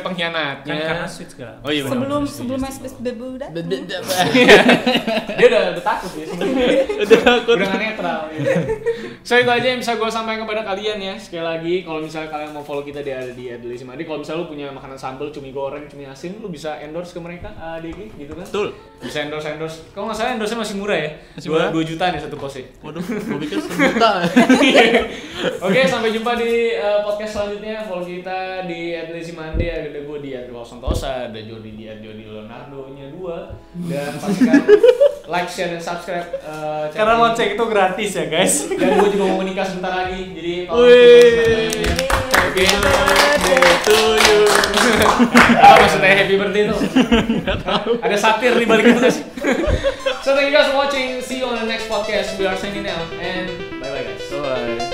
Speaker 6: Ah.
Speaker 1: pengkhianat?
Speaker 6: Kan karena switch kan.
Speaker 1: Oh iya benar.
Speaker 3: sebelum sebelum MySpace debut udah
Speaker 2: Be- be- be-
Speaker 1: Dia udah, udah takut ya sebenarnya. udah takut. Udah nggak netral. Ya. so itu aja yang bisa gue sampaikan kepada kalian ya. Sekali lagi kalau misalnya kalian mau follow kita di di Adelis Madi, kalau misalnya lu punya makanan sambal, cumi goreng, cumi asin, lu bisa endorse ke mereka uh, DG gitu kan?
Speaker 2: betul
Speaker 1: Bisa endorse endorse. Kalau nggak salah endorse masih murah ya.
Speaker 2: Masih
Speaker 1: Dua-
Speaker 2: murah.
Speaker 1: dua jutaan ya satu pose.
Speaker 2: waduh gue pikir sejuta
Speaker 1: Oke, sampai jumpa di uh, podcast selanjutnya. Follow kita di @lesimande, ada gue di Andrew Santosa, ada Jody di Jody Leonardo nya dua dan pastikan like, share dan subscribe uh, channel
Speaker 6: Karena
Speaker 1: ini.
Speaker 6: lonceng itu gratis ya guys.
Speaker 1: Dan gue juga mau menikah sebentar lagi, jadi tolong
Speaker 2: Wih.
Speaker 1: dukung Happy birthday.
Speaker 2: to you
Speaker 1: Apa maksudnya happy birthday itu? Ada satir di balik itu guys. so thank you guys for watching. See you on the next podcast. We are signing out and bye bye guys.
Speaker 2: bye